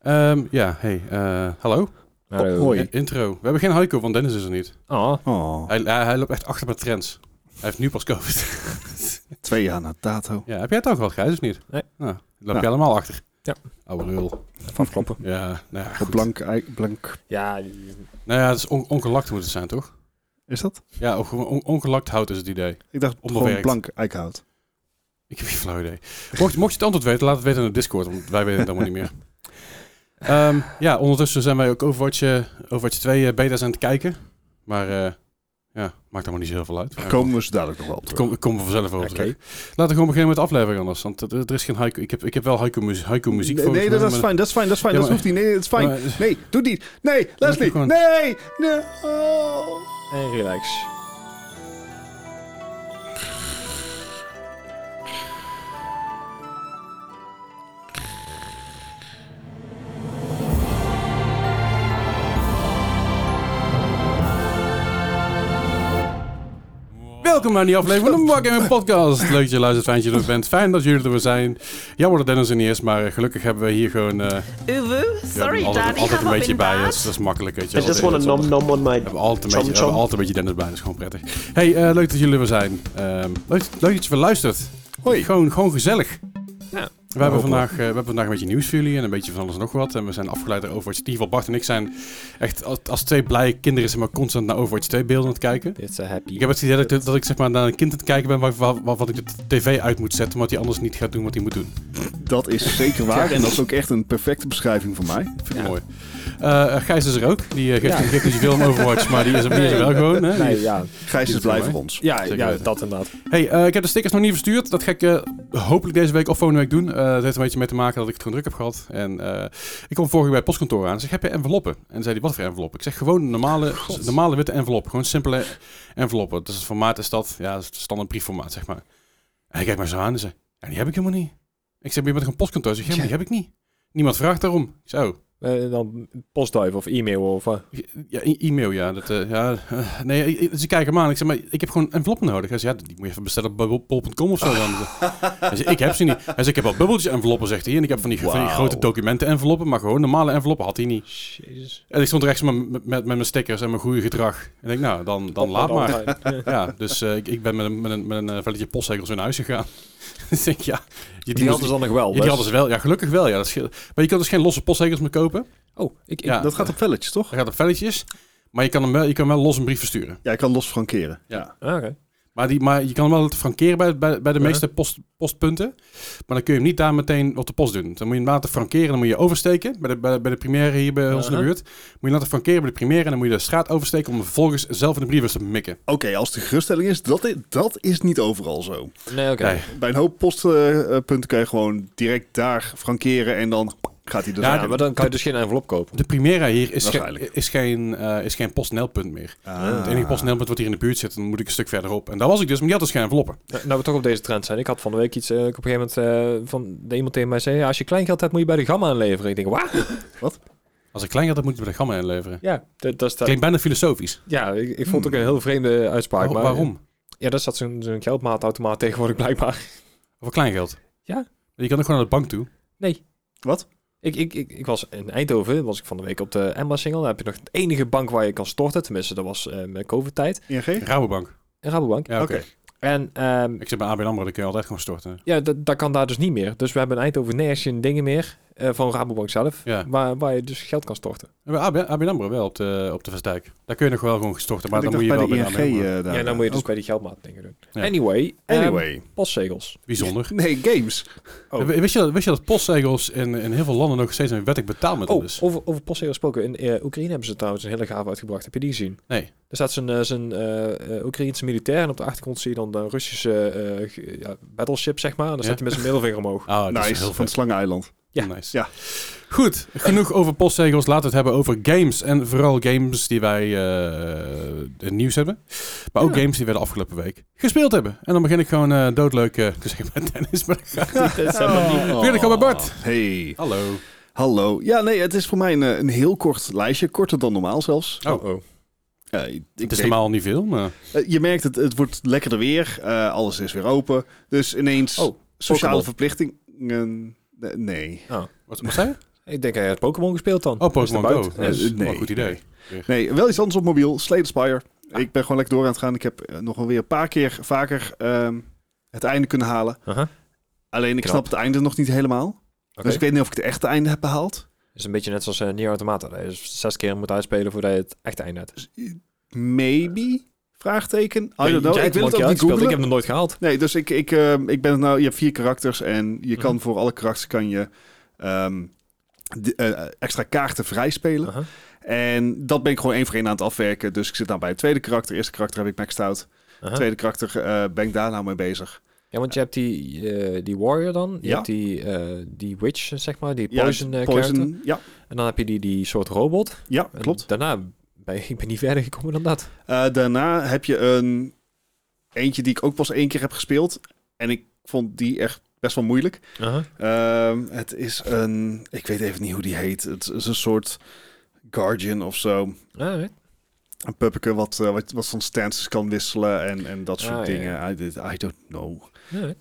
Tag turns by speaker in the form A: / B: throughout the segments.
A: Ehm, ja, hey, eh, hallo.
B: Hallo.
C: Hoi.
A: Eh, intro. We hebben geen haiku, want Dennis is er niet.
B: Oh,
C: Oh,
A: Hij, hij, hij loopt echt achter met trends. Hij heeft nu pas COVID.
C: twee jaar na dato.
A: ja, heb jij het ook gehad, Gijs, of niet?
B: Nee.
A: Nou, dan loop je
C: Ja.
A: allemaal achter.
B: Ja.
A: Oude lul.
C: Van kloppen.
A: Ja, nou ja, goed.
C: Blank, ei- blank,
B: ja. eh,
A: Nou ja, het is on- ongelakt moet het zijn, toch?
C: is dat?
A: Ja, of gewoon on- ongelakt hout is het idee.
C: Ik dacht
A: Onbewerkt.
C: gewoon blank eikhout.
A: Ik heb geen flauw idee. Mocht, mocht je het antwoord weten, laat het weten in de Discord, want wij weten het allemaal niet meer. Ehm, ja, ondertussen zijn wij ook Overwatch, eh, Overwatch 2 eh, beta's aan het kijken. Maar eh, ja, maakt allemaal niet zo heel veel uit.
C: Daar komen we zo dadelijk nog wel op
A: Ik
C: terug.
A: kom, ik kom er vanzelf over
B: Oké.
A: terug. Laten we gewoon beginnen met de aflevering anders. Want er- er is geen haiku. Ik heb, ik heb wel haiku, muzie- haiku muziek
C: Nee,
A: voor.
C: nee, dat is fijn, dat is fijn, dat is fijn.
A: Ja,
C: dat
A: maar-
C: hoeft niet. Nee, dat is fijn. Nee, doe niet. Nee, Leslie.
A: gewoon-
C: Nee, nee. Oh.
B: En relax.
A: Welkom bij die aflevering van de Mark Gaming Podcast. Leuk dat je luistert, fijn dat je er bent. Fijn dat jullie er weer zijn. Jammer dat Dennis er niet is, maar eh, gelukkig hebben we hier gewoon... eh,
D: Uwu, sorry
A: we hebben altijd,
D: Dani,
A: altijd
D: ga
A: een
D: maar
A: beetje
D: in
A: bij. Dat
D: baat.
A: is, dat is makkelijk, weet je
B: I
A: wel.
B: just want a
A: Dat is-
B: nom nom on my...
A: We hebben altijd een,
B: Chom,
A: beetje, we hebben
B: chom.
A: altijd een beetje Dennis bij, dat is gewoon prettig. hey, eh, leuk dat jullie er zijn. Ehm, leuk, leuk dat je weer luistert.
C: Hoi.
A: Gewoon, gewoon gezellig.
B: Ja.
A: We, hebben vandaag, eh, we hebben vandaag een beetje nieuws voor jullie en een beetje van alles en nog wat. En we zijn afgeleid door Overwatch 2. Want Bart en ik zijn echt als, als twee blije kinderen zijn maar constant naar Overwatch 2 beelden aan het kijken.
B: It's a eh, happy...
A: Ik heb het idee dat ik, dat ik zeg maar naar een kind aan het kijken ben waar, waar, waar- wat ik de tv uit moet zetten. Omdat hij anders niet gaat doen wat hij moet doen.
C: Dat is zeker waar. En dat is ook echt een perfecte beschrijving van mij.
A: Vind ik
B: Ja.
A: mooi. Eh, Gijs is er ook. Die eh, geeft,
B: Ja.
A: geeft niet zoveel om Overwatch, maar die is er, die is er wel gewoon. Hè?
B: Nee, ja.
C: Gijs is
A: Dit
C: blij
A: voor
C: voor ons.
B: Ja,
A: Zeker
B: ja
A: weten.
B: dat inderdaad.
A: Hey, eh, ik heb de stickers nog niet verstuurd. Dat ga ik eh, hopelijk deze week of volgende week doen. Eh het heeft een beetje mee te maken dat ik het gewoon druk heb gehad. En eh, ik kwam vorige week bij het postkantoor aan. Ik zeg, heb je enveloppen? En dan zei hij, wat voor envelop? Ik zeg, gewoon een normale, normale witte envelop. Gewoon simpele enveloppen. Dus het formaat is dat, ja, dat is het standaard briefformaat, zeg maar. En hij kijkt mij zo aan en zei, ja, die heb ik helemaal niet. Ik zeg, maar je bent toch een postkantoor? Ik zeg, ja, maar die heb ik niet. Niemand vraagt daarom. oh, Zo.
B: Eh, dan postduif of e-mail of... eh,
A: Ja, e- e-mail, ja. Dat, eh, ja eh, nee, ik- ze kijken me aan. Ik zeg, maar ik heb gewoon enveloppen nodig. Hij zei, ja, die moet je even bestellen bij bol- bol.com of zo. Dan. Hij zei, ik heb ze niet. Hij zei, ik heb wel bubbeltjes enveloppen, zegt hij. En ik heb van die, van die
B: Wauw.
A: grote documenten enveloppen, maar gewoon normale enveloppen had hij niet.
B: Jezus.
A: En ik stond rechts met, met, met mijn stickers en mijn goede gedrag. En ik denk, nou, dan, dan laat maar. Ja, dus eh, ik, ik ben met een, met een, met een eh, velletje postzegels in huis gegaan. dus ik denk, ja, je,
B: Die hadden
A: moest-
B: ze dan nog wel.
A: ja, die
B: dus.
A: hadden ze wel. Ja, gelukkig wel. Ja, dat scheelt. Maar je kunt dus geen losse postzegels meer kopen.
B: Oh, ik... ik
A: Ja.
C: Dat gaat op velletjes, toch?
A: Hij gaat op velletjes. Maar je kan, hem wel, je kan hem wel los een brief versturen.
C: Ja, ik kan los frankeren.
A: Ja.
B: Ah, oké.
A: Maar, die, maar je kan hem wel frankeren bij, bij, bij de
B: Ja.
A: meeste post, postpunten. Maar dan kun je hem niet daar meteen op de post doen. Dan moet je hem laten frankeren. Dan moet je oversteken. Bij de, bij, bij de primaire hier bij ons in de
B: Aha.
A: buurt. Moet je laten frankeren bij de primaire. En dan moet je de straat oversteken om hem vervolgens zelf in de brievenbus te mikken.
C: Oké, als de geruststelling is, dat is, dat is niet overal zo.
B: Nee, oké. Dus-
A: Nee.
C: Bij een hoop postpunten kan je gewoon direct daar frankeren en dan gaat hij er
A: Ja,
C: ja,
B: Ja, maar dan kan je dus geen envelop kopen.
A: De primaire hier is,
C: Waarschijnlijk.
A: geen- is geen, eh is geen postnelpunt meer.
C: Ah.
A: Het enige postnelpunt wat hier in de buurt zit. Dan moet ik een stuk verderop. En daar was ik dus. Maar die had dus geen enveloppen.
B: Nou, nou we toch op deze trend zijn. Ik had van de week iets... eh, ik op een gegeven moment eh, van de iemand tegen mij zei... Ja, als je kleingeld hebt, moet je bij de gamma aanleveren. Ik denk, wat?
A: Als ik klein had, dan moet ik bij de gamma inleveren.
B: Ja, dat, dat is dat-
A: Klinkt bijna filosofisch.
B: Ja, ik, ik vond het ook een heel vreemde uitspraak.
A: Waar-
B: maar-
A: waarom?
B: Ja, daar zat zo'n zo'n geldmaatautomaat tegenwoordig blijkbaar.
A: Voor kleingeld?
B: Ja.
A: Je kan ook gewoon naar de bank toe.
B: Nee.
C: Wat?
B: Ik, ik, ik, ik was in Eindhoven, was ik van de week op de Emma Single. Daar heb je nog de enige bank waar je kan storten. Tenminste, dat was eh, met COVID-tijd.
C: ING?
A: Rabobank.
B: Een Rabobank.
A: Ja, oké.
C: Oké.
B: En ehm,
A: Ik zit bij ABN AMRO, dan kun je altijd gewoon storten.
B: ja, dat, dat kan daar dus niet meer. Dus we hebben in Eindhoven nergens geen dingen meer eh, van Rabobank zelf.
A: Ja.
B: Waar, waar je dus geld kan storten.
A: Eh, Bij AB ABN AMRO wel, op de, op de Vestdijk. Daar kun je nog wel gewoon storten, maar
C: Ik
A: dan moet je
C: dacht
A: wel
C: bij
A: bij
C: de
A: ABN
C: ING
A: AMRO.
C: eh, daar.
B: ja, dan moet je dus
C: Ook.
B: bij die geldmaat dingen doen.
A: Ja.
B: Anyway, ehm,
C: Anyway.
B: postzegels.
A: Bijzonder.
C: Nee, games.
B: Oh.
A: W- Wist, je dat, wist je dat postzegels in, in heel veel landen nog steeds een wettig betaalmiddel
B: Oh,
A: is?
B: over, over postzegels gesproken. In eh, Oekraïne hebben ze trouwens een hele gave uitgebracht. Heb je die gezien?
A: Nee.
B: Er staat zo'n eh, zo'n eh, eh, Oekraïense militair en op de achtergrond zie je dan de Russische eh, ge- ja, battleship, zeg maar. En dan
A: Ja.
B: staat hij met zijn middelvinger omhoog.
A: Ah, dat is
C: nice,
A: heel
C: van
A: vet.
C: het Slangeneiland.
B: Ja.
A: Nice.
C: Ja.
A: Goed, genoeg over postzegels. Laten we het hebben over games. En vooral games die wij eh, in het nieuws hebben. Maar ook
B: Ja.
A: games die we de afgelopen week gespeeld hebben. En dan begin ik gewoon eh, doodleuk eh, te zeggen met Dennis. Maar dat gaat niet. Weer, ik ga bij Bart.
C: Oh. Hey,
A: Hallo.
C: hallo. Ja, nee, het is voor mij een, eh, een heel kort lijstje. Korter dan normaal zelfs.
A: Oh.
B: oh.
C: Ja, ik
A: Het is
C: weet-
A: normaal niet veel, maar...
C: eh, Je merkt, het, het wordt lekkerder weer. eh, alles is weer open. Dus ineens
B: Oh,
C: sociale
B: Pokémon.
C: verplichtingen... eh, nee.
A: Wat, wat zei je?
B: Ik denk, hij heeft Pokémon gespeeld dan.
A: Oh,
B: Is
A: Pokémon
B: er
A: Go.
B: buiten.
A: Dat is
C: Eh,
A: wel een
C: nee.
A: goed idee.
C: Nee, wel iets anders op mobiel. Slay the Spire.
B: Ah.
C: Ik ben gewoon lekker door aan het gaan. Ik heb eh, nog wel weer een paar keer vaker ehm, het einde kunnen halen.
B: Aha.
C: Alleen ik
B: Knap.
C: snap het einde nog niet helemaal.
B: Oké.
C: Dus ik weet niet of ik het echte einde heb behaald.
B: is een beetje net zoals eh Nier Automata. Dat je zes keer moet uitspelen voordat je het echt eind hebt.
C: Dus, eh, Maybe? Vraagteken? I
B: Jij
C: don't know.
B: hebt
C: Ah, Ik wil
B: hem
C: het
B: al
C: ook
B: een
C: niet
B: keer uitgespeeld. Ik
C: googlen.
B: heb hem nooit gehaald.
C: Nee, dus ik, ik, ehm, ik ben het nou... Je hebt vier karakters en je kan
B: Mhm.
C: voor alle karakters kan je ehm, de- eh, extra kaarten vrijspelen.
B: Aha.
C: En dat ben ik gewoon één voor één aan het afwerken. Dus ik zit nou bij het tweede karakter. Eerste karakter heb ik maxed out.
B: Aha.
C: Tweede karakter eh, ben ik daar nou mee bezig.
B: Ja, want je hebt die, eh, die warrior dan. Je
C: Ja.
B: hebt die, eh, die witch, zeg maar. Die
C: Ja,
B: poison, eh, character.
C: Poison, ja,
B: En dan heb je die, die soort robot.
C: ja
B: En
C: klopt.
B: daarna ben ik- ik ben niet verder gekomen dan dat.
C: Eh, daarna heb je een eentje die ik ook pas één keer heb gespeeld. En ik vond die echt best wel moeilijk. Ehm, het is een... Ik weet even niet hoe die heet. Het is een soort guardian of zo.
B: Alright.
C: Een puppeke wat, eh, wat, wat van stances kan wisselen en, en dat soort
B: Ah, ja,
C: dingen.
B: ja.
C: I, did- I don't know.
B: Alright.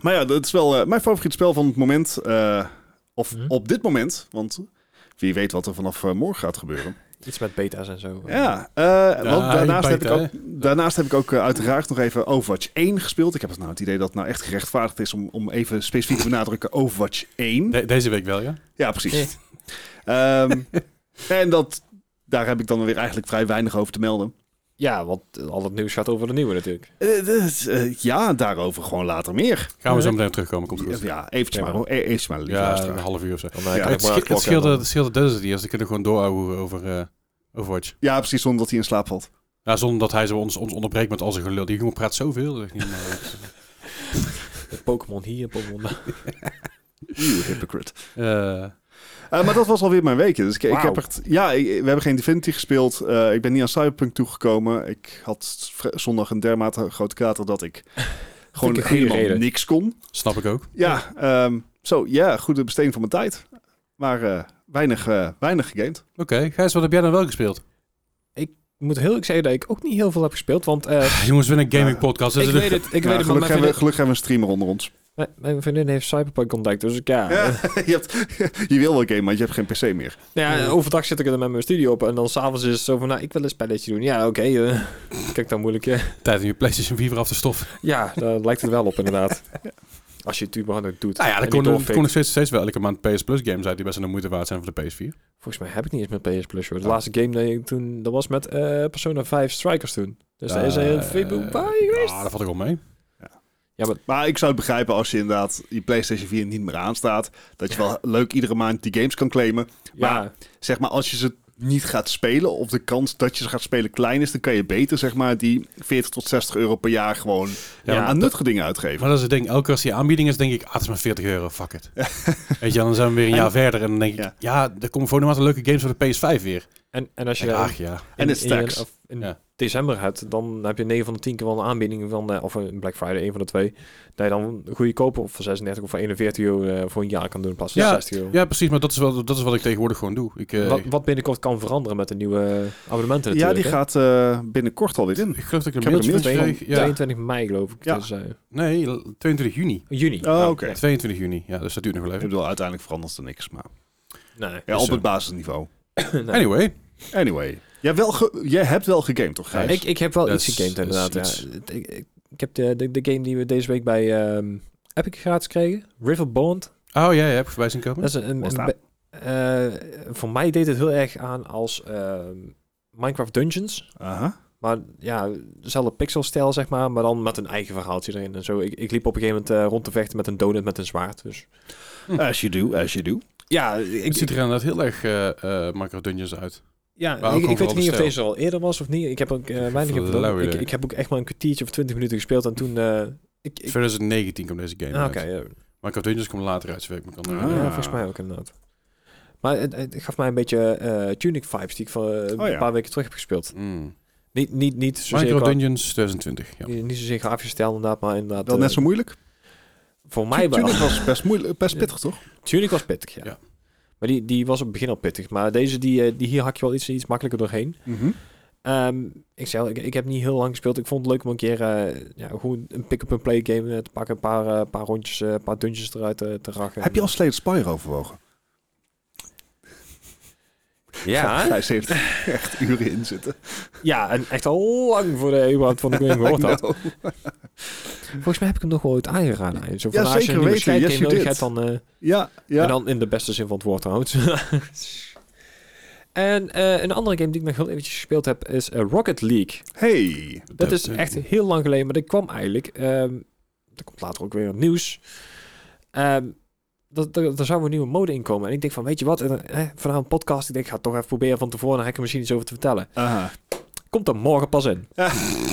C: Maar ja, dat is wel eh, mijn favoriet spel van het moment. eh, of
B: Mhm.
C: op dit moment. Want wie weet wat er vanaf eh, morgen gaat gebeuren.
B: Iets met beta's en zo.
C: Ja, eh, want
A: je
C: daarnaast, heb
A: bijt,
C: ik ook, daarnaast heb ik ook eh, uiteraard nog even Overwatch 1 gespeeld. Ik heb het nou het idee dat het nou echt gerechtvaardigd is om, om even specifiek te benadrukken Overwatch 1.
A: De- deze week wel, ja?
C: Ja, precies.
B: Nee.
C: Ehm, en dat, daar heb ik dan weer eigenlijk vrij weinig over te melden.
B: Ja, want al het nieuws gaat over de nieuwe natuurlijk.
C: Eh, dus, eh, ja, daarover gewoon later meer.
A: Gaan we zo
B: Nee.
A: meteen op terugkomen, komt goed.
C: Ja, eventjes
B: Ja,
C: maar.
B: maar-
C: hoor. E- eventjes maar, lieve
A: Ja, een
C: luisteraar.
A: half uur of zo.
B: Dan, eh,
C: Ja.
B: kan ik
A: het,
B: maar
A: sche-
B: aan de
A: het,
B: klok
A: scheelde,
B: hebben.
A: het scheelde dus Desert Ears. Ze kunnen gewoon doorhouden over eh, Overwatch.
C: ja, precies, zonder dat hij in slaap valt.
A: Ja, zonder dat hij zo ons, ons onderbreekt met al zijn gelul. Die jongen praat zoveel. dat is niet normaal.
B: Pokémon hier, Pokémon daar.
C: You hypocrite.
A: Eh,
C: Eh, maar dat was alweer mijn weekje. Dus ik, ik
B: Wauw.
C: heb echt, ja, ik- we hebben geen Divinity gespeeld. Eh, ik ben niet aan Cyberpunk toegekomen. Ik had vri- zondag een dermate grote kater dat ik gewoon
B: een goede
C: helemaal
B: reden.
C: niks kon.
A: snap ik ook.
C: Ja, ehm, zo ja, goede besteding van mijn tijd. Maar eh, weinig, eh, weinig gegamed.
A: Oké, Gijs, wat heb jij dan wel gespeeld?
B: Ik moet heel eerlijk zeggen dat ik ook niet heel veel heb gespeeld, want eh,
A: Ah, Jongens, we zijn een gaming podcast.
B: ik weet het, ik
C: Nou,
B: weet het, maar
C: gelukkig,
B: mijn
C: hebben, we-
B: vriendin,
C: gelukkig hebben we een streamer onder ons.
B: mijn, mijn vriendin heeft Cyberpunk ontdekt, dus ik ja. eh,
C: je, hebt, je wil wel gamen, maar je hebt geen PC meer.
B: Nou ja, overdag zit ik er met mijn studio op en dan s'avonds is het zo van, nou, ik wil een spelletje doen. Ja, oké, eh, kijk dan moeilijk. eh.
A: Tijd om je PlayStation 4 weer af te stoffen.
B: Ja, daar lijkt het wel op inderdaad. Als je het überhaupt doet.
A: Nou ja,
B: En
A: dat kon,
B: die
A: dat
B: doorfikt.
A: kon ik steeds, steeds wel elke maand PS Plus games uit die best wel de moeite waard zijn voor de PS4.
B: Volgens mij heb ik niet eens met PS Plus, hoor. De
A: Oh.
B: laatste game dat ik toen, dat was met eh, Persona 5 Strikers toen. Dus daar is
A: Eh,
B: hij in februari geweest.
A: Ja, dat valt ik wel mee.
C: Maar ik zou het begrijpen als je inderdaad je PlayStation 4 niet meer aanstaat. Dat je wel leuk iedere maand die games kan claimen. maar-
B: Ja,
C: zeg maar, als je ze niet gaat spelen of de kans dat je ze gaat spelen klein is, dan kan je beter zeg maar die 40 tot 60 euro per jaar gewoon
A: Ja,
B: Ja,
C: aan nuttige dingen uitgeven.
A: Maar dat is het ding. Elke keer als die aanbieding is, denk ik, ah, het is maar 40 euro, fuck it. Weet je, dan zijn we weer een jaar verder en dan denk ik, ja,
C: Ja.
A: er komen voor de maand leuke games voor de PS5 weer.
B: en, en als je
A: Ja, ach ja.
B: in,
C: En het
B: in-
C: stacks.
B: of in
A: Ja.
B: december hebt, dan heb je 9 van de 10 keer wel een aanbieding van, eh, of een Black Friday, een van de twee, dat je dan een goede kopen of voor 36 of voor 41 euro eh, voor een jaar kan doen in plaats van
A: Ja,
B: 60 euro.
A: Ja, precies, maar dat is, wel, dat is wat ik tegenwoordig gewoon doe. Ik, eh,
B: Wat, wat binnenkort kan veranderen met de nieuwe eh, abonnementen
C: ja,
B: natuurlijk.
C: die
B: hè?
C: gaat eh, binnenkort alweer in.
A: ik geloof dat ik
C: Ik
A: een
C: heb
A: mailtje
C: een
A: van
C: mailtje
A: kreeg. Ja,
C: van-
B: 22 mei geloof ik.
C: Ja.
B: Dus, eh,
A: nee, 22 juni.
B: juni. Nou,
C: Oh, oké.
B: ja.
A: 22 juni, ja, dus dat duurt nog wel
C: Ik
A: even.
C: bedoel, uiteindelijk verandert er niks, maar
B: Nee. Dus, eh,
C: ja,
A: Is
C: op
A: zo.
C: het basisniveau.
B: nee.
A: Anyway,
C: Anyway, jij, wel ge- jij hebt wel gegamed, toch? Gijs?
B: ik, ik heb wel
A: Dat
B: iets
A: is-
B: gegamed
A: dat is
B: inderdaad.
A: iets.
B: Ja. Ik, ik- ik heb de, de, de game die we deze week bij ehm, Epic gratis kregen. Riverbond.
A: oh ja, ja, heb ik voorbij zien komen.
B: Dat is een, een-
C: Wat is dat?
B: be- eh, voor mij deed het heel erg aan als ehm, Minecraft Dungeons.
C: Aha.
B: Maar ja, dezelfde pixelstijl zeg maar. Maar dan met een eigen verhaaltje erin en zo. Ik, ik liep op een gegeven moment eh, rond te vechten met een donut met een zwaard. Dus
C: As you do, as you do.
B: ja, ik,
A: Hm. Het ziet er inderdaad heel erg eh eh Minecraft Dungeons uit. Maar
B: Ja,
A: ook
B: ik,
A: gewoon
B: ik weet
A: vooral
B: niet of
A: de
B: deze al eerder was of niet. Ik heb ook eh, weinig
A: vond het een lauwe
B: gedaan. Ik,
A: idee.
B: ik heb ook echt maar een kwartiertje of twintig minuten gespeeld en toen... eh, ik, ik,
A: 2019 komt deze game
B: Ah,
A: uit.
B: Oké, ja.
A: Minecraft Dungeons komt later uit, zover ik me kan
C: Ah.
B: Ja,
A: herinneren.
B: volgens mij ook inderdaad. Maar het, het gaf mij een beetje eh Tunic vibes die ik van, eh,
C: ja.
B: een paar weken terug heb gespeeld.
A: Mm.
B: Niet, niet, niet zozeer
A: Minecraft
B: qua-
A: Dungeons 2020, ja.
B: niet- niet zozeer grafische stijl inderdaad, maar inderdaad...
C: Wel
B: eh,
C: net zo moeilijk?
B: Voor mij wel.
C: Tunic was best, moeilijk, eh, best pittig, toch?
B: Tunic was pittig, ja.
A: Ja.
B: Maar die, die was op het begin al pittig. Maar deze, die, eh, die hier hak je wel iets, iets makkelijker doorheen.
C: Mhm.
B: Ehm, ik, zei, al, ik, ik heb niet heel lang gespeeld. Ik vond het leuk om een keer eh, ja, gewoon een pick-up-and-play game eh, te pakken. Een paar, eh, paar rondjes, eh, een paar dungeons eruit eh, te raken.
C: Heb je al Slade Spire overwogen?
B: Ja, hè?
C: Gijs heeft er echt uren in zitten.
B: ja, en echt al lang voor de überhaupt van de game gehoord had.
C: Nou,
B: Volgens mij heb ik hem nog wel uit aangeraden. hè. Zo van, "Ah,
C: Ja,
B: als je
C: zeker
B: een nieuwe
C: weten.
B: Skype
C: Yes,
B: game
C: you
B: nodig
C: did.
B: hebt, dan... eh,
C: Ja, ja.
B: En dan in de beste zin van het woord trouwens. en eh, een andere game die ik nog heel eventjes gespeeld heb is eh, Rocket League.
C: Hey.
B: Dat
A: Eh,
B: is echt heel lang geleden, maar dat kwam eigenlijk... ehm dat komt later ook weer in het nieuws. Ehm dat, dat, daar zou een nieuwe mode in komen. En ik denk van, weet je wat, en, eh, vanavond podcast. Ik denk, ik ga het toch even proberen van tevoren. Dan heb ik er misschien iets over te vertellen.
C: Aha.
B: Komt er morgen pas in.
C: Ja.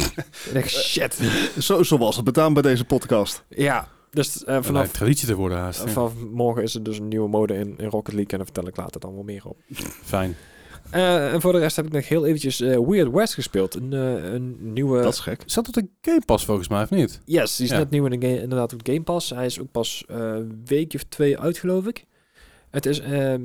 B: Ik denk, shit.
C: Zo, zo was het betaamd bij deze podcast.
B: ja, dus eh,
A: Vanaf
B: vanaf
A: traditie te worden haast. ja.
B: Vanaf morgen is er dus een nieuwe mode in, in Rocket League en daar vertel ik later dan wel meer op.
A: Fijn.
B: Eh, en voor de rest heb ik nog heel eventjes eh, Weird West gespeeld. Een, eh, een nieuwe...
C: dat is gek.
A: Zat het een Game Pass volgens mij, of niet?
B: Yes, die is
A: Ja.
B: net nieuw in de game, inderdaad op Game Pass. Hij is ook pas eh, een weekje of twee uit, geloof ik. Het is... ehm,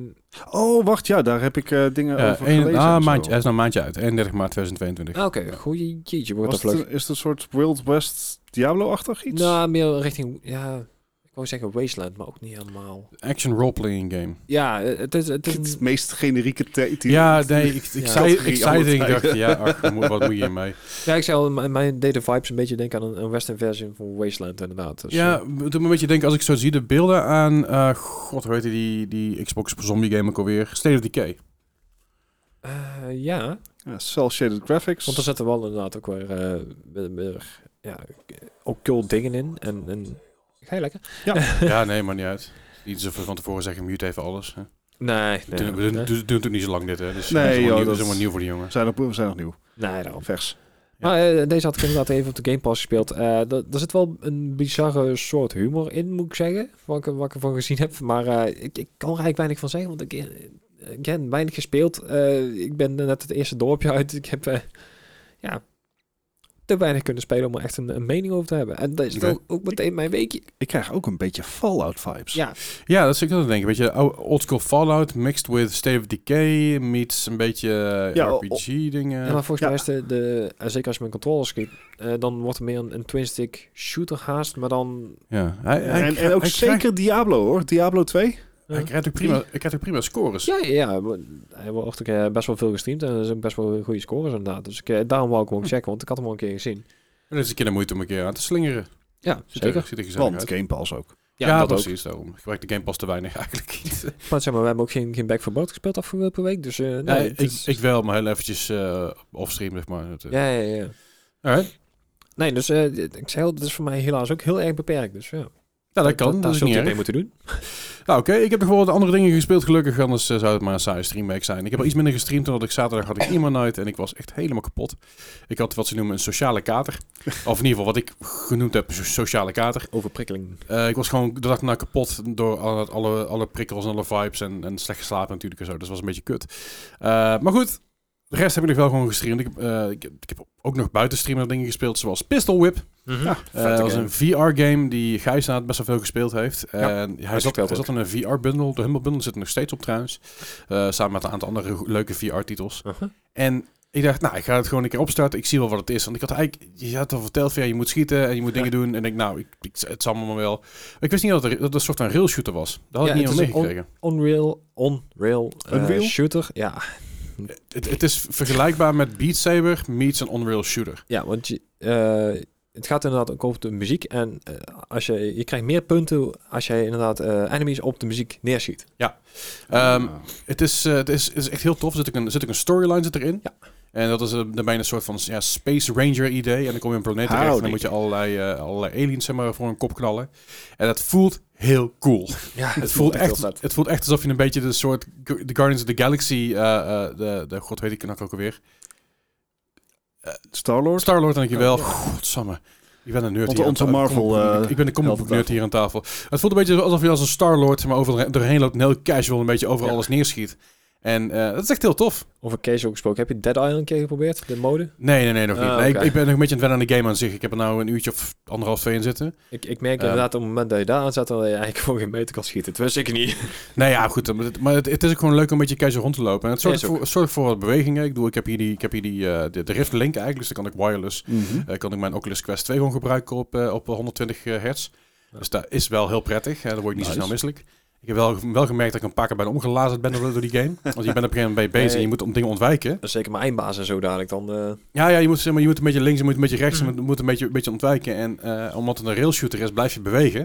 C: Oh, wacht, ja, daar heb ik eh, dingen
A: Ja,
C: over
A: één-
C: gelezen.
A: ah,
C: en zo.
A: maandje, hij is nou een maandje uit. 31 maart 2022.
B: ah, Oké, goeie jeetje, wordt dat
C: Was
B: vlug.
C: het een- is het een soort Wild West Diablo-achtig iets?
B: Nou, meer richting... Ja, ik wou zeggen Wasteland, maar ook niet helemaal.
A: Action roleplaying game.
B: Ja, eh, het is... Het is
C: Het
B: een-
C: meest generieke te- titel.
A: Ja, nee, ik, ik
B: Ja.
A: zei
C: Categorie
A: ik zei het en ik
C: allebei.
A: dacht, ja, ach, wat moet- wat moet je hiermee?
B: ja, ik zei al, mijn- mijn deden vibes een beetje denken aan een, een western version van Wasteland, inderdaad. Dus,
A: Ja, het doet me een beetje denken, als ik zo zie de beelden aan, eh, god, hoe heet die, die Xbox zombie game ook alweer? State of Decay.
B: eh, eh, ja,
C: Ja, Cell-shaded graphics.
B: Want er zitten wel inderdaad ook weer, eh, weer- weer, ja, occult dingen in. En, en... Ga je lekker?
A: ja, nee, maar niet uit. Niet zo van tevoren zeggen, mute even alles. Hè.
B: Nee,
A: We doen- we doen- doen doen het niet zo lang dit, hè. Dus
C: Nee,
A: nee, dat is
C: joh,
A: helemaal nieuw-
C: dat
A: dat is helemaal nieuw voor die jongen.
C: zijn nog, we zijn nog nieuw.
B: nee daarom.
C: Vers.
B: Maar eh, deze had ik inderdaad even op de Game Pass gespeeld. Eh da- daar zit wel een bizarre soort humor in, moet ik zeggen. Wat ik, wat ik ervan gezien heb. Maar eh, ik, ik kan er eigenlijk weinig van zeggen. Want ik eh, again, weinig gespeeld. Eh, ik ben net het eerste dorpje uit. Ik heb eh, ja, te weinig kunnen spelen om er echt een, een mening over te hebben. En dat is
A: Oké.
B: dan ook meteen mijn weekje.
C: Ik krijg ook een beetje Fallout-vibes.
B: Ja,
A: Ja, dat is ik aan het denken. Een beetje ou- oldschool Fallout mixed with State of Decay meets een beetje eh,
C: Ja, oh,
A: RPG-dingen.
B: Ja, maar volgens
C: Ja.
B: mij is de, de eh, zeker als je met een controller schiet, eh, dan wordt er meer een, een twin-stick shooter haast, maar dan...
A: Ja, hij, hij,
C: en,
A: hij-
C: en ook
A: hij
C: zeker
A: Krijgt,
C: Diablo, hoor. Diablo 2.
A: hij, krijgt ook prima, hij krijgt ook prima scores.
B: Ja, ja, ja, maar hij wordt ook eh, best wel veel gestreamd en er zijn best wel goede scores inderdaad. Dus ik, eh, daarom wou ik hem
A: Hm.
B: ook checken, want ik had hem al een keer gezien.
A: En dat is een keer de moeite om een keer aan te slingeren.
B: Ja,
A: Ziet er,
B: zeker.
A: ziet er gezellig
C: Want
A: uit.
C: Game Pass ook.
A: Ja,
B: Ja, dat ook.
A: precies. Daarom. Gebruik de Game Pass te weinig eigenlijk.
B: Maar zeg maar, we hebben ook geen, geen Back for Blood gespeeld afgelopen week, dus... eh,
A: Ja,
B: nee,
A: ik,
B: het is-
A: ik wel, maar heel eventjes eh offstream, zeg maar. Dat, eh.
B: ja, ja, ja.
A: Alright.
B: Nee, dus eh, dit- ik zei al, dat is voor mij helaas ook heel erg beperkt, dus ja.
A: Nou, dat kan. Dat,
B: daar
A: is
B: zult
A: niet
B: je het mee
A: erg.
B: moeten doen.
A: Nou, oké. Ik heb nog wel wat andere dingen gespeeld, gelukkig. Anders eh, zou het maar een saaie streamweek zijn. Ik heb al iets minder gestreamd, omdat ik zaterdag had ik iemand uit en ik was echt helemaal kapot. Ik had wat ze noemen een sociale kater. of in ieder geval wat ik genoemd heb, een so- sociale kater.
B: Overprikkeling.
A: Eh, ik was gewoon de dag na kapot door alle, alle, alle prikkels en alle vibes en, en slecht geslapen natuurlijk en zo. Dus dat was een beetje kut. Eh, maar goed, de rest heb ik nog wel gewoon gestreamd. Ik, heb, eh, ik, heb- ik heb ook nog buiten streamen dingen gespeeld, zoals Pistol Whip.
B: Ja.
A: Eh,
C: Vette
A: dat was
C: game.
A: een VR-game die Gijs na het best wel veel gespeeld heeft. en hij zat,
B: gespeeld
A: hij zat in een VR-bundle. De Humble Bundle zit er nog steeds op trouwens. Eh, samen met een aantal andere go- leuke VR-titels.
B: Uh-huh.
A: En ik dacht, nou, ik ga het gewoon een keer opstarten. Ik zie wel wat het is. Want ik had eigenlijk, je had al verteld van ja, je moet schieten en je moet dingen doen. En ik denk, nou, ik, ik- het zal allemaal wel. Ik wist niet dat het, dat het een soort van rail shooter was. Dat had
B: Ja,
A: ik niet
B: het
A: helemaal
B: is een on-
A: meegekregen.
B: Unreal, Unreal eh,
C: Unreal?
B: shooter, ja.
A: Het, het is vergelijkbaar met Beat Saber meets een on-rail shooter.
B: Ja, want je, eh, het gaat inderdaad ook over de muziek. En eh, als je, je krijgt meer punten als jij inderdaad eh, enemies op de muziek neerschiet.
A: Ehm,
C: Ah.
A: Het is, eh, het is, het is echt heel tof. Er zit ook een, zit ook een storyline zit erin.
B: Ja.
A: En dat is eh, dan ben je een soort van ja, Space Ranger idee. En dan kom je op een planeet
C: Howdy.
A: terecht. En dan moet je allerlei, eh, allerlei aliens zeg maar, voor een kop knallen. En dat voelt heel cool.
B: Ja,
A: Het voelt, echt, het voelt echt alsof je een beetje de soort Gu- de Guardians of the Galaxy, eh, eh, de, de god weet ik nou ook alweer.
C: Star-Lord?
A: Star-Lord, dankjewel.
B: Ja.
A: Godsamme. Ik ben een nerd
C: Onze-
A: hier. aan
C: onze
A: ta-
C: Marvel,
A: comic book-
C: eh,
A: ik ben een comic book
C: helden
A: nerd hier aan tafel. Het voelt een beetje alsof je als een Star-Lord maar overal doorheen loopt en heel casual een beetje over
B: Ja.
A: alles neerschiet. En eh, dat is echt heel tof.
B: Over casual gesproken, heb je Dead Island een keer geprobeerd? De mode?
A: Nee, nee, nee, nog niet.
B: Ah,
A: Nee, ik,
B: oké.
A: ik ben nog een beetje aan het wennen aan de game aan zich. Ik heb er nou een uurtje of anderhalf, twee in zitten.
B: Ik, ik merk
A: Ehm.
B: inderdaad op het moment dat je daar aan zat, dat je eigenlijk gewoon geen meter kan schieten. Dat wist ik niet.
A: Nee, ja, goed. Maar, het, maar het, het is ook gewoon leuk om een beetje casual rond te lopen. En het zorgt,
B: Ja, is ook.
A: voor, het zorgt voor wat bewegingen. Ik bedoel, ik heb hier, die, ik heb hier die, eh, de, de Rift Link eigenlijk, dus dan kan ik wireless.
C: Mhm.
A: eh, kan ik mijn Oculus Quest 2 eh, gewoon gebruiken op, eh, op 120 hertz. Dus dat is wel heel prettig. Hè. Daar word je niet
C: Nice.
A: zo snel misselijk. Ik heb wel, wel gemerkt dat ik een paar keer bijna omgelazerd ben door door die game. Want je bent op een gegeven moment mee bezig en je moet om dingen ontwijken.
B: Dat is zeker mijn eindbaas en zo dadelijk dan. eh,
A: Ja, ja je, moet, zeg maar, je moet een beetje links, je moet een beetje rechts,
B: Mm.
A: je moet een beetje, een beetje ontwijken. En eh, omdat het een railshooter is, blijf je bewegen.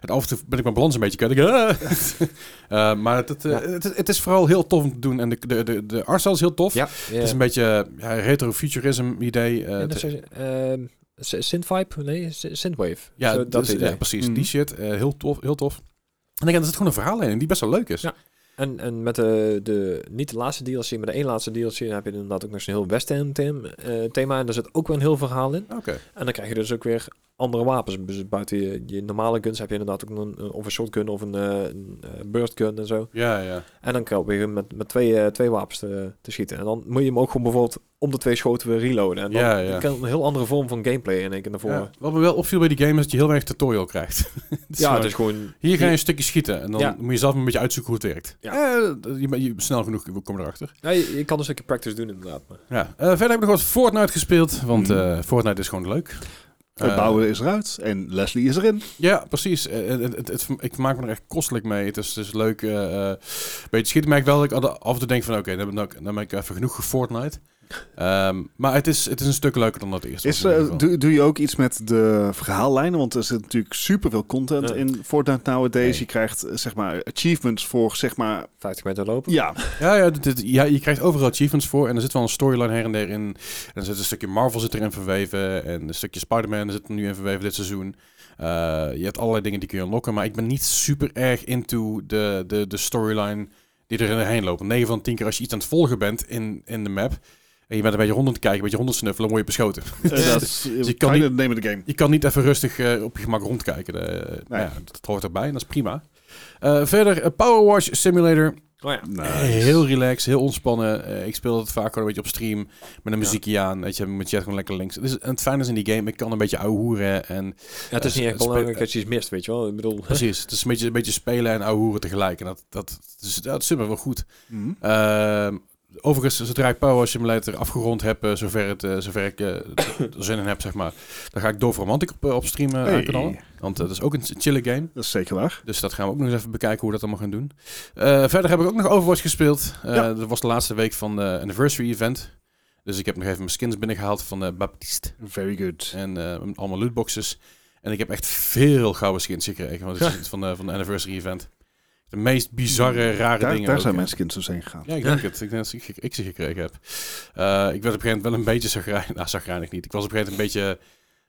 A: En af en toe ben ik mijn balans een beetje kwijt. Ik, ah! Eh, maar het, het, eh,
B: Ja.
A: het, het is vooral heel tof om te doen. En de, de, de, de artstyle is heel tof.
B: ja,
A: Het is dus een beetje ja, retro-futurism idee. eh, het-
B: eh, Synthvibe? Nee, sy- Synthwave.
A: Ja,
B: Zo,
A: dat is,
B: idee. Mm.
A: ja, precies.
C: Mhm.
A: Die shit, eh, heel tof. Heel tof. En ik denk, er zit gewoon een verhaal in die best wel leuk is.
B: Ja. En, en met de, de, niet de laatste DLC, maar de één laatste DLC, dan heb je inderdaad ook nog zo'n heel West End them- eh, thema. En daar zit ook wel een heel verhaal in.
A: Oké.
B: En dan krijg je dus ook weer andere wapens. Dus buiten je, je normale guns heb je inderdaad ook nog een, een- of een shotgun of een, eh, een eh, burst gun en zo.
A: Ja, ja.
B: En dan kan je weer met, met twee, eh, twee wapens te, te schieten. En dan moet je hem ook gewoon bijvoorbeeld om de twee schoten weer reloaden. En dan
A: Ja, ja.
B: kan een heel andere vorm van gameplay in één keer naar voren.
A: Ja.
B: Ja,
A: Wat me wel opviel bij die game is dat je heel weinig tutorial krijgt. Het is gewoon-
B: het is gewoon...
A: Hier ga je een stukje schieten en dan
B: Ja.
A: moet je zelf een beetje uitzoeken hoe het werkt.
B: Ja.
A: Eh, je, je- snel genoeg kom je erachter.
B: Ja, je, je kan een stukje practice doen inderdaad. Maar.
A: Ja. Eh, verder heb ik nog wat Fortnite gespeeld, want
B: Mhm.
C: Mm.
A: eh, Fortnite is gewoon leuk.
C: Het
A: Eh,
C: bouwen is eruit en Leslie is erin.
A: Ja, precies. Eh, eh, het- het- het- ik maak me er echt kostelijk mee. Het is, het is leuk. eh eh, beetje schieten merk wel dat ik af en toe denk van oké, dan, ben ik- dan ben ik even genoeg gefortnite. Ehm maar het is, het is een stuk leuker dan dat eerste.
C: Is,
A: was in
C: eh,
A: ieder geval.
C: doe, doe je ook iets met de verhaallijnen? Want er zit natuurlijk superveel content
B: Ja.
C: in Fortnite nowadays.
B: Nee.
C: Je krijgt eh, zeg maar achievements voor zeg maar... eh,
B: 50 meter lopen.
C: Ja,
A: Ja, ja, dit- dit- ja, je krijgt overal achievements voor. En er zit wel een storyline her en der in. En er zit een stukje Marvel zit erin verweven. En een stukje Spider-Man zit er nu in verweven dit seizoen. Eh, je hebt allerlei dingen die kun je unlocken. Maar ik ben niet super erg into de, de, de storyline die er heen loopt. 9 van 10 keer als je iets aan het volgen bent in, in de map. En je bent een beetje rond aan het kijken, een beetje rond aan het snuffelen, word je beschoten.
C: eh, dat is
A: je
C: kind
A: kan
C: of the name of the game.
A: Je kan niet even rustig eh, op je gemak rondkijken. Eh, nou ja, dat hoort erbij en dat is prima. Eh, verder, eh, Power Wash Simulator.
B: Oh ja.
A: Eh, Heel relaxed, heel ontspannen. Eh, ik speel het vaak gewoon een beetje op stream. Met een muziekje aan. Weet je, mijn chat gewoon lekker links. Dus, en het fijne is in die game, ik kan een beetje ouwehoeren. En
B: Ja, het is
A: Eh,
B: niet echt
A: spe-
B: belangrijk
A: eh,
B: dat je iets mist, weet je wel. Ik bedoel,
A: precies, het is een beetje, een beetje spelen en ouwehoeren tegelijk. En dat, dat, dat, is, dat zit me wel goed.
C: Mhm.
A: Ehm, overigens, zodra ik Power Simulator afgerond heb, eh, zover, het, eh, zover ik eh, er zin in heb, zeg maar. Dan ga ik Dove Romantic op, eh, op stream eh,
C: Hey.
A: aanknallen. Want eh, dat is ook een chille game.
C: Dat is zeker waar.
A: Dus dat gaan we ook nog eens even bekijken hoe we dat allemaal gaan doen. Eh, verder heb ik ook nog Overwatch gespeeld. Eh,
C: Ja.
A: Dat was de laatste week van de anniversary event. Dus ik heb nog even mijn skins binnengehaald van eh Baptiste.
C: Very good.
A: En eh, allemaal lootboxes. En ik heb echt veel gouden skins gekregen want het is van, de, van de anniversary event. De meest bizarre, rare
C: Mm. Daar,
A: dingen.
C: daar
A: ook,
C: zijn
A: hè.
C: mijn skins dus heen gegaan.
A: Ja, ik denk het. Ik denk dat ik, ik ze gekregen heb. Eh, ik werd op een gegeven moment wel een beetje zagrijnig. Nou, zagrijnig niet. Ik was op een gegeven moment een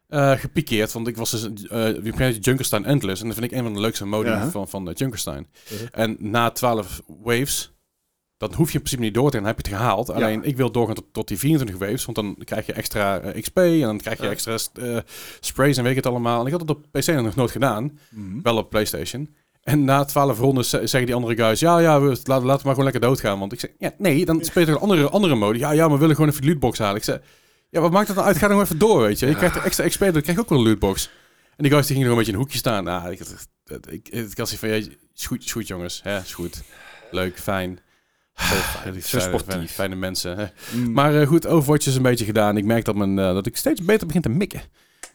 A: beetje eh, gepikeerd. Want ik was dus... eh, op een gegeven moment Junkerstein Endless. En dat vind ik een van de leukste modi
C: Ja.
A: van, van eh, Junkerstein.
B: Mhm.
A: En na 12 waves... Dat hoef je in principe niet door te gaan. Dan heb je het gehaald. Alleen ik wil doorgaan tot, tot die 24 waves. Want dan krijg je extra eh, XP. En dan krijg je
B: Ja.
A: extra eh, sprays en weet ik het allemaal. En ik had het op PC nog nooit gedaan.
C: Mhm.
A: Wel op PlayStation. En na twaalf rondes ze- zeggen die andere guys... Ja, ja, we, laten, laten we maar gewoon lekker doodgaan. Want ik zeg... Ja, nee, dan speel je toch een andere, andere mode. Ja, ja, maar we willen gewoon even de lootbox halen. Ik zeg... Ja, wat maakt dat nou uit? Ga dan gewoon even door, weet je. Je krijgt er extra XP, dan krijg je ook wel een lootbox. En die guys die gingen nog een beetje in een hoekje staan. Nou, ik, ik, ik, ik had zoiets van... Ja, is goed, is goed, jongens. hè is goed. Leuk, fijn. Ah, Die
B: Zo
A: fijne-
B: sportief.
A: Fijne, fijne mensen. hè.
C: Mhm.
A: Maar eh, goed, Overwatch is een beetje gedaan. Ik merk dat, men, eh, dat ik steeds beter begin te mikken.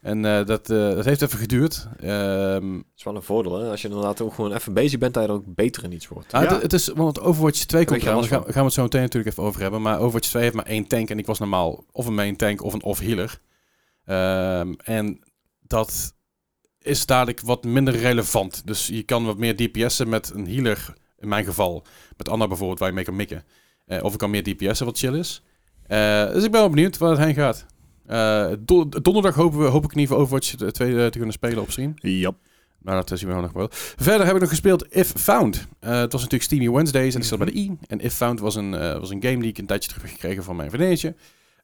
A: En eh, dat, eh, dat heeft even geduurd. Ehm,
B: het is wel een voordeel, hè. Als je inderdaad ook gewoon even bezig bent, dat je er ook beter in iets wordt.
A: Nou,
C: Ja.
A: het, het is, want Overwatch 2 komt
B: je
A: eraan, daar
B: alles
A: gaan, gaan we het zo meteen natuurlijk even over hebben. Maar Overwatch 2 heeft maar één tank en ik was normaal of een main tank of een off-healer. Ehm, en dat is dadelijk wat minder relevant. Dus je kan wat meer DPS'en met een healer, in mijn geval. Met Anna bijvoorbeeld, waar je mee kan mikken. Eh, of ik kan meer DPS'en, wat chill is. Eh, dus ik ben wel benieuwd waar het heen gaat. Eh, do- donderdag hopen we, hoop ik in ieder geval Overwatch 2 te kunnen spelen op stream.
C: Mhm. Jap.
A: Maar dat eh, zien we nog wel. Verder heb ik nog gespeeld If Found. Eh, het was natuurlijk Steamy Wednesdays en ik zat bij de I. En If Found was een, eh, was een game die ik een tijdje terug heb gekregen van mijn vriendinnetje.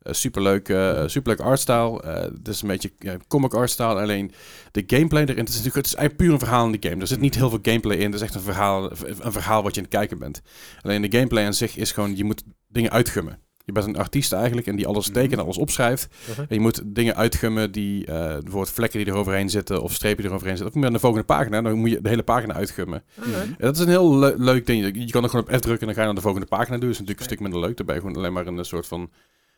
A: Eh, superleuk, eh, superleuk artstyle. Eh, Het is een beetje ja, comic artstyle. Alleen de gameplay erin. Het is natuurlijk het is eigenlijk puur een verhaal in die game. Er zit niet heel veel gameplay in. Het is echt een verhaal, een verhaal wat je aan het kijken bent. Alleen de gameplay aan zich is gewoon, je moet dingen uitgummen. Je bent een artiest eigenlijk en die alles
C: Mhm.
A: tekent, alles opschrijft. En je moet dingen uitgummen die eh, bijvoorbeeld vlekken die eroverheen zitten of strepen die eroverheen zitten. Of naar de volgende pagina, dan moet je de hele pagina uitgummen. En dat is een heel le- leuk ding. Je kan er gewoon op F drukken en dan ga je naar de volgende pagina doen. Dat is natuurlijk een stuk minder leuk. Daarbij gewoon alleen maar een soort van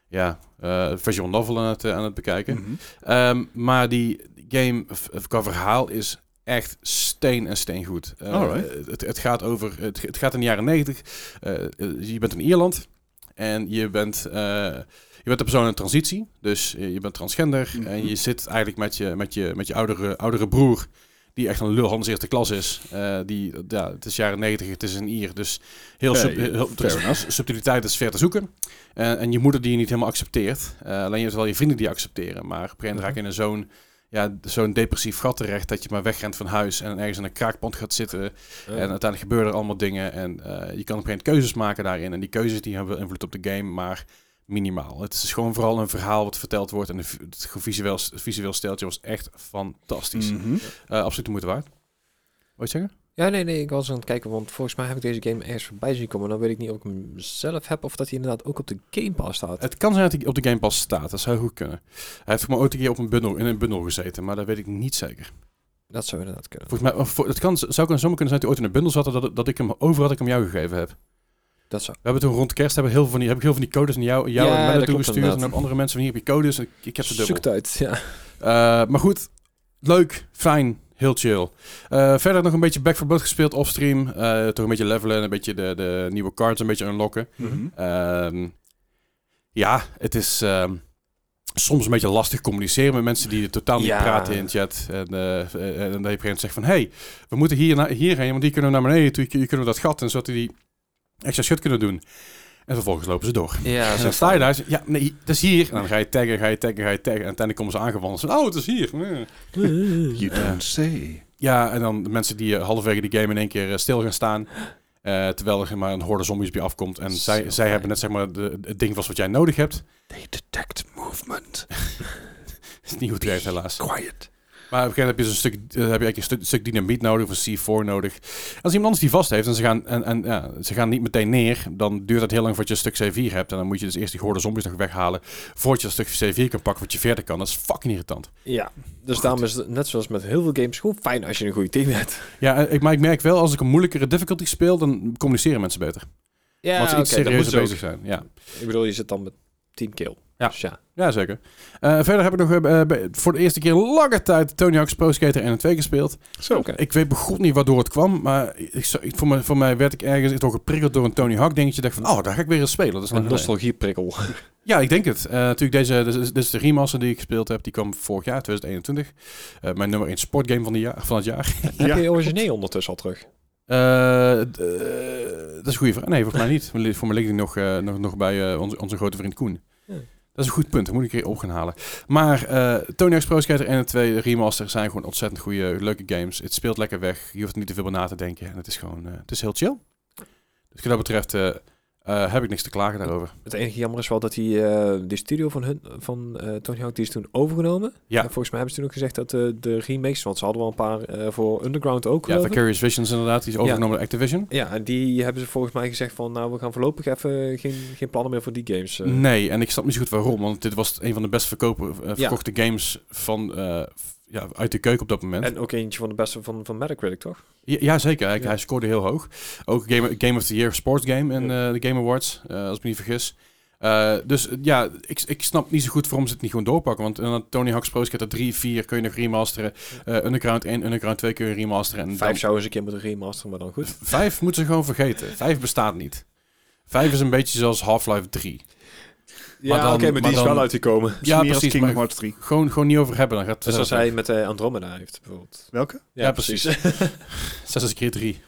A: ja, eh, visual novel aan het, eh, aan het bekijken.
C: Mhm.
A: Ehm, maar die game v- qua verhaal is echt steen en steen goed. Eh,
C: Alright.
A: het, het gaat over, het, het gaat in de jaren 90. Eh, eh, je bent in Ierland en je bent, eh, je bent een persoon in transitie. Dus eh, je bent transgender
C: Mhm.
A: en je zit eigenlijk met je, met je, met je oudere, oudere broer. Die echt een lul Hans eerste klas is. Eh, die, ja, het is jaren 90, het is een Ier. Dus heel,
C: Fair,
A: sub, heel dus
C: fair enough.
A: subtiliteit is ver te zoeken. Eh, en je moeder die je niet helemaal accepteert. Eh, alleen je hebt wel je vrienden die je accepteren. Maar op een gegeven moment
C: Mhm.
A: raak je in een zo'n ja, zo'n depressief gat terecht dat je maar wegrent van huis en ergens in een kraakpand gaat zitten. En uiteindelijk gebeuren er allemaal dingen en eh, je kan op een gegeven moment keuzes maken daarin. En die keuzes die hebben invloed op de game, maar minimaal. Het is gewoon vooral een verhaal wat verteld wordt en de v- het visueel, visueel steltje was echt fantastisch.
C: Mhm.
A: Eh, absoluut de moeite waard. Wat je zeggen?
B: Ja, nee, nee, ik was aan het kijken, want volgens mij heb ik deze game ergens voorbij zien komen. Dan weet ik niet of ik hem zelf heb of dat hij inderdaad ook op de Game Pass staat.
A: Het kan zijn dat hij op de Game Pass staat, dat zou goed kunnen. Hij heeft voor mij ooit een keer op een bundel, in een bundel gezeten, maar dat weet ik niet zeker.
B: Dat zou inderdaad kunnen.
A: Volgens mij, of voor- het kan, zou kunnen zomaar kunnen zijn dat hij ooit in een bundel zat en dat, dat ik hem over had ik hem jou gegeven heb.
B: Dat zou...
A: We hebben toen rond kerst hebben heel veel van die, heb ik heel veel van die codes naar jou, jou en
B: Ja, dat
A: Menno
B: klopt
A: toegestuurd. En
B: inderdaad.
A: aan andere mensen van hier heb je codes. en Ik, ik heb ze
B: Zoek
A: dubbel.
B: het uit, ja.
A: Eh, maar goed, leuk, fijn, heel chill. Eh, verder nog een beetje Back for Blood gespeeld offstream. Eh, toch een beetje levelen, een beetje de, de nieuwe cards een beetje unlocken.
C: Mhm.
A: Ehm, ja, het is ehm, soms een beetje lastig communiceren met mensen die totaal niet
B: Ja.
A: praten in chat. En, eh, eh, en dan heb je op een gegeven moment zegt van, hey, we moeten hier naar, hierheen, want die kunnen we naar beneden. Toen kunnen we dat gat, en zodat we die extra shit kunnen doen. En vervolgens lopen ze door.
B: Ja,
A: En dan sta je daar, en zeg je, ja, nee, dat is hier. En dan ga je taggen, ga je taggen, ga je taggen. En uiteindelijk komen ze aangewandeld. Oh, het is hier. Nee.
C: You don't say.
A: Ja, en dan de mensen die eh, halverwege de game in één keer eh, stil gaan staan. eh, terwijl er maar een horde zombies bij afkomt. En
B: Zo
A: zij, zij
B: fijn.
A: hebben net zeg maar de, het ding vast wat jij nodig hebt.
C: They detect movement.
A: Dat is niet goed geweest helaas. Maar op
C: Quiet.
A: een gegeven moment heb je, zo'n stuk, eh, heb je eigenlijk een stuk, stuk dynamiet nodig of een C4 nodig. Als iemand anders die vast heeft en, ze gaan, en, en ja, ze gaan niet meteen neer, dan duurt het heel lang voordat je een stuk C4 hebt. En dan moet je dus eerst die horde zombies nog weghalen voordat je een stuk C4 kan pakken wat je verder kan. Dat is fucking irritant.
B: Ja, dus daarom is het net zoals met heel veel games gewoon fijn als je een goede team hebt.
A: Ja, eh, ik, maar ik merk wel, als ik een moeilijkere difficulty speel, dan communiceren mensen beter.
B: Ja,
A: want ze iets serieuzer
B: bezig
A: bezig zijn. Ja,
B: Ik bedoel, je zit dan met team kill.
A: Ja.
B: Dus ja.
A: ja zeker. Eh, verder heb ik nog eh, bij- bij- voor de eerste keer lange tijd Tony Hawk's Pro Skater 1 en 2 gespeeld.
C: Zo.
B: Oké.
A: Ik weet begot niet waardoor het kwam, maar ik, zou- ik, voor, mij, voor mij werd ik ergens toch geprikkeld door een Tony Hawk dingetje. dacht van, oh, daar ga ik weer eens spelen. Dat is lang
B: Een
A: geleden.
B: nostalgieprikkel.
A: Ja, ik denk het. Eh, natuurlijk, deze, dit, is, dit is de remaster die ik gespeeld heb. Die kwam vorig jaar, 2021. Eh, mijn nummer 1 sportgame van, de jaar, van het jaar.
B: heb
C: Ja.
B: je origineel ondertussen al terug?
A: Eh, d- eh, dat is een goede vraag. Nee, volgens mij niet. Voor mij- Voor mij ligt die nog, eh, nog, nog bij eh, onze, onze grote vriend Koen.
B: Ja.
A: Dat is een goed punt. Dat moet ik een keer op gaan halen. Maar eh Tony Hawk's Pro Skater 1 en 2 remaster zijn gewoon ontzettend goede, leuke games. Het speelt lekker weg. Je hoeft er niet te veel bij na te denken. En het is gewoon, eh, het is heel chill. Dus wat dat betreft eh, eh, heb ik niks te klagen daarover.
B: Het enige jammer is wel dat die, eh, die studio van, hun, van eh, Tony Hawk die is toen overgenomen.
A: Ja.
B: En volgens mij hebben ze toen ook gezegd dat eh, de remakes, want ze hadden wel een paar eh, voor Underground ook.
A: Ja,
B: geloof ik.
A: Vicarious Visions inderdaad. Die is overgenomen door Activision.
B: Ja, en die hebben ze volgens mij gezegd van, nou, we gaan voorlopig even geen, geen plannen meer voor die games. eh.
A: Nee, en ik snap niet zo goed waarom. Want dit was een van de best verkopen, eh, verkochte games van, eh, f- ja, uit de keuken op dat moment.
B: En ook eentje van de beste van, van Metacritic, toch?
A: Ja, ja, zeker. Hij,
B: Ja.
A: hij scoorde heel hoog. Ook Game, game of the Year Sports Game en de Game Awards, eh, als ik me niet vergis. Eh, dus eh, ja, ik, ik snap niet zo goed waarom ze het niet gewoon doorpakken. Want eh, Tony Hawk's Pro Skater 3, 4 kun je nog remasteren. Eh, Underground 1, Underground 2 kun je remasteren. En
B: Vijf zou eens een keer moeten remasteren, maar dan goed.
A: dan, vijf moeten ze gewoon vergeten. Vijf bestaat niet. Vijf is een beetje zoals Half-Life 3. dan- maar dan-
B: uitgekomen.
A: Ja,
C: Meer als
A: precies.
C: Kingdom
A: Maar
C: Hearts 3.
A: gewoon, gewoon niet over hebben. Dan gaat
B: Dus
A: eh,
B: als hij met eh, Andromeda heeft, bijvoorbeeld.
C: Welke?
A: Ja, precies. Zes keer drie.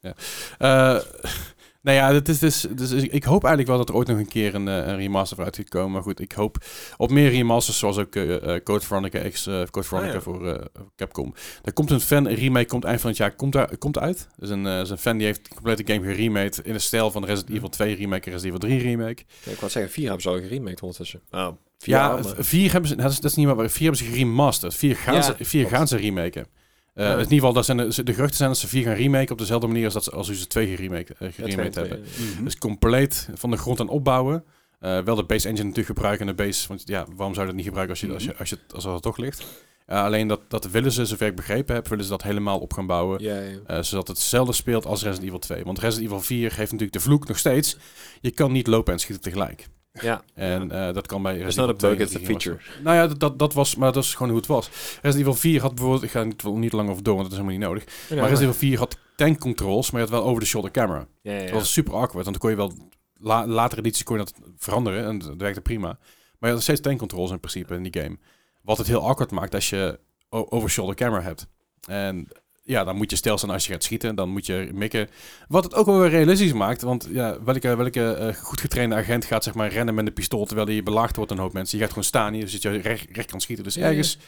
A: Ja. Eh, nou ja, dit is, dus, dus ik hoop eigenlijk wel dat er ooit nog een keer een, eh, een remaster voor uit gaat komen. Maar goed, ik hoop op meer remasters, zoals ook eh, eh, Code Veronica X, eh, Code Veronica
B: Ah, ja.
A: voor eh, Capcom. Daar komt een fan remake, komt eind van het jaar, komt, daar, komt uit. Dus een, eh, is een fan die heeft de complete game geremade in de stijl van de Resident Evil 2 remake en Resident Evil 3 remake.
B: ik wou zeggen, vier hebben ze al geremaked ondertussen. Nou, vier
A: Oh, Ja,
B: jaar, maar-
A: v- vier hebben ze, dat is, dat is niet meer waar, vier hebben ze geremasterd. Vier gaan,
B: Ja,
A: ze, vier
B: klopt.
A: gaan ze remaken. Eh,
B: Ja.
A: In ieder geval, dat zijn de, de geruchten zijn dat ze vier gaan remaken op dezelfde manier als, dat ze, als hoe ze twee geremake, eh,
B: Ja, twee en
A: geremaked
B: twee,
A: hebben.
B: eh.
A: Dus compleet van de grond aan opbouwen. Eh, wel de base engine natuurlijk gebruiken en de base, want ja, waarom zou je dat niet gebruiken als je,
B: Mhm.
A: als je, als je, als dat er toch ligt? Eh, alleen dat, dat willen ze, zover ik begrepen heb, willen ze dat helemaal op gaan bouwen.
B: Ja, ja.
A: Eh, zodat het hetzelfde speelt als Resident Evil 2. Want Resident Evil 4 heeft natuurlijk de vloek nog steeds. Je kan niet lopen en schieten tegelijk.
B: Ja.
A: En eh, dat kan bij
D: It's
A: Resident
D: not a
A: Evil 2
D: bug, it's a
A: en 3 was
D: feature.
A: dat. Nou ja, dat- dat, dat was, maar dat is gewoon hoe het was. Resident Evil 4 had bijvoorbeeld, ik ga niet, wil niet lang over door, want dat is helemaal niet nodig. maar Resident Evil 4 had tank controls, maar je had wel over-the-shoulder camera.
B: Ja, ja,
A: Dat
B: ja.
A: was super awkward, want dan kon je wel... La, latere edities kon je dat veranderen en dat werkte prima. Maar je had nog steeds tank controls in principe in die game. Wat het heel awkward maakt als je o- over-shoulder camera hebt. En ja, dan moet je stil staan als je gaat schieten. Dan moet je mikken. Wat het ook wel weer realistisch maakt. Want ja, welke, welke eh, goed getrainde agent gaat zeg maar rennen met een pistool... terwijl hij belaagd wordt door een hoop mensen. Je gaat gewoon staan hier, zit je recht, recht kan schieten. Dus
B: Ja, ja.
A: ergens,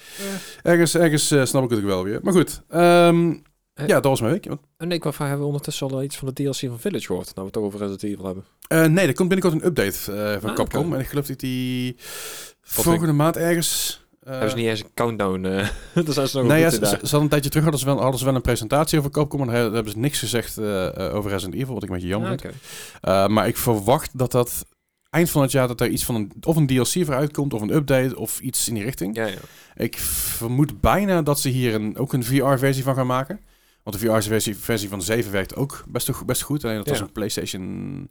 A: ergens, ergens eh, snap ik het ook wel weer. Maar goed, ehm,
B: Eh.
A: ja, dat was mijn week.
B: En ik wou vragen, hebben we ondertussen al iets van de DLC van Village gehoord? Nou, we het toch over Resident Evil hebben.
A: Eh, nee, er komt binnenkort een update eh, van
B: Ah,
A: Capcom.
B: oké.
A: En ik geloof dat die volgende maand ergens... eh,
B: hebben ze niet eens een countdown. eh daar zijn ze nog
A: nou ja,
B: goed
A: ze,
B: in daar.
A: ze- ze hadden een tijdje terug hadden ze wel, hadden ze wel een presentatie over Capcom. En daar hebben ze niks gezegd eh, eh, over Resident Evil, wat ik een beetje jammer
B: Ah,
A: vind.
B: oké.
A: Eh, maar ik verwacht dat dat eind van het jaar dat er iets van een, of een DLC voor uitkomt of een update of iets in die richting.
B: Ja, ja.
A: Ik vermoed bijna dat ze hier een, ook een VR-versie van gaan maken. Want de VR-versie versie van 7 werkt ook best, go- best goed. Alleen dat was
B: Ja.
A: een PlayStation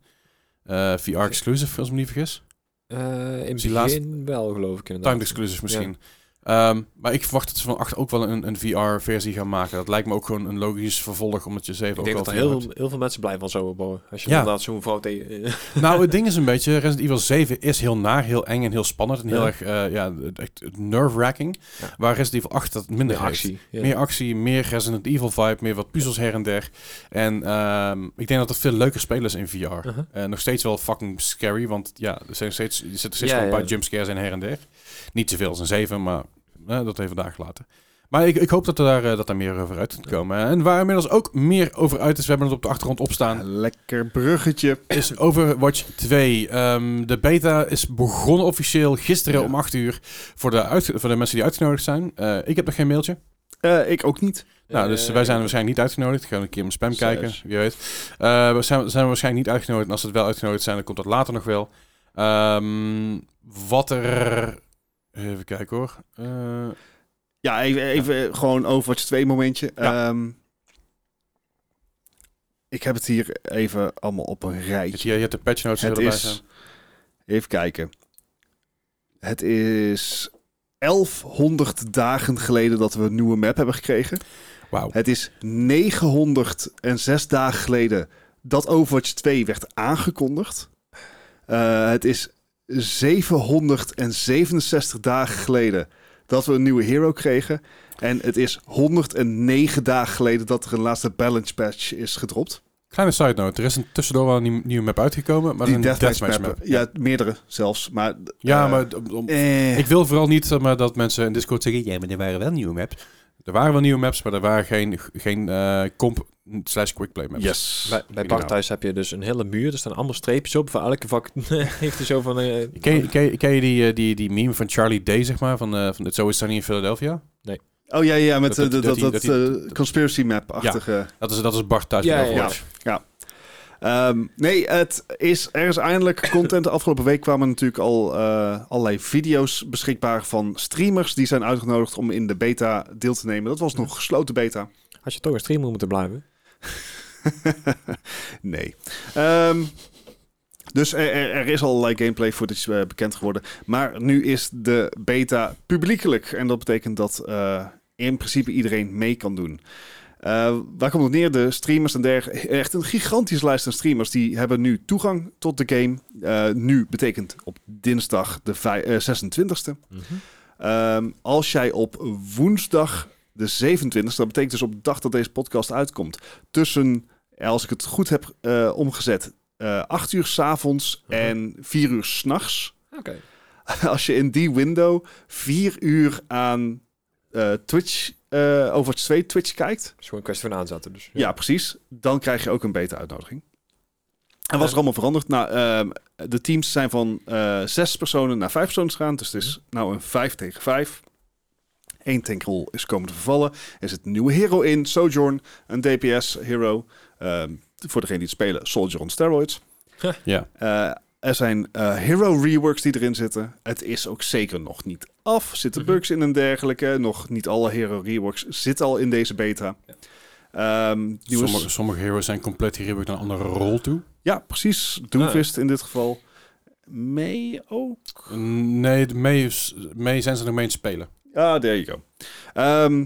A: eh, VR-exclusive, als ik me niet vergis.
B: Eh, in
A: Dus
B: het
A: die
B: begin
A: laatste-
B: wel, geloof ik inderdaad.
A: Timed exclusive misschien. Ehm, maar ik verwacht dat ze van 8 ook wel een, een VR-versie gaan maken. Dat lijkt me ook gewoon een logisch vervolg, omdat je 7
B: Ik
A: ook
B: denk
A: al
B: dat er
A: VR
B: heel,
A: hebt.
B: heel veel mensen blij van zouden bouwen. Als je
A: Ja.
B: inderdaad zo'n vrouw eh, tegen...
A: Nou, het ding is een beetje, Resident Evil 7 is heel naar, heel eng en heel spannend. En heel
B: Ja.
A: erg, eh, ja, echt nerve-wracking.
B: Ja.
A: Waar Resident Evil 8 dat minder actie.
B: Ja.
A: Meer actie, meer Resident Evil vibe, meer wat puzzels her en der. En ehm, ik denk dat het veel leuker spelen is in VR.
B: Uh-huh.
A: Eh, nog steeds wel fucking scary, want ja, er, zijn steeds, er zitten steeds
B: Ja,
A: wel een
B: ja.
A: paar jumpscares in her en der. Niet zoveel als een zeven, maar eh, dat even daar gelaten. Maar ik, ik hoop dat er, daar, eh, dat daar meer over uit gaat komen. En waar inmiddels ook meer over uit is, we hebben het op de achtergrond opstaan,
C: Lekker bruggetje.
A: is Overwatch 2. Ehm, de beta is begonnen officieel gisteren
C: Ja.
A: om 8 uur voor de, uit, voor de mensen die uitgenodigd zijn. Eh, ik heb nog geen mailtje.
C: Eh, ik ook niet.
A: Nou, dus wij zijn waarschijnlijk niet uitgenodigd. Ik ga een keer in mijn spam kijken, wie weet. Eh, we zijn, zijn we waarschijnlijk niet uitgenodigd. En als we het wel uitgenodigd zijn, dan komt dat later nog wel. Ehm, wat er... Even kijken hoor. Eh,
C: Ja, even, even eh, gewoon Overwatch 2 momentje.
A: Ja.
C: Ehm, ik heb het hier even allemaal op een
A: je,
C: rijtje.
A: je hebt de patch notes die
C: Het
A: erbij
C: is...
A: zijn.
C: Even kijken. Het is 1100 dagen geleden dat we een nieuwe map hebben gekregen.
A: Wauw.
C: Het is 906 dagen geleden dat Overwatch 2 werd aangekondigd. Eh, het is 767 dagen geleden dat we een nieuwe hero kregen. En het is 109 dagen geleden dat er een laatste balance patch is gedropt.
A: Kleine side note. Er is een tussendoor wel een nieuw- nieuwe map uitgekomen. Maar
C: Die
A: een
C: deathmatch,
A: deathmatch,
C: map.
A: map.
C: Ja, meerdere zelfs. Maar,
A: Ja,
C: eh,
A: maar d- om-
C: eh,
A: ik wil vooral niet zeg maar, dat mensen in Discord zeggen... Ja, maar er waren wel nieuwe maps. Er waren wel nieuwe maps, maar er waren geen, geen eh, comp slash quickplay maps.
C: yes.
B: Eh, Bij, bij Bart thuis heb je dus een hele muur. Er staan allemaal streepjes op. Voor elke vak heeft hij zo van... eh,
A: Ken, je- ken, je- ken je die, eh, die, die meme van Charlie Day, zeg maar? Van, eh van It's Always Sunny in Philadelphia?
C: Oh ja, ja, met
A: Dat-
C: dat,
A: dat-
C: dat,
A: dat-
C: dat,
A: die-
C: eh, conspiracy map-achtige...
A: Dat is, dat is Bart thuis.
B: Ja,
A: met
B: ja,
A: Overwatch.
C: Ehm, nee, het is, er is eindelijk content. De afgelopen week kwamen natuurlijk al eh, allerlei video's beschikbaar van streamers. Die zijn uitgenodigd om in de beta deel te nemen. Dat was nog gesloten beta.
B: Had je toch een streamer moeten blijven?
C: nee. Ehm, dus er, er, er is allerlei gameplay footage eh, bekend geworden. Maar nu is de beta publiekelijk. En dat betekent dat eh, in principe iedereen mee kan doen. Eh, waar komt het neer? De streamers en dergelijke. Echt een gigantische lijst aan streamers. Die hebben nu toegang tot de game. Eh, nu betekent op dinsdag de vij- eh, 26e. Ehm, als jij op woensdag de 27 dat betekent dus op de dag dat deze podcast uitkomt, tussen, eh, als ik het goed heb eh, omgezet, eh 8 uur s'avonds
B: Mhm.
C: en 4 uur s'nachts.
B: Oké.
C: Als je in die window 4 uur aan eh, Twitch, eh Overwatch 2 Twitch kijkt,
B: is gewoon een kwestie van aanzetten dus.
C: ja. precies, dan krijg je ook een beta-uitnodiging. En wat is er allemaal veranderd? Nou, ehm, de teams zijn van eh, zes personen naar vijf personen gegaan. Dus het is nou een vijf tegen vijf. Eén tankrol is komen te vervallen. Er zit een nieuwe hero in, Sojourn, een DPS-hero. Ehm, voor degene die het spelen, Soldier on steroids.
A: Ja.
C: Eh, er zijn eh, hero reworks die erin zitten. Het is ook zeker nog niet af. Zitten
B: Mhm.
C: bugs in en dergelijke. Nog niet alle hero reworks zitten al in deze beta. Ehm, nieuwe-
A: Sommige, sommige heroes zijn compleet gerebuild naar een andere rol toe.
C: ja, precies. Doomfist in dit geval. mee ook.
A: Nee, de mee, is- mee zijn ze nog mee aan het spelen.
C: Ah, there you go. Ehm,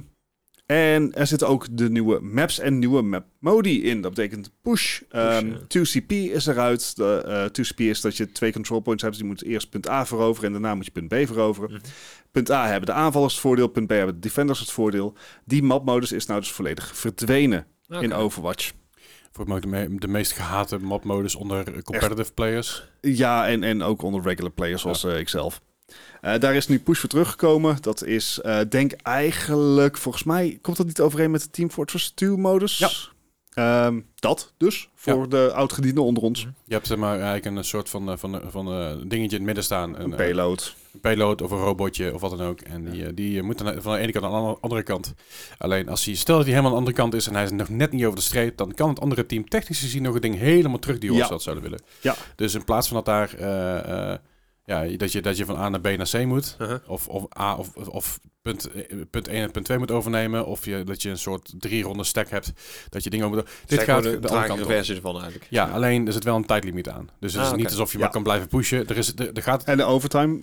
C: en er zitten ook de nieuwe maps en nieuwe map modi in. Dat betekent push. Ehm,
B: ja.
C: 2CP is eruit. De, eh, 2CP is dat je twee control points hebt. Dus je moet eerst punt A veroveren en daarna moet je punt B veroveren.
B: Mhm.
C: Punt A hebben de aanvallers het voordeel. Punt B hebben de defenders het voordeel. Die mapmodus is nou dus volledig verdwenen
B: Oké.
C: in Overwatch.
A: Voor mij ook de, me- de meest gehate mapmodus onder eh, competitive players.
C: Ja, en, en ook onder regular players zoals eh, ikzelf. Eh, daar is nu push voor teruggekomen. Dat is, eh, denk eigenlijk, volgens mij komt dat niet overeen met de Team Fortress 2 modus.
A: Ja.
C: Ehm, dat dus, voor de oud-gedienden onder ons.
A: Je hebt zeg maar eigenlijk een soort van, eh, van, van eh, dingetje in het midden staan.
C: Een
A: eh,
C: payload.
A: een payload of een robotje of wat dan ook. En die, eh, die eh, moet dan van de ene kant naar de ander- andere kant. Alleen als hij, stel dat hij helemaal aan de andere kant is en hij is nog net niet over de streep, dan kan het andere team technisch gezien nog het ding helemaal terugduwen als
C: Ja.
A: ze dat zouden willen.
C: Ja.
A: Dus in plaats van dat daar, eh, eh, ja, dat je, dat je van A naar B naar C moet,
C: Uh-huh.
B: Aha.
A: of, of A of, of- of punt, eh, punt 1 en punt 2 moet overnemen, of je, dat je een soort drie ronde stack hebt, dat je dingen over... Dit
B: Zeg
A: gaat
B: maar
A: de, andere
B: tragere
A: kant op.
B: versie ervan eigenlijk.
A: Ja, alleen er zit wel een tijdlimiet aan. Dus het
B: Ah,
A: is niet
B: oké.
A: alsof je
C: Ja.
A: maar kan blijven pushen. Er, is, er, er gaat
C: En de overtime,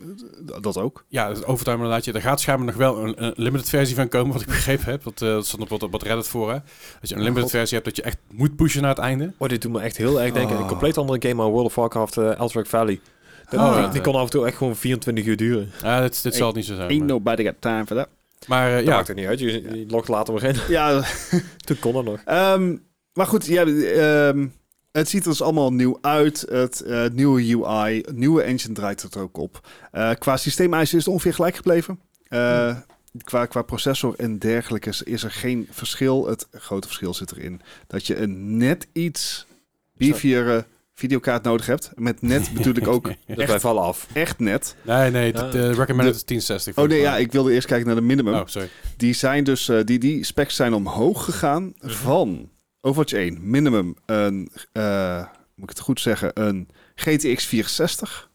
C: eh, d- dat ook.
A: ja, het overtime inderdaad. Ja, Er gaat schijnbaar nog wel een, een limited versie van komen, wat ik begrepen heb. Dat, eh, dat stond op wat, op wat Reddit voor. Hè. Dat je een limited
B: God.
A: versie hebt dat je echt moet pushen naar het einde.
B: Oh, dit doet me echt heel erg denken. aan Een
C: Oh.
B: compleet andere game aan World of Warcraft, eh Eldritch Valley. Dat-
A: Oh,
B: die,
A: ja.
B: die kon af en toe echt gewoon 24 uur duren.
A: Ja, dit, dit zal het niet zo zijn.
C: Ain't
A: Maar,
C: nobody got time for that.
A: maar eh,
B: Dat
A: ja,
B: maakt het niet uit. Je, je logt later weer in.
C: Ja,
B: Toen kon dat nog.
C: ehm, maar goed, ja, ehm, het ziet er dus allemaal nieuw uit. Het eh, nieuwe UI, nieuwe engine draait het ook op. Eh, qua systeemeisen is het ongeveer gelijk gebleven. Eh, qua, qua processor en dergelijke is, is er geen verschil. Het grote verschil zit erin dat je een net iets beefiere videokaart nodig hebt. Met net bedoel ik ook
B: Dus wij vallen af.
C: echt net.
A: nee, nee,
B: Ja.
A: dit, eh, recommended is 1060.
C: Oh nee, ja,
A: volgens
C: ik wilde eerst kijken naar de minimum.
A: mij. Oh, sorry.
C: Die zijn dus, eh, die, die specs zijn omhoog gegaan van Overwatch 1 minimum een, eh, moet ik het goed zeggen, een GTX 64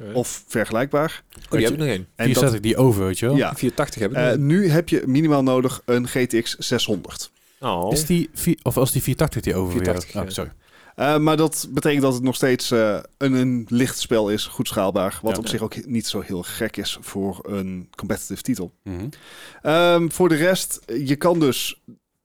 B: Oh,
C: of vergelijkbaar.
B: die heb ik nog één.
C: En dat,
A: 460 die over, weet je wel.
C: ja,
B: 480 heb ik
C: eh,
B: nog
C: nu heb je minimaal nodig een GTX 600.
B: één. Oh.
A: Is die, vi- of als die 480 die over
B: 480,
A: weer?
B: ja.
A: Oh, sorry.
C: Eh, maar dat betekent dat het nog steeds eh, een, een licht spel is, goed schaalbaar. Wat
A: Ja.
C: op zich ook niet zo heel gek is voor een competitive titel.
A: Mhm.
C: Ehm, voor de rest, je kan dus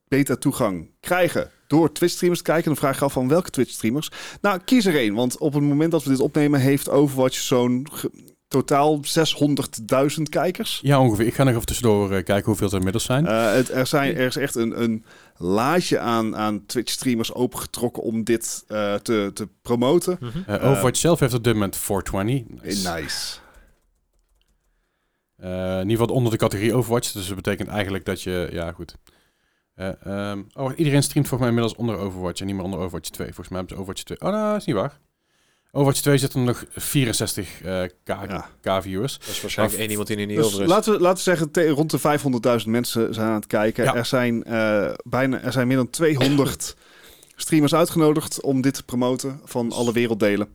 C: beta toegang krijgen door Twitch-streamers te kijken. Dan vraag je af van welke Twitch-streamers. Nou, kies er één, want op het moment dat we dit opnemen... heeft Overwatch zo'n ge- totaal 600.000 kijkers.
A: Ja, ongeveer. Ik ga nog even tussendoor eh, kijken hoeveel er inmiddels zijn.
C: Eh, het, er, zijn, er is echt een, een laadje aan, aan Twitch-streamers opengetrokken om dit eh, te, te promoten.
B: Mhm.
A: Eh, Overwatch zelf heeft het dun met 420. Eh, Nice.
C: Nice.
A: Eh, in ieder geval onder de categorie Overwatch. Dus dat betekent eigenlijk dat je... Ja, goed. Eh, ehm, oh, iedereen streamt volgens mij inmiddels onder Overwatch. En niet meer onder Overwatch 2. Volgens mij hebben ze Overwatch 2... Oh, nou, is niet waar. Overwatch 2 zitten er nog 64 eh, k,
C: Ja.
A: viewers.
B: Dat is waarschijnlijk één iemand die in heel
C: Dus
B: is.
C: laten we, laten we zeggen, te- rond de 500.000 mensen zijn aan het kijken.
A: Ja.
C: Er, zijn, eh, bijna, er zijn meer dan 200 streamers uitgenodigd om dit te promoten van alle werelddelen.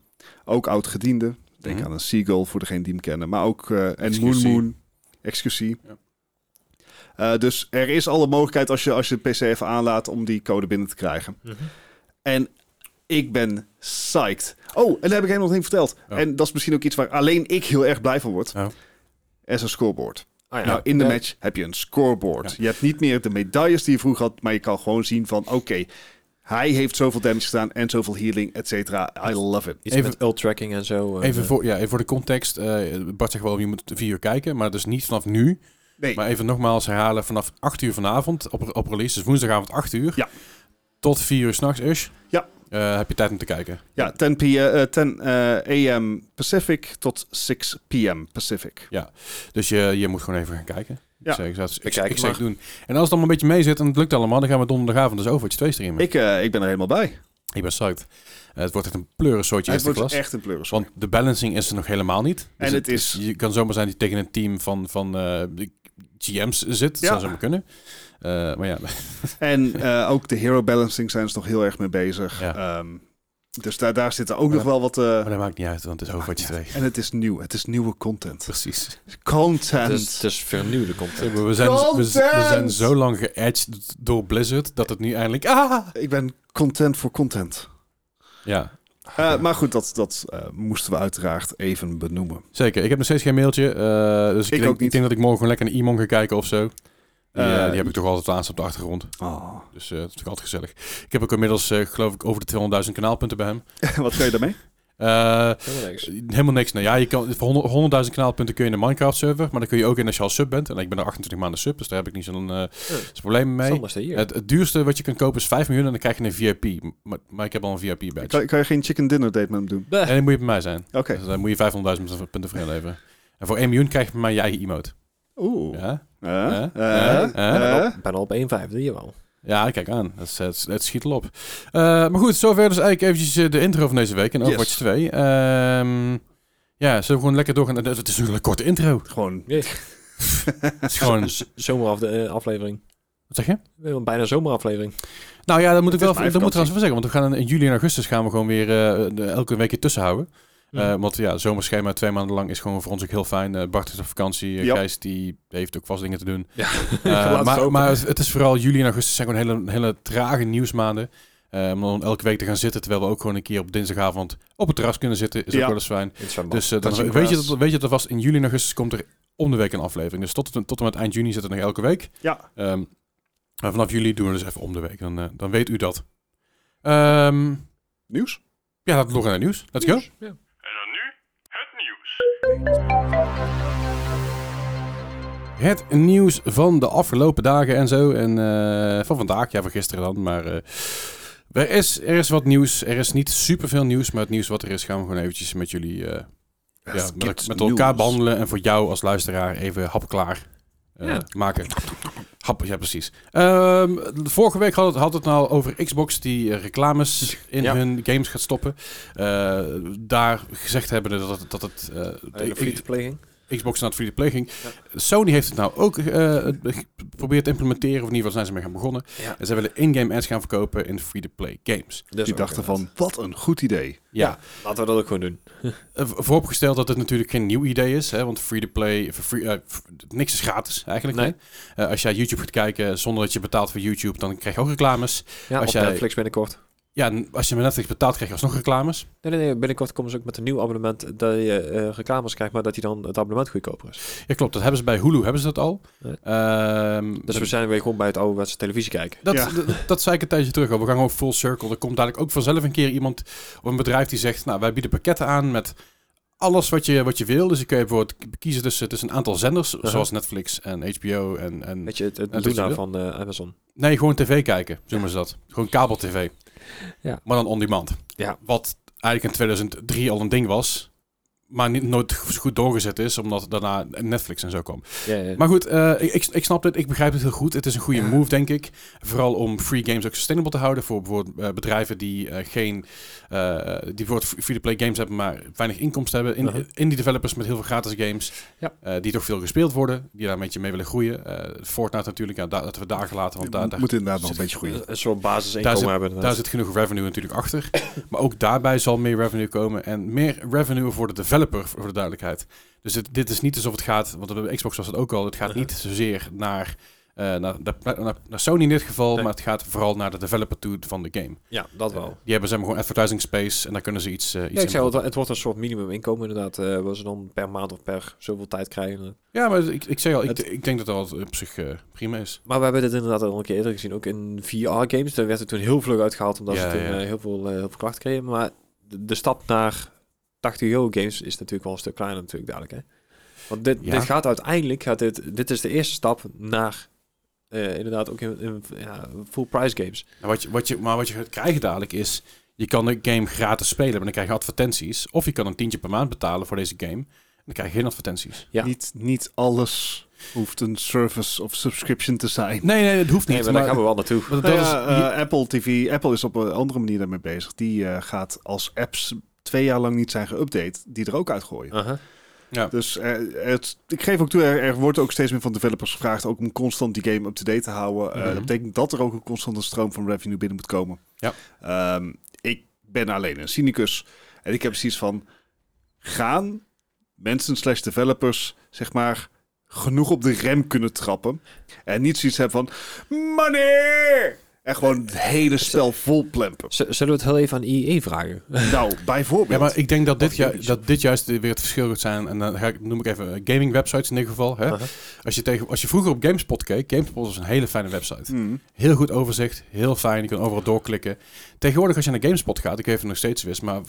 C: Ook oud-gedienden. Denk
A: Mhm.
C: aan een Seagull, voor degene die hem kennen. Maar ook eh, en
A: XQC.
C: Moon Moon, excusie.
A: Ja.
C: Eh, dus er is alle mogelijkheid als je, als je de PC even aanlaat om die code binnen te krijgen.
B: Mhm.
C: En ik ben psyched. Oh, en daar heb ik helemaal nog niet verteld.
A: Oh.
C: En dat is misschien ook iets waar alleen ik heel erg blij van word.
A: Oh.
C: Er is een scoreboard.
B: Ah, ja.
C: Nou, in de
B: Ja.
C: match heb je een scoreboard.
A: Ja.
C: Je hebt niet meer de medailles die je vroeger had, maar je kan gewoon zien van, oké, hij heeft zoveel damage gedaan en zoveel healing, et cetera. I love it.
B: Iets
A: Even-
B: met ult-tracking en zo. en,
A: Even,
B: eh,
A: voor, ja, even voor de context. eh, Bart zegt wel, je moet 4 uur kijken. Maar dus niet vanaf nu.
C: Nee,
A: Maar even nogmaals herhalen. Vanaf 8 uur vanavond op, op release. Dus woensdagavond 8 uur.
C: Ja.
A: Tot 4 uur s'nachts is.
C: Ja.
A: Eh, heb je tijd om te kijken.
C: ja, 10, p, eh, 10 eh, AM Pacific tot 6 PM Pacific.
A: Dus je, je moet gewoon even gaan kijken.
C: Ja.
A: Ik zeg, dat is- ik,
B: Bekijk
A: ik
B: het
A: zeg
B: maar.
A: doen. En als het allemaal een beetje mee zit en het lukt allemaal, dan gaan we donderdagavond dus Overwatch 2 streamen.
C: Ik, eh, ik ben er helemaal bij.
A: Ik ben psyched. Eh, het wordt echt een pleurensoortje
C: Het
A: eerste
C: wordt
A: klas.
C: echt een pleuris.
A: Want de balancing is er nog helemaal niet. Dus
C: En het is-
A: Je kan zomaar zijn dat je tegen een team van, van eh, de GM's zit. Dat
C: Ja.
A: zou zomaar kunnen. Eh, maar ja,
C: En eh, ook de hero balancing zijn ze nog heel erg mee bezig.
A: Ja.
C: Ehm, dus daar, daar zitten ook
A: Maar
C: nog wel wat... eh,
A: maar dat maakt niet uit, want het is Overwatch 2.
C: en het is nieuw. Het is nieuwe content.
A: Precies.
C: Content.
B: Het is, het is vernieuwde content.
A: We zijn, we, we
C: Content!
A: zijn zo lang geëdged door Blizzard dat het nu eindelijk... Ah!
C: Ik ben content voor content.
A: Ja.
C: Eh, maar goed, dat, dat eh, moesten we uiteraard even benoemen.
A: Zeker. Ik heb nog steeds geen mailtje. eh, dus ik,
C: Ik
A: denk,
C: ook niet.
A: ik denk dat ik morgen gewoon lekker naar Imon ga kijken of zo. Die, eh,
C: Eh,
A: die heb ik toch altijd aan op de achtergrond.
C: Oh.
A: Dus eh, dat is natuurlijk altijd gezellig. Ik heb ook inmiddels, eh, geloof ik, over de 200.000 kanaalpunten bij hem.
C: Wat kan je daarmee?
A: Eh,
B: Helemaal niks.
A: helemaal niks. Nou ja, je kan, voor 100 100.000 kanaalpunten kun je in de Minecraft-server. Maar dan kun je ook in als je al sub bent. En ik ben er 28 maanden sub, dus daar heb ik niet zo'n eh, zo'n probleem mee.
B: Sam is er hier.
A: Het, het duurste wat je kan kopen is 5 miljoen en dan krijg je een VIP. Maar, maar ik heb al een VIP-badge.
C: Kan, kan je geen chicken dinner date met hem doen?
B: Bleh.
A: En dan moet je bij mij zijn.
C: Oké.
A: Dus dan moet je 500.000 punten voor inleveren. En voor 1 miljoen krijg je bij mij je eigen emote.
C: Oeh.
A: Ja?
C: Eh,
A: Eh,
C: eh,
A: eh,
C: eh.
B: Ik ben al op 1,5, hier wel.
A: Ja, kijk aan. Het, is- het, is- het schiet al op. Eh, maar goed, zover dus eigenlijk eventjes eh, de intro van deze week in Overwatch
C: Yes.
A: 2. Ehm, ja, zullen we gewoon lekker doorgaan? Het het is natuurlijk een korte intro.
C: Gewoon.
A: Het is gewoon...
B: Z- Zomeraf de eh, aflevering.
A: Wat zeg je?
B: We hebben Bijna zomeraflevering.
A: Nou ja, dat moet ik
C: Het
A: wel dat
C: is mijn
A: moet ik trouwens wel
C: vakantie.
A: zeggen. Want we gaan in, in juli en augustus gaan we gewoon weer eh, de- elke week hier tussen houden. Eh,
B: Mhm.
A: want ja, zomerschema twee maanden lang is gewoon voor ons ook heel fijn. Eh, Bart is op vakantie. Eh,
C: Ja.
A: Gijs die heeft ook vast dingen te doen.
B: Ja.
A: Eh,
B: Laat het
A: maar,
B: hopen.
A: maar het het is vooral juli en augustus zijn gewoon hele, hele trage nieuwsmaanden. Eh, om dan elke week te gaan zitten, terwijl we ook gewoon een keer op dinsdagavond op het terras kunnen zitten, is ook
C: Ja.
A: wel eens fijn.
B: In het zwembad.
A: Dus eh, dan
C: touching
A: weet je,
C: grass.
A: dat, weet je dat er vast in juli en augustus komt er om de week een aflevering. Dus tot, tot en met eind juni zit er nog elke week.
C: Ja.
A: Ehm, maar vanaf juli doen we dus even om de week. Dan, eh, dan weet u dat. Ehm,
C: Nieuws?
A: ja, laten we doorgaan naar nieuws. Let's go.
B: Ja.
D: En dan nu het nieuws.
A: Het nieuws van de afgelopen dagen en zo. En eh, van vandaag, ja, van gisteren dan. Maar eh, er, is, er is wat nieuws. Er is niet superveel nieuws. Maar het nieuws wat er is, gaan we gewoon eventjes met jullie eh, ja, met, met elkaar behandelen. En voor jou als luisteraar even hapklaar eh,
B: Ja.
A: maken. Hap, ja, precies. Ehm, vorige week had het, had het nou over Xbox die eh, reclames in
B: Ja.
A: hun games gaat stoppen. Eh, daar gezegd hebben dat het, dat het eh,
B: Hele frietpleging.
A: Xbox naar het free play ging. Sony heeft het nou ook eh, geprobeerd te implementeren, of in ieder geval zijn ze mee gaan begonnen.
B: Ja.
A: En ze willen in-game ads gaan verkopen in free-to-play games.
B: Dus
C: Die
B: ook,
C: dachten
B: inderdaad.
C: van, wat een goed idee.
A: Ja.
B: Ja. Laten we dat ook gewoon doen.
A: Eh, v- Vooropgesteld dat het natuurlijk geen nieuw idee is, hè, want free-to-play, voor free, eh, f- niks is gratis eigenlijk.
B: Nee.
A: hè. Eh, als jij YouTube gaat kijken zonder dat je betaalt voor YouTube, dan krijg je ook reclames.
B: Ja,
A: Als
B: op
A: jij-
B: Netflix binnenkort.
A: Ja, en als je met Netflix betaalt, krijg je alsnog reclames.
B: Nee, nee, nee. Binnenkort komen ze ook met een nieuw abonnement dat je eh, reclames krijgt, maar dat je dan het abonnement goedkoper is.
A: Ja, klopt. Dat hebben ze bij Hulu, hebben ze dat al.
B: Nee.
A: Ehm,
B: Dus
A: dat-
B: we zijn weer gewoon bij het ouderwetse televisie kijken.
A: Dat,
C: Ja.
A: dat, dat zei ik een tijdje terug al. We gaan gewoon full circle. Er komt dadelijk ook vanzelf een keer iemand of een bedrijf die zegt... nou, wij bieden pakketten aan met alles wat je, wat je wil. Dus je kun je bijvoorbeeld kiezen tussen, tussen een aantal zenders...
B: Uh-huh.
A: zoals Netflix en HBO en... en
B: Weet je, het, het
A: dat
B: Luna
A: is-
B: van eh, Amazon.
A: nee, gewoon tv kijken, noemen ze dat. Gewoon kabel-tv.
B: Ja.
A: Maar dan on-demand.
B: Ja.
A: Wat eigenlijk in 2003 al een ding was... maar niet, nooit goed doorgezet is... omdat daarna Netflix en zo kwam.
B: Ja, ja.
A: Maar goed, eh, ik, ik, ik snap dit. Ik begrijp het heel goed. Het is een goede move, denk ik. Vooral om free games ook sustainable te houden. Voor bijvoorbeeld eh, bedrijven die eh, geen... eh, die bijvoorbeeld free-to-play games hebben, maar weinig inkomsten hebben. In,
B: Uh-huh.
A: in die developers met heel veel gratis games.
B: Ja.
A: eh, die toch veel gespeeld worden. Die daar een beetje mee willen groeien. Eh, Fortnite natuurlijk. Ja, daar, laten we daar gelaten. Want daar, daar,
C: moet inderdaad nog een
A: zit-
C: beetje groeien.
B: een soort
A: Daar
B: basisinkomen
A: zit-
B: hebben.
A: daar
B: inderdaad.
A: zit genoeg revenue natuurlijk achter. maar ook daarbij zal meer revenue komen. En meer revenue voor de developer, voor de duidelijkheid. Dus het- dit is niet alsof het gaat, want bij Xbox was dat ook al. Het gaat niet zozeer naar, eh, naar, de pla- naar, naar Sony in dit geval.
B: Nee.
A: Maar het gaat vooral naar de developer toe van de game.
B: Ja, dat wel.
A: Die hebben zeg maar gewoon advertising space. En daar kunnen ze iets, eh, iets
B: Ja, ik
A: in
B: zei al, het- het wordt een soort minimum inkomen inderdaad, eh wat ze dan per maand of per zoveel tijd krijgen.
A: Ja, maar ik, ik zei al, ik,
B: Het-
A: ik denk dat dat op zich eh, prima is.
B: Maar we hebben dit inderdaad al een keer eerder gezien, ook in VR-games. Daar werd het toen heel vlug uitgehaald, omdat
A: Ja,
B: ze toen
A: ja.
B: eh, heel, veel, eh, heel veel klachten kregen. Maar de, de stap naar 80 euro games is natuurlijk wel een stuk kleiner natuurlijk dadelijk. Hè? Want dit,
A: Ja.
B: dit gaat uiteindelijk, gaat dit, dit is de eerste stap naar eh, inderdaad ook in, in, ja, full price games.
A: Nou, wat je, wat je, maar wat je gaat krijgen dadelijk is... Je kan de game gratis spelen, maar dan krijg je advertenties. Of je kan een tientje per maand betalen voor deze game. En dan krijg je geen advertenties.
B: Ja.
C: Niet, niet alles hoeft een service of subscription te zijn.
A: Nee, nee, dat hoeft niet.
B: Nee, maar
A: maar
B: daar gaan we wel naartoe.
A: want dat
C: Nou ja,
A: is,
C: eh, Apple TV, Apple is op een andere manier daarmee bezig. Die eh, gaat als apps twee jaar lang niet zijn geüpdate, die er ook uitgooien.
B: Aha.
C: Dus eh, het, ik geef ook toe, er, er wordt ook steeds meer van developers gevraagd ook om constant die game up-to-date te houden. Eh,
A: Mhm.
C: Dat betekent dat er ook een constante stroom van revenue binnen moet komen.
A: Ja.
C: Ehm, ik ben alleen een cynicus en ik heb precies van, gaan mensen slash developers zeg maar genoeg op de rem kunnen trappen en niet zoiets hebben van, money! En gewoon het hele spel vol plempen.
B: Z- zullen we het heel even aan IE vragen?
C: Nou, bijvoorbeeld.
A: Ja, maar ik denk dat dit,
C: Wat
A: ju-
C: games.
A: dat dit juist weer het verschil gaat zijn. En dan ga ik, noem ik even eh, gaming websites in dit geval. Hè?
E: Aha.
A: Als, je tegen, als je vroeger op GameSpot keek, GameSpot was een hele fijne website.
C: Hmm.
A: Heel goed overzicht, heel fijn, je kan overal doorklikken. Tegenwoordig als je naar GameSpot gaat, ik geef het nog steeds wist, maar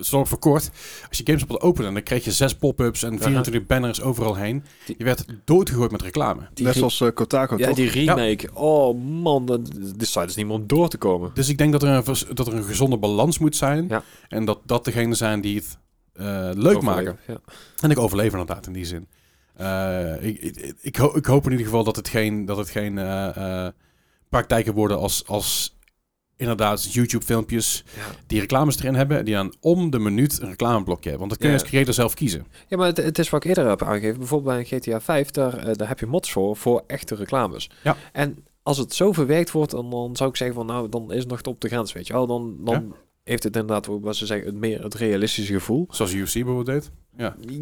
A: zo verkort. Als je GameSpot opende, dan kreeg je zes pop-ups en 24 banners overal heen.
B: Die-
A: Je werd doodgegooid met reclame.
B: Die
C: Net
B: re-
C: zoals eh, Kotaku,
B: ja,
C: toch?
B: die remake. Oh man, dat- de site is niet meer om door te komen.
A: Dus ik denk dat er een, vers- dat er een gezonde balans moet zijn.
B: Ja.
A: En dat dat degenen zijn die het eh, leuk maken.
B: Ja.
A: En ik overleef inderdaad in die zin. Eh, ik, ik, ik, ho- ik hoop in ieder geval dat het geen, dat het geen eh, eh, praktijken worden als, als inderdaad YouTube-filmpjes
B: Ja.
A: die reclames erin hebben. Die dan om de minuut een reclameblokje hebben. Want dat kun je
B: Ja.
A: als creator zelf kiezen.
B: Ja, maar het, het is wat ik eerder heb aangegeven. Bijvoorbeeld bij GTA 5, daar, eh, daar heb je mods voor, voor echte reclames.
A: Ja.
B: En als het zo verwerkt wordt, dan, dan zou ik zeggen van nou, dan is het nog op de grens, weet je wel. Dan, dan heeft het inderdaad, wat ze zeggen, het meer het realistische gevoel.
A: Zoals UFC bijvoorbeeld deed.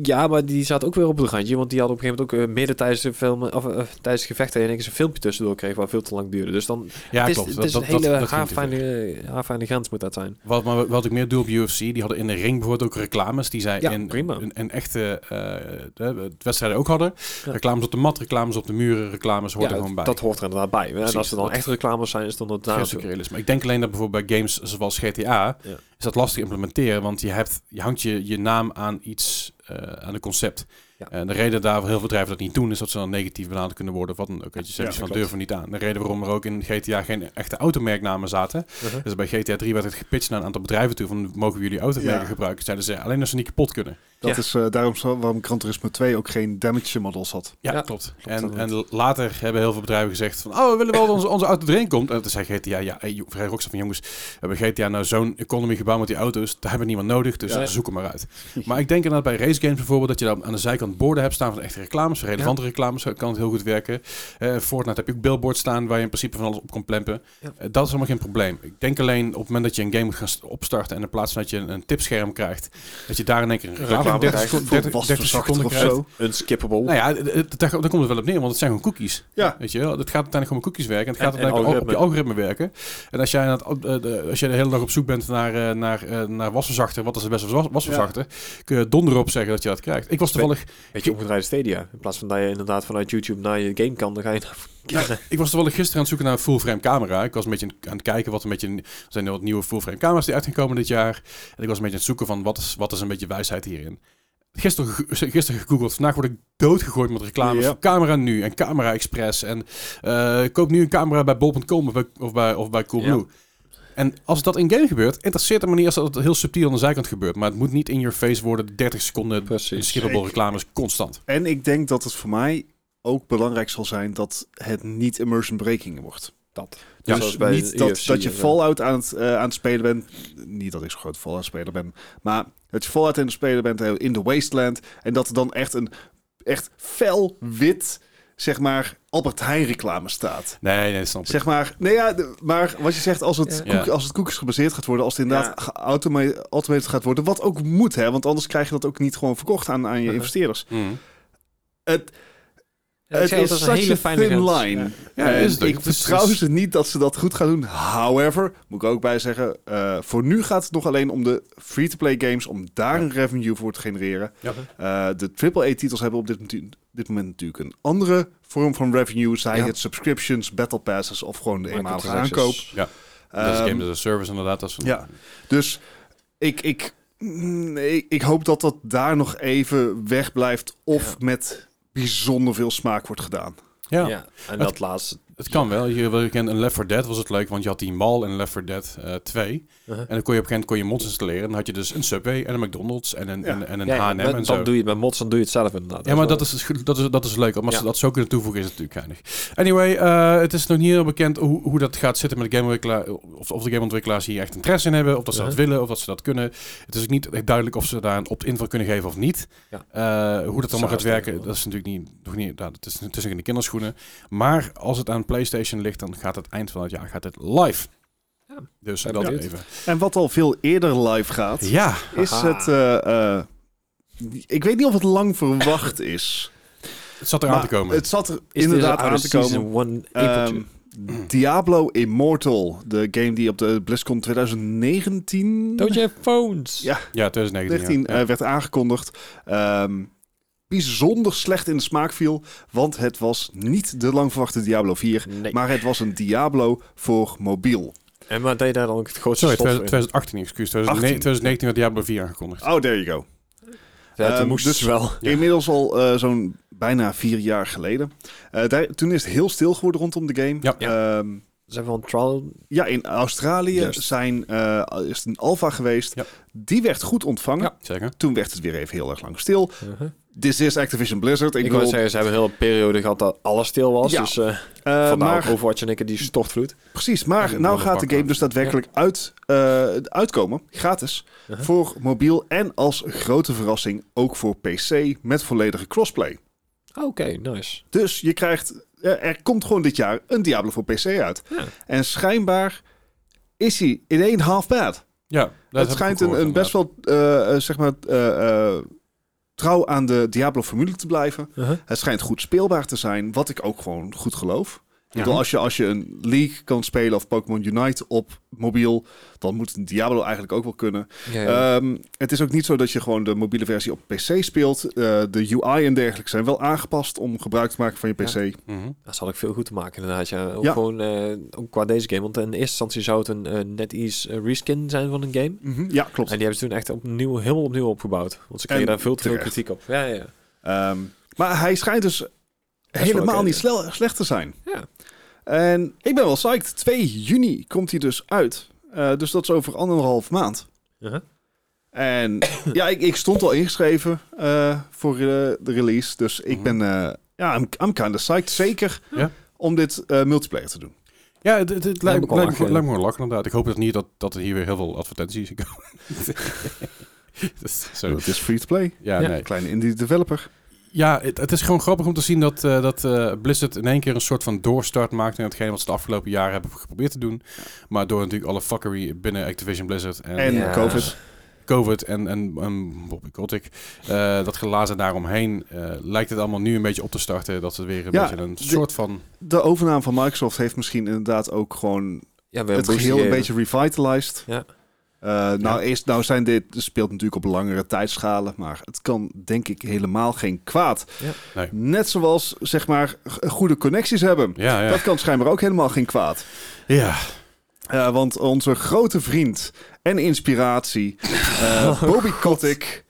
B: Ja, maar die zat ook weer op het randje, want die had op een gegeven moment ook eh, midden tijdens de film, of eh, tijdens het gevecht, dat je ineens een filmpje tussendoor kreeg waar veel te lang duurde. Dus dan
A: Ja,
B: het is,
A: klopt.
B: het
A: Dat-
B: is
A: dat-
B: een
A: dat-
B: hele
A: dat ging te ver.
B: haarfijne, haarfijne grens moet dat zijn.
A: Wat, maar wat ik meer doe op UFC, die hadden in de ring bijvoorbeeld ook reclames die zij
B: Ja,
A: in,
B: prima.
A: in, in echte eh, de, de wedstrijden ook hadden.
B: Ja.
A: Reclames op de mat, reclames op de muren, reclames hoort er
B: Ja,
A: gewoon bij.
B: dat hoort er inderdaad bij. en als
A: Precies,
B: er dan
A: dat-
B: echt reclames zijn, is dan dat
A: Geen
B: daar
A: stuk realisme. Ik denk alleen dat bijvoorbeeld bij games zoals GTA
B: Ja.
A: is dat lastig te implementeren, want je, hebt, je hangt je, je naam aan iets, eh, aan een concept.
B: Ja.
A: En de reden daarvoor heel veel bedrijven dat niet doen, is dat ze dan negatief benaderd kunnen worden of wat dan ook. Weet je, ze
C: Ja,
A: hebben van
C: klopt.
A: durven niet aan. De reden waarom er ook in GTA geen echte automerknamen zaten,
B: Uh-huh.
A: dus bij GTA 3 werd het gepitcht naar een aantal bedrijven toe van mogen we jullie automerken
C: Ja.
A: gebruiken, zeiden ze alleen als ze niet kapot kunnen.
C: Dat
B: Ja.
C: is eh, daarom zo- waarom Gran Turismo 2 ook geen damage models had.
A: Ja,
B: Ja,
A: klopt. en,
B: inderdaad.
A: en later hebben heel veel bedrijven gezegd van... oh, we willen wel dat onze, onze auto erin komt. En toen zei GTA, ja, hey, joh, vrij Rockstar van jongens... we hebben GTA nou zo'n economy gebouwd met die auto's... daar hebben we niemand nodig, dus
B: Ja.
A: zoek hem maar uit. Maar ik denk inderdaad bij race games bijvoorbeeld... dat je dan aan de zijkant borden hebt staan van echte reclames... relevante reclames, zo kan het heel goed werken. Eh Fortnite heb je ook billboards staan... waar je in principe van alles op kan plempen.
B: Ja.
A: Eh, dat is allemaal geen probleem. Ik denk alleen op het moment dat je een game moet gaan st- opstarten... en in plaats van dat je een, een tipscherm krijgt... dat je daar in één keer een reclame,
E: reclame
A: van 30
E: krijgt.
A: seconden, 30, 30
C: Wasverzachter
A: seconden
C: of
A: krijgt.
C: zo.
E: Unskippable.
A: Nou ja, het- het- daar, daar komt het wel op neer, want het zijn gewoon cookies.
C: Ja.
A: Weet je wel, het gaat uiteindelijk om cookies werken. en Het gaat
B: En- en
A: uiteindelijk op- op je algoritme werken. En als jij, aan het- op- eh, de- als jij de hele dag op zoek bent naar, eh, naar, eh, naar wasverzachter, wat is de beste was- wasverzachter, kun je donder op zeggen dat je dat krijgt. Ik was toevallig,
B: Weet je, omgedraaide stadia. In plaats van dat je inderdaad vanuit YouTube naar je game kan, dan ga je naar...
A: ik was toevallig gisteren aan het zoeken naar een full-frame camera. Ik was een beetje aan het kijken wat een beetje, er zijn heel wat nieuwe full-frame camera's die uitgekomen dit jaar. En ik was een beetje aan het zoeken van wat is, wat is een beetje wijsheid hierin. Gisteren, ge- gisteren gegoogeld. Vandaag word ik doodgegooid met reclames.
C: Ja.
A: voor Camera nu en Camera Express. En eh, koop nu een camera bij bol.com of bij, of bij, of bij Coolblue. En als dat in game gebeurt, interesseert het me niet als dat heel subtiel aan de zijkant gebeurt. Maar het moet niet in your face worden, 30 seconden
B: Precies.
A: skippable
C: Ik-
A: reclames constant.
C: En ik denk dat het voor mij ook belangrijk zal zijn dat het niet immersion breaking wordt.
B: Dat.
A: Ja,
C: dus
B: zoals bij
C: niet
B: de E
C: dat,
B: UFC
C: dat je
B: en zo.
C: Fallout aan het, eh, aan het spelen bent. Niet dat ik zo'n groot Fallout speler ben. Maar dat je Fallout aan het spelen bent eh, in de Wasteland. En dat er dan echt een echt fel wit, zeg maar, Albert Heijn reclame staat.
A: Nee, nee, dat snap ik.
C: Zeg maar, nee ja, de- maar wat je zegt, als het,
B: Ja.
C: koek-
A: Ja.
C: als het koekjes gebaseerd gaat worden, als het inderdaad geautomateerd automated gaat worden, wat ook moet, hè, want anders krijg je dat ook niet gewoon verkocht aan, aan je
B: Mhm.
C: investeerders.
A: Mhm.
C: Het,
B: Ja, ik
C: het
B: zei al,
C: is
B: dat
C: such hele fijne thin
B: grens.
C: line.
A: Ja,
C: En
A: is het ook.
C: ik
A: Het is-
C: vertrouw
A: het is-
C: ze niet dat ze dat goed gaan doen. However, moet ik ook bij zeggen, eh, voor nu gaat het nog alleen om de free-to-play games, om daar een revenue voor te genereren.
A: Ja.
C: Eh, de AAA-titels hebben op dit, moment- dit moment natuurlijk een andere vorm van revenue, zij
B: Ja.
C: het subscriptions, battle passes of gewoon de eenmalige
B: Microtransactions.
C: aankoop.
A: dat is
C: Ehm,
A: game as a service inderdaad. Dat is een-
C: ja. Dus ik, ik, mm, ik, ik hoop dat dat daar nog even weg blijft of met bijzonder veel smaak wordt gedaan.
A: ja.
B: Ja. en dat laatste.
A: Het kan wel. Je wil in Left 4 Dead was het leuk, want je had die mall in Left 4 Dead eh 2.
B: Uh-huh.
A: En dan kon je op een gegeven moment kon je monsters installeren. En dan had je dus een Subway en een McDonald's en een,
C: Ja.
A: en, en een
B: Ja, ja,
A: H&M
B: met-
A: en
B: dan
A: zo.
B: doe je het met mods, dan doe je het zelf inderdaad.
A: Ja, maar
B: wel-
A: dat is, dus- dat is, dat is leuk. Om als
B: Ja.
A: ze dat zo kunnen toevoegen, is het natuurlijk geinig. Anyway, eh, het is nog niet heel bekend hoe, hoe dat gaat zitten met de gameontwikkelaar. Of, of de gameontwikkelaars hier echt interesse in hebben. Of dat ze dat
B: Uh-huh.
A: willen, of dat ze dat kunnen. Het is ook niet echt duidelijk of ze daar een opt-in voor kunnen geven of niet.
B: Ja.
A: Eh, hoe dat allemaal gaat
B: Zou het
A: werken,
B: wel.
A: dat is natuurlijk niet... Nog niet nou, het, is, het is nog in de kinderschoenen. Maar als het aan PlayStation ligt, dan gaat het eind van het jaar gaat het live.
B: Ja.
A: Dus
B: Ben
A: dat
B: benieuwd.
A: even.
C: En wat al veel eerder live gaat,
A: Ja,
C: is
B: Haha.
C: het... eh, eh, ik weet niet of het lang verwacht is.
A: het zat eraan
C: maar
A: te komen.
C: Het zat er
B: Is
C: inderdaad
B: dit
C: aan
B: out
C: te
B: of
C: komen.
B: season One
C: Ehm,
B: April.
C: Diablo Immortal. De game die op de BlizzCon 2019
B: Don't you have phones?
C: Ja.
A: Ja, 2019.
C: 19
A: ja.
C: eh, werd aangekondigd. Ehm, bijzonder slecht in de smaak viel, want het was niet de lang verwachte Diablo 4,
B: Nee.
C: maar het was een Diablo voor mobiel.
B: En maar deed daar dan ook het grootste
A: Sorry,
B: stof
A: 2000-
B: in.
A: 2018, excuus. 2019 2019 werd Diablo 4 aangekondigd.
C: Oh, there you go.
B: Ja, toen
C: Ehm,
B: moesten
C: dus-
B: ze wel.
A: Ja.
C: Inmiddels al eh, zo'n bijna vier jaar geleden. Eh, daar, toen is het heel stil geworden rondom de game.
A: Ja.
C: Ehm,
B: Ze hebben wel een trial.
C: ja, in Australië
B: Juist.
C: zijn, eh, is het een alfa geweest.
A: Ja.
C: Die werd goed ontvangen.
A: Ja, zeker.
C: Toen werd het weer even heel erg lang stil.
B: Uh-huh.
C: This is Activision Blizzard. Ik,
B: Ik wil
C: bedoel,
B: zeggen, ze hebben een hele periode gehad dat alles stil was.
C: Ja.
B: Dus eh
C: eh,
B: vandaar
C: maar
B: ook Overwatch en ik die stortvloed.
C: Precies, maar
A: En een
C: nou
A: andere
C: gaat de
A: pak
C: game
A: aan.
C: dus daadwerkelijk uit, eh, uitkomen, gratis,
B: Uh-huh.
C: voor mobiel en als grote verrassing ook voor PC met volledige crossplay.
B: Ah, Oké, nice.
C: Dus je krijgt, eh, er komt gewoon dit jaar een Diablo voor PC uit.
B: Ja.
C: En schijnbaar is hij in één half bad.
A: Ja, dat heb
C: Het
A: ik
C: schijnt
A: ook
C: een,
A: gehoord,
C: een best wel, eh, eh, zeg maar, eh, eh, trouw aan de Diablo-formule te blijven.
B: Uh-huh.
C: Het schijnt goed speelbaar te zijn, wat ik ook gewoon goed geloof.
A: Ja.
C: Ik bedoel, als, je, als je een League kan spelen of Pokémon Unite op mobiel, dan moet een Diablo eigenlijk ook wel kunnen.
B: Ja, ja.
C: Ehm, het is ook niet zo dat je gewoon de mobiele versie op PC speelt. Eh, de UI en dergelijke zijn wel aangepast om gebruik te maken van je PC.
A: inderdaad. Mhm.
B: dat zal ik veel goed te maken inderdaad. Ja. Ook
C: Ja.
B: gewoon eh, ook qua deze game. Want in eerste instantie zou het een eh, NetEase eh, reskin zijn van een game.
C: Mhm, Ja, klopt.
B: En die hebben ze toen echt opnieuw, helemaal opnieuw opgebouwd. Want ze kregen
C: En
B: daar veel te veel
C: terecht.
B: kritiek op. Ja, ja, ja.
C: Ehm, maar hij schijnt dus
B: wel
C: helemaal
B: oké,
C: niet
B: ja.
C: sle- slecht te zijn.
B: Ja.
C: En ik ben wel psyched. 2 juni komt hij dus uit. Eh, dus dat is over anderhalf maand.
B: Uh-huh.
C: En ja, ik, ik stond al ingeschreven eh, voor eh, de release. Dus ik
A: Mhm.
C: ben... eh, ja, I'm, I'm kinda psyched. Zeker
A: Ja.
C: om dit eh, multiplayer te doen.
A: Ja, het, het- het
B: heb
A: lijkt,
B: ik al
A: lijkt, me,
B: lachen.
A: lijkt me gewoon lachen inderdaad. Ik hoop dat niet dat, dat er hier weer heel veel advertenties in komen. Dat is-
B: Oh.
A: sorry.
C: Het is free-to-play.
A: Ja,
B: Ja.
A: nee.
C: Kleine indie developer.
A: ja het, het is gewoon grappig om te zien dat, eh, dat eh, Blizzard in één keer een soort van doorstart maakt in hetgeen wat ze de afgelopen jaren hebben geprobeerd te doen. Maar door natuurlijk alle fuckery binnen Activision Blizzard en, eh,
C: En
B: Ja.
C: COVID.
A: COVID en, en, en Bobby Kotick, eh, dat gelazen daaromheen, eh, lijkt het allemaal nu een beetje op te starten. Dat het weer een
C: Ja,
A: beetje een
C: de-
A: soort van...
C: De overname van Microsoft heeft misschien inderdaad ook gewoon
B: ja we
C: het geheel een beetje revitalized.
B: Ja.
C: Eh, nou, is, nou zijn dit, speelt natuurlijk op langere tijdschalen, maar het kan denk ik helemaal geen kwaad.
B: Ja.
A: Nee.
C: Net zoals, zeg maar, g- goede connecties hebben.
A: Ja, ja.
C: Dat kan schijnbaar ook helemaal geen kwaad.
A: ja.
C: Eh, want onze grote vriend en inspiratie, eh, Bobby Kotick,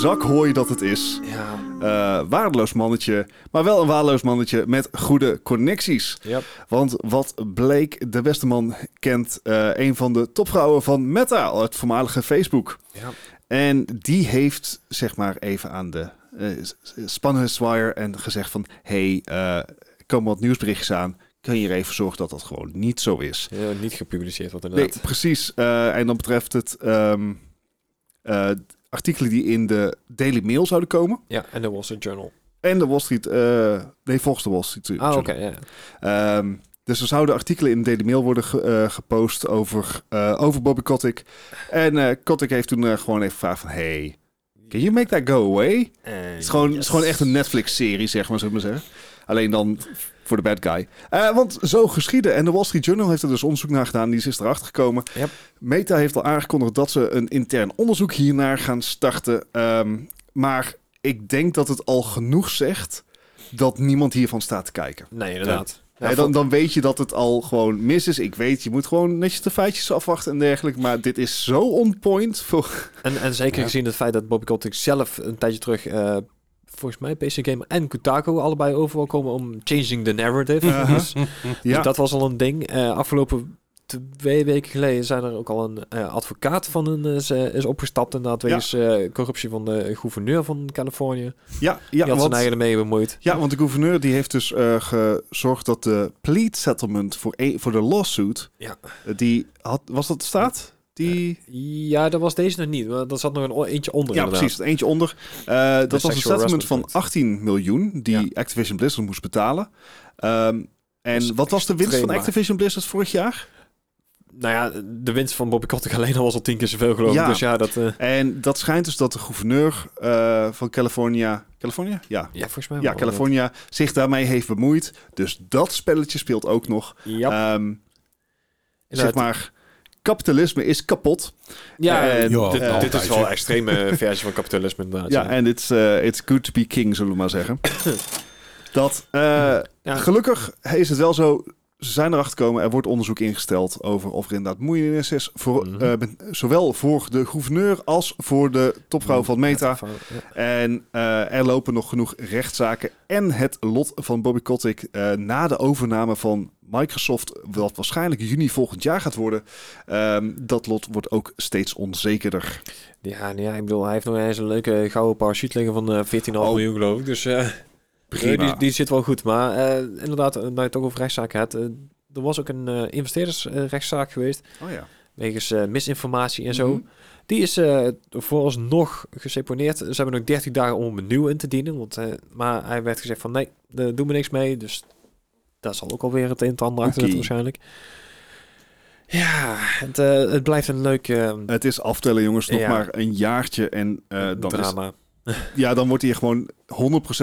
C: zakhooi dat het is,
B: Ja,
C: eh, waardeloos mannetje, maar wel een waardeloos mannetje met goede connecties.
B: ja.
C: Want wat bleek, de beste man kent eh, een van de topvrouwen van Meta, het voormalige Facebook.
B: ja.
C: En die heeft zeg maar even aan de eh, s- s- spannen zwaier en gezegd van... hey, eh, er komen wat nieuwsberichtjes aan. Kun je er even zorgen dat dat gewoon niet zo is?
B: Ja, niet gepubliceerd wat
C: Nee,
B: inderdaad.
C: precies. Eh, en dan betreft het ehm, eh, artikelen die in de Daily Mail zouden komen.
B: Ja, en de Wall Street Journal.
C: En de Wall Street... eh, nee, volgens de Wall Street
B: Ah, oké,
C: Journal.
B: ja.
C: Ehm, dus er zouden artikelen in de Daily Mail worden ge- eh, gepost over, eh, over Bobby Kotick. En eh Kotick heeft toen eh, gewoon even gevraagd van... Hey, can you make that go away? Het is gewoon, het is gewoon echt een Netflix-serie, zeg maar, zullen we maar zeggen. Alleen dan voor de bad guy. Eh, want zo geschiedde. En de Wall Street Journal heeft er dus onderzoek naar gedaan. Die is dus erachter gekomen.
B: Yep.
C: Meta heeft al aangekondigd dat ze een intern onderzoek hiernaar gaan starten. Ehm, maar ik denk dat het al genoeg zegt dat niemand hiervan staat te kijken.
B: Nee, inderdaad. Ja,
C: Hè, dan, dan weet je dat het al gewoon mis is. Ik weet, je moet gewoon netjes de feitjes afwachten en dergelijke. Maar dit is zo on point voor...
B: En, en zeker
A: Ja.
B: gezien het feit dat Bobby Kotick zelf een tijdje terug... eh, volgens mij PC Gamer en Kotaku allebei over wil komen om changing the narrative.
C: Uh-huh.
B: Dus,
C: Ja,
B: dus dat was al een ding. Eh, afgelopen twee weken geleden zijn er ook al een eh, advocaat van een eh, is, eh, is opgestapt. Inderdaad,
C: Ja.
B: wegens eh, corruptie van de gouverneur van Californië.
C: ja,
B: Die
C: ja
B: had
C: want-
B: zijn eigen ermee bemoeid.
C: Ja, want de gouverneur die heeft dus eh, gezorgd dat de plead settlement voor, e- voor de lawsuit,
B: Ja.
C: eh, die had, was dat de staat? Die,
B: Ja, dat was deze nog niet. want Er zat nog een o- eentje onder
C: ja,
B: inderdaad.
C: precies, het eentje onder. Eh, dat was een
B: sexual
C: settlement
B: harassment
C: van
B: wet.
C: 18 miljoen die Activision Blizzard moest betalen. Ehm, en
B: Dat is
C: wat was de winst van
B: Dus extreem laag.
C: Activision Blizzard vorig jaar?
B: Nou ja, de winst van Bobby Kotick alleen al was al tien keer zoveel geloof ik.
C: Ja.
B: Dus ja, dat... eh,
C: En dat schijnt dus dat de gouverneur eh, van California, Californië California? Ja.
B: Ja, volgens mij
C: Ja,
B: wel.
C: California zich daarmee heeft bemoeid. Dus dat spelletje speelt ook nog.
B: Ja,
C: Ehm, zeg
B: Inderdaad.
C: maar, kapitalisme is kapot.
B: ja
C: eh,
A: Ja,
B: dit,
C: eh,
B: dit is
A: altijd,
B: wel
A: hè.
B: een extreme versie van kapitalisme inderdaad.
C: Ja, en it's, eh, it's good to be king, zullen we maar zeggen. dat, eh,
B: Ja.
C: Gelukkig is het wel zo. Ze zijn erachter gekomen. Er wordt onderzoek ingesteld over of er inderdaad moeienis is. Voor,
B: Mhm.
C: eh, ben- zowel voor de gouverneur als voor de topvrouw
B: Mhm.
C: van Meta. En eh, er lopen nog genoeg rechtszaken. En het lot van Bobby Kotick eh, na de overname van Microsoft, wat waarschijnlijk juni volgend jaar gaat worden. ehm, dat lot wordt ook steeds onzekerder.
B: Ja, nou ja, ik bedoel, hij heeft nog eens een leuke gouden parachute liggen van eh 14,5
C: Oh.
B: miljoen, geloof ik. Dus eh,
C: Prima.
B: Die, die zit wel goed. Maar eh, inderdaad, omdat je het ook over rechtszaken hebt. eh, er was ook een eh, investeerdersrechtszaak geweest.
C: Oh ja.
B: Wegens eh, misinformatie en zo.
C: Mhm.
B: Die is eh, vooralsnog geseponeerd. Ze hebben nog 30 dagen om hem opnieuw in te dienen. Want, eh, maar hij werd gezegd van nee, daar doen we niks mee. Dus daar zal ook alweer het een en het ander achter
C: Oké.
B: zitten waarschijnlijk. Ja, het, eh, het blijft een leuk eh,
C: Het is aftellen, jongens, nog
B: Ja.
C: maar een jaartje. En eh, dan, is,
B: drama.
C: ja, dan wordt hij er gewoon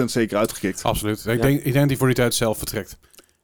C: 100% zeker uitgekikt.
A: Absoluut. Ik,
B: Ja.
A: denk, ik denk dat hij voor die tijd zelf vertrekt.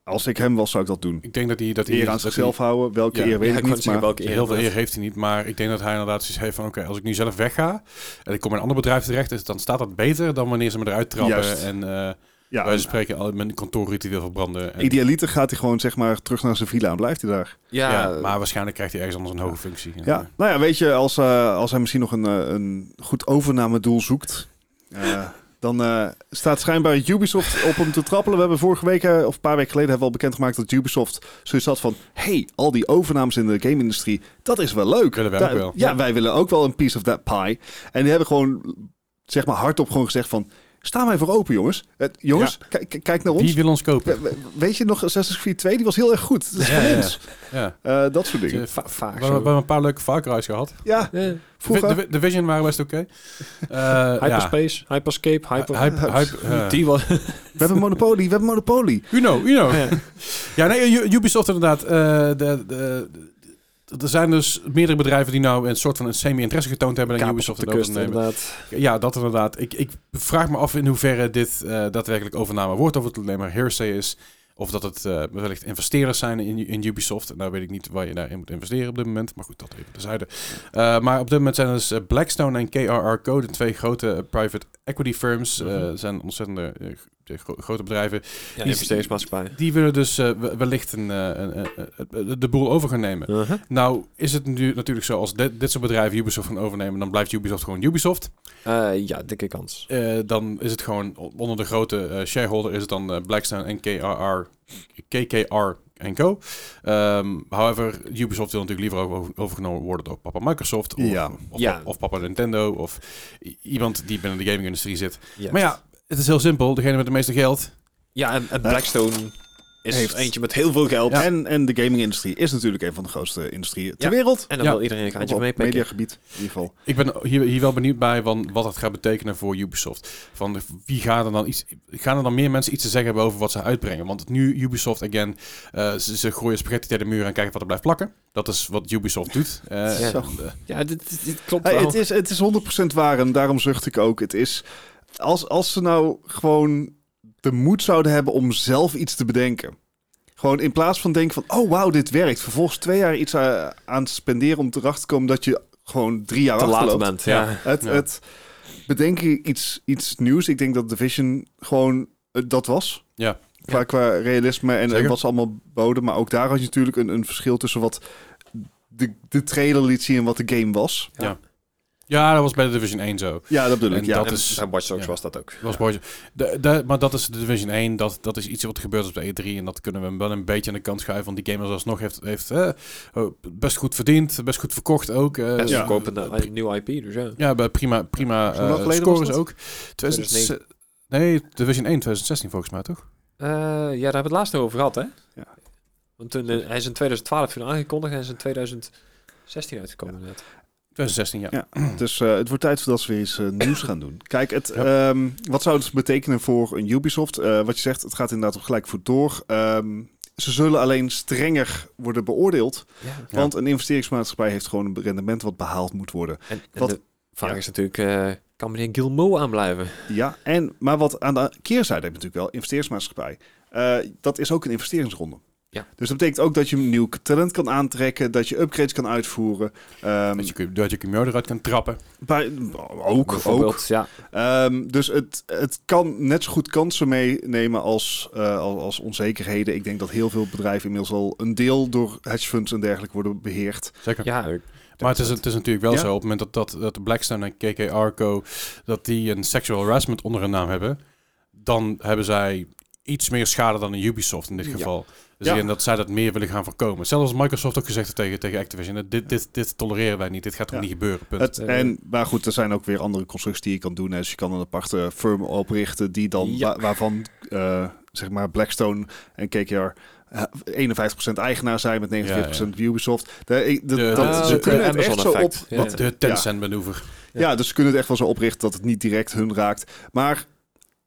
C: Als ik hem was, zou ik dat doen.
A: Ik denk dat hij... Dat hij
C: Eer aan
A: dat hij-
C: zichzelf houden. Welke
A: Ja.
C: eer weet
B: Ja,
C: ik
B: wou
C: niet,
B: zeggen,
C: maar
B: welke
A: Heel veel
B: inderdaad.
A: eer heeft hij niet, maar ik denk dat hij inderdaad zoiets heeft van... Oké, als ik nu zelf wegga en ik kom in een ander bedrijf terecht... dan staat dat beter dan wanneer ze me eruit trappen.
C: Juist.
A: En eh
C: ja,
A: wij spreken al mijn kantoorritueel verbranden. En,
C: idealiter gaat hij gewoon zeg maar terug naar zijn villa en blijft hij daar.
A: ja,
B: Ja, maar
A: maar waarschijnlijk krijgt hij ergens anders een hoge functie.
C: Ja, nou ja, weet je, als, eh, als hij misschien nog een, eh, een goed overnamedoel zoekt, eh, dan eh, staat schijnbaar Ubisoft op hem te trappelen. We hebben vorige week, eh, of een paar weken geleden, hebben we al bekendgemaakt dat Ubisoft zoiets had van, hey, al die overnames in de game-industrie, dat is wel leuk.
A: Willen wij
C: Daar-
A: ook wel.
C: Ja, wij willen ook wel een piece of that pie. En die hebben gewoon, zeg maar, hardop gewoon gezegd van, staan wij voor open, jongens. Eh, jongens, k- k- kijk naar ons.
A: Wie wil ons kopen?
C: We- we- Weet je nog, Assassin's Creed 2, die was heel erg goed. Dat is
A: Ja,
C: van
A: ja.
C: ons.
A: Ja.
C: Eh, dat soort dingen.
A: Eh,
B: va- vaak
A: We hebben we
B: zo.
A: hebben een paar leuke Far Cry's gehad.
C: Ja,
B: Ja.
A: De,
C: vroeger.
A: de Division waren best oké. Eh, ja.
B: Hyperspace, Hyperscape, Hyper...
A: Hype- hype- eh,
B: die was...
C: We hebben Monopoly, we hebben Monopoly.
A: Uno, Uno.
B: Ja.
A: Ja, nee, U- Ubisoft inderdaad. eh, de, de, de- er zijn dus meerdere bedrijven die nou een soort van een semi-interesse getoond hebben aan
B: Kapers
A: Ubisoft
B: op de
A: en
B: kust,
A: overnemen.
B: inderdaad.
A: Ja, dat inderdaad. Ik, ik vraag me af in hoeverre dit eh, daadwerkelijk overname wordt. Of het alleen maar hearsay is. Of dat het eh, wellicht investeerders zijn in, in Ubisoft. En nou weet ik niet waar je daarin moet investeren op dit moment. Maar goed, dat even terzijde. Eh maar op dit moment zijn dus eh, Blackstone en KRR Code, de twee grote eh, private equity firms. eh,
B: Mhm.
A: zijn ontzettende eh, gro- gro- grote bedrijven.
B: Ja,
A: Die-
B: investeringsmaatschappij.
A: Die willen dus eh, we- wellicht een, eh, een- een- een- de boel over gaan nemen.
B: Uh-huh.
A: Nou is het nu natuurlijk zo, als dit, dit soort bedrijven Ubisoft gaan overnemen, dan blijft Ubisoft gewoon Ubisoft.
B: Eh, ja, dikke kans.
A: Eh, dan is het gewoon o- onder de grote eh, shareholder is het dan eh, Blackstone en KRR, KKR en Co. Ehm, however, Ubisoft wil natuurlijk liever over- overgenomen worden door papa Microsoft of,
C: Ja.
A: of,
B: Ja.
A: of papa Nintendo of i- iemand die binnen de gaming-industrie zit.
B: Ja.
A: Maar ja, het is heel simpel. Degene met het meeste geld.
B: Ja, en, en Blackstone is
C: Heeft-
B: eentje met heel veel geld. En,
C: En, en de gaming-industrie is natuurlijk een van de grootste industrieën ter
B: Ja.
C: wereld.
B: dan
A: Ja.
B: wil iedereen een gaatje
C: Op
B: mee
C: het mediagebied in ieder geval.
A: Ik ben hier, hier wel benieuwd bij van wat het gaat betekenen voor Ubisoft. Van wie gaan er dan iets. Gaan er dan meer mensen iets te zeggen hebben over wat ze uitbrengen? Want nu Ubisoft again, eh, ze, ze gooien spaghetti tegen de muur en kijken wat er blijft plakken. Dat is wat Ubisoft doet. Eh,
B: Ja.
A: en, eh,
B: Ja, dit, dit- dit klopt
C: Hey,
B: wel.
C: het, is, het is 100% waar en daarom zucht ik ook. Het is, als, als ze nou gewoon de moed zouden hebben om zelf iets te bedenken. Gewoon in plaats van denken van, oh wauw, dit werkt. Vervolgens twee jaar iets aan, aan te spenderen om erachter te komen dat je gewoon drie jaar
B: te laat
C: achterloopt.
B: bent. Ja. Ja.
C: Het,
A: Ja.
C: het bedenken iets, iets nieuws. Ik denk dat Division gewoon eh, dat was.
A: Ja.
C: Qua, qua realisme en, en
A: Zeker.
C: wat ze allemaal boden. Maar ook daar had je natuurlijk een, een verschil tussen wat de, de trailer liet zien en wat de game was.
A: ja, dat was bij de Division 1 zo.
C: Ja, dat bedoel ik.
A: En
C: Ja.
A: dat is-
B: en Watch Dogs
A: ja.
B: was dat ook.
A: Dat was boys. De, de- maar dat is de Division 1. Dat, dat is iets wat gebeurt op de E3. En dat kunnen we hem wel een beetje aan de kant schuiven. Want die game alsnog heeft, heeft eh, best goed verdiend. Best goed verkocht ook. eh,
B: Best
C: Ja.
B: verkopende een nieuw IP, dus ja.
A: Ja, bij prima, prima
C: Zo lang
A: eh,
C: geleden was
A: scores
C: dat?
A: ook. 2009. Nee, Division 1 2016 volgens mij, toch?
B: Eh, ja, daar hebben we het laatst nog over gehad, hè?
C: Ja.
B: Want toen, eh, hij is in 2012 toen aangekondigd en is in 2016 uitgekomen. net.
A: 2016, ja.
C: Ja. Dus eh, het wordt tijd voordat ze weer eens eh, nieuws gaan doen. Kijk, het, ehm, wat zou het betekenen voor een Ubisoft? Eh, wat je zegt, het gaat inderdaad op gelijk voet door. Ehm, ze zullen alleen strenger worden beoordeeld.
B: Ja.
A: Ja.
C: Want een investeringsmaatschappij heeft gewoon een rendement wat behaald moet worden.
B: En, en
C: Wat-
B: de vraag
C: Ja.
B: is natuurlijk, eh, Kan meneer Gilmo aanblijven?
C: Ja, en, maar wat aan de keerzijde heb je natuurlijk wel, investeersmaatschappij. Eh, dat is ook een investeringsronde.
B: Ja.
C: Dus dat betekent ook dat je nieuw talent kan aantrekken, dat je upgrades kan uitvoeren. Ehm,
A: Dat je, dat je Kimio eruit kan trappen.
C: bij, ook, ook.
B: Bijvoorbeeld, ja.
C: Ehm, dus het, het kan net zo goed kansen meenemen als, eh, als, als onzekerheden. Ik denk dat heel veel bedrijven inmiddels al een deel door hedge funds en dergelijke worden beheerd.
A: Zeker.
B: Ja, ik-
A: maar het is, het is natuurlijk wel
C: Ja.
A: zo, op het moment dat, dat, dat Blackstone en KK Arco, dat die een sexual harassment onder hun naam hebben, dan hebben zij iets meer schade dan een Ubisoft in dit
B: Ja.
A: geval. Dus
C: Ja.
A: ik denk dat zij dat meer willen gaan voorkomen. Zelfs als Microsoft ook gezegd heeft tegen, tegen Activision, eh, dit, dit, dit tolereren wij niet, dit gaat toch
C: Ja.
A: niet gebeuren, punt.
C: Het,
B: Eh,
C: en, maar goed, er zijn ook weer andere constructies die je kan doen. hè. Dus je kan een aparte firm oprichten die dan,
B: Ja.
C: wa- waarvan eh, zeg maar Blackstone en KKR eh, 51% eigenaar zijn met 49% Ubisoft. De, ik- de-
A: De-
C: dat,
A: de-
C: ze
A: de
C: kunnen het echt zo op.
B: Amazon-effect. Ja.
A: Wat de Tencent-manoeuvre.
C: Ja. dus ze kunnen het echt wel zo oprichten dat het niet direct hun raakt. Maar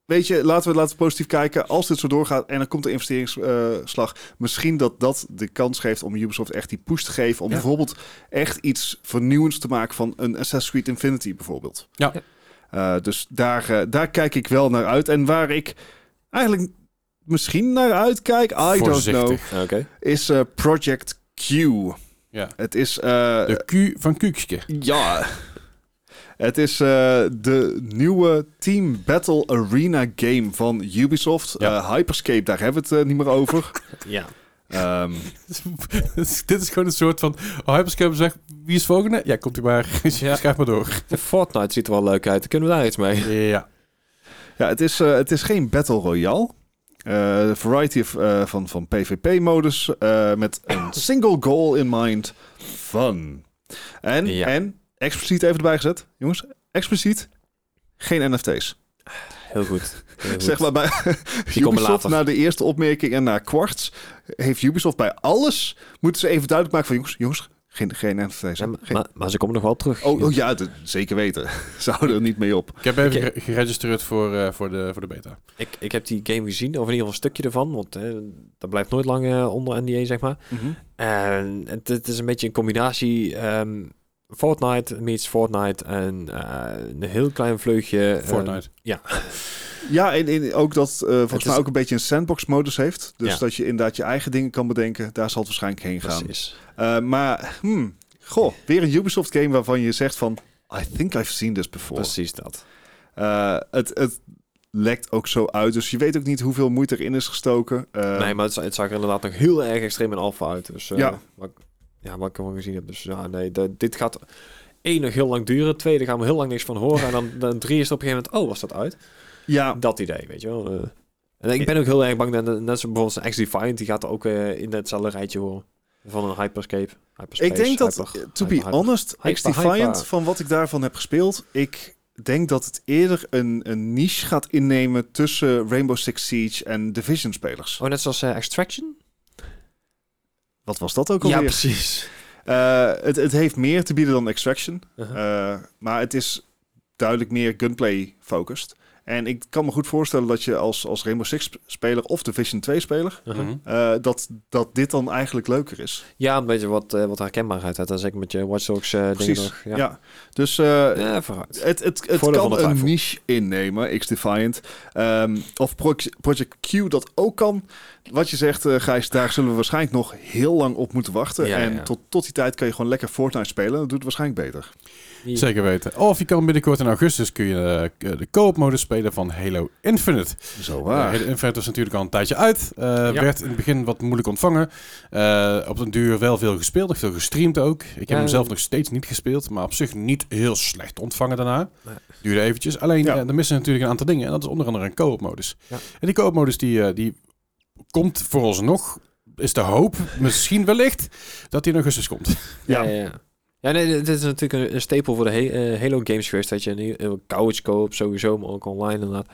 C: weet je, laten we, laten we positief kijken. Als dit zo doorgaat en er komt een investeringsslag, eh, misschien dat dat de kans geeft om Ubisoft echt die push te geven. Om
A: Ja.
C: bijvoorbeeld echt iets vernieuwends te maken van een Assassin's Creed Infinity bijvoorbeeld.
A: Ja.
B: Ja.
C: Eh, dus daar, eh, daar kijk ik wel naar uit. En waar ik eigenlijk misschien naar uitkijk, I don't know,
A: Voorzichtig.
B: Oké.
C: is eh, Project Q.
A: Ja.
C: Het is... eh,
A: De Q van Kuukske.
C: ja. Het is eh, de nieuwe Team Battle Arena game van Ubisoft.
A: Ja.
C: Eh, Hyperscape, daar hebben we het eh, niet meer over.
B: Ja.
C: Ehm,
A: Dit is gewoon een soort van... Oh, Hyperscape zegt, wie is volgende? Ja, komt u maar. Schrijf maar door.
B: De Fortnite ziet er wel leuk uit. Kunnen we daar iets mee?
A: Ja.
C: ja, het is, eh, het is geen Battle Royale. Eh, Een variety of, eh, van, van PvP-modus eh, met een single goal in mind. Fun. En,
B: Ja.
C: en expliciet even erbij gezet. Jongens, expliciet. Geen NFT's.
B: Heel goed. Heel goed.
C: Zeg maar bij
B: Die komen
C: Ubisoft,
B: later.
C: na de eerste opmerking en na kwarts, heeft Ubisoft bij alles, moeten ze even duidelijk maken van jongens, jongens geen, geen NFT's.
B: Ja,
C: hè?
B: maar,
C: Geen-
B: maar, maar ze komen nog wel terug.
C: oh, oh ja, dat- zeker weten. ze houden er niet mee op.
A: Ik heb even gere- geregistreerd voor, eh, voor, de, voor de beta.
B: Ik, ik heb die game gezien, of in ieder geval een stukje ervan. Want eh, dat blijft nooit lang eh, onder NDA, zeg maar. En het, het is een beetje een combinatie. ehm, Fortnite meets Fortnite en eh, een heel klein vleugje. eh,
A: Fortnite.
C: Ja, en, en ook dat eh, volgens
B: is-
C: mij ook een beetje een sandbox-modus heeft. Dus
B: Ja.
C: dat je inderdaad je eigen dingen kan bedenken. Daar zal het waarschijnlijk heen gaan.
B: precies.
C: Eh, maar, hmm, goh, weer een Ubisoft-game waarvan je zegt van... I think I've seen this before.
B: Precies dat.
C: Eh, het, het lekt ook zo uit. Dus je weet ook niet hoeveel moeite erin is gestoken. Eh,
B: nee, maar het, za- het zag er inderdaad nog heel erg extreem in alfa uit. Dus, eh,
C: Ja.
B: Wat, ik- ja, wat ik ervan gezien heb. Dus ja, nee, dat- dit gaat één nog heel lang duren. Twee, daar gaan we heel lang niks van horen. En dan, dan drie is er op een gegeven moment, oh, was dat uit?
C: Ja,
B: Dat idee, weet je wel. eh. en ik ben ook heel erg bang, dat, net zoals bijvoorbeeld een X-Defiant, die gaat er ook eh, in hetzelfde rijtje horen. Van een Hyperscape. Hyperspace,
C: Ik denk dat, eh,
B: hyper-
C: to be
B: hyper- hyper-
C: honest,
B: hyper-
C: X-Defiant,
B: hyper.
C: van wat ik daarvan heb gespeeld, ik denk dat het eerder een, een niche gaat innemen tussen Rainbow Six Siege en Division-spelers.
B: Oh, net zoals eh, Extraction?
C: Wat was dat ook alweer?
B: precies.
C: Eh, het, het heeft meer te bieden dan Extraction,
B: Uh-huh.
C: eh, maar het is duidelijk meer gunplay-focused. En ik kan me goed voorstellen dat je als, als Rainbow Six-speler of Division 2-speler,
B: Uh-huh.
A: Mhm.
C: eh, dat, dat dit dan eigenlijk leuker is.
B: Ja, een beetje wat, eh, wat herkenbaarheid uit. En zeker met je Watch Dogs eh, dingen
C: Precies,
B: nog.
C: Ja.
B: Ja, ja.
C: Dus eh,
B: vooruit.
C: Het, het, het
B: Voordeel van
C: kan
B: de
C: een
B: twijfel.
C: niche innemen, X-Defiant. Ehm, of Prox- Project Q dat ook kan. Wat je zegt, eh Gijs, daar zullen we waarschijnlijk nog heel lang op moeten wachten.
B: Ja, ja,
C: en
B: ja.
C: Tot, tot die tijd kan je gewoon lekker Fortnite spelen. Dat doet het waarschijnlijk beter.
B: Ja.
A: Zeker weten. Of je kan binnenkort in augustus kun je eh, de co-op modus spelen van Halo Infinite.
C: Zo
A: Eh, Halo Infinite was natuurlijk al een tijdje uit. Eh,
B: Ah. Ja.
A: Werd in het begin wat moeilijk ontvangen. Eh, op den duur wel veel gespeeld, veel gestreamd ook. Ik heb
B: Ja.
A: hem zelf nog steeds niet gespeeld, maar op zich niet heel slecht ontvangen daarna.
B: Nee.
A: Duurde eventjes. Alleen
C: Ja.
A: eh, er missen natuurlijk een aantal dingen en dat is onder andere een co-op modus.
B: Ja.
A: En die co-op modus die, eh, die komt vooralsnog, is de hoop, misschien wellicht, dat die in augustus komt.
B: Ja,
C: Ja.
B: ja, ja. Ja, nee, dit is natuurlijk een, een stapel voor de he- eh, Halo games geweest. Dat je een, een couch koopt sowieso, maar ook online inderdaad.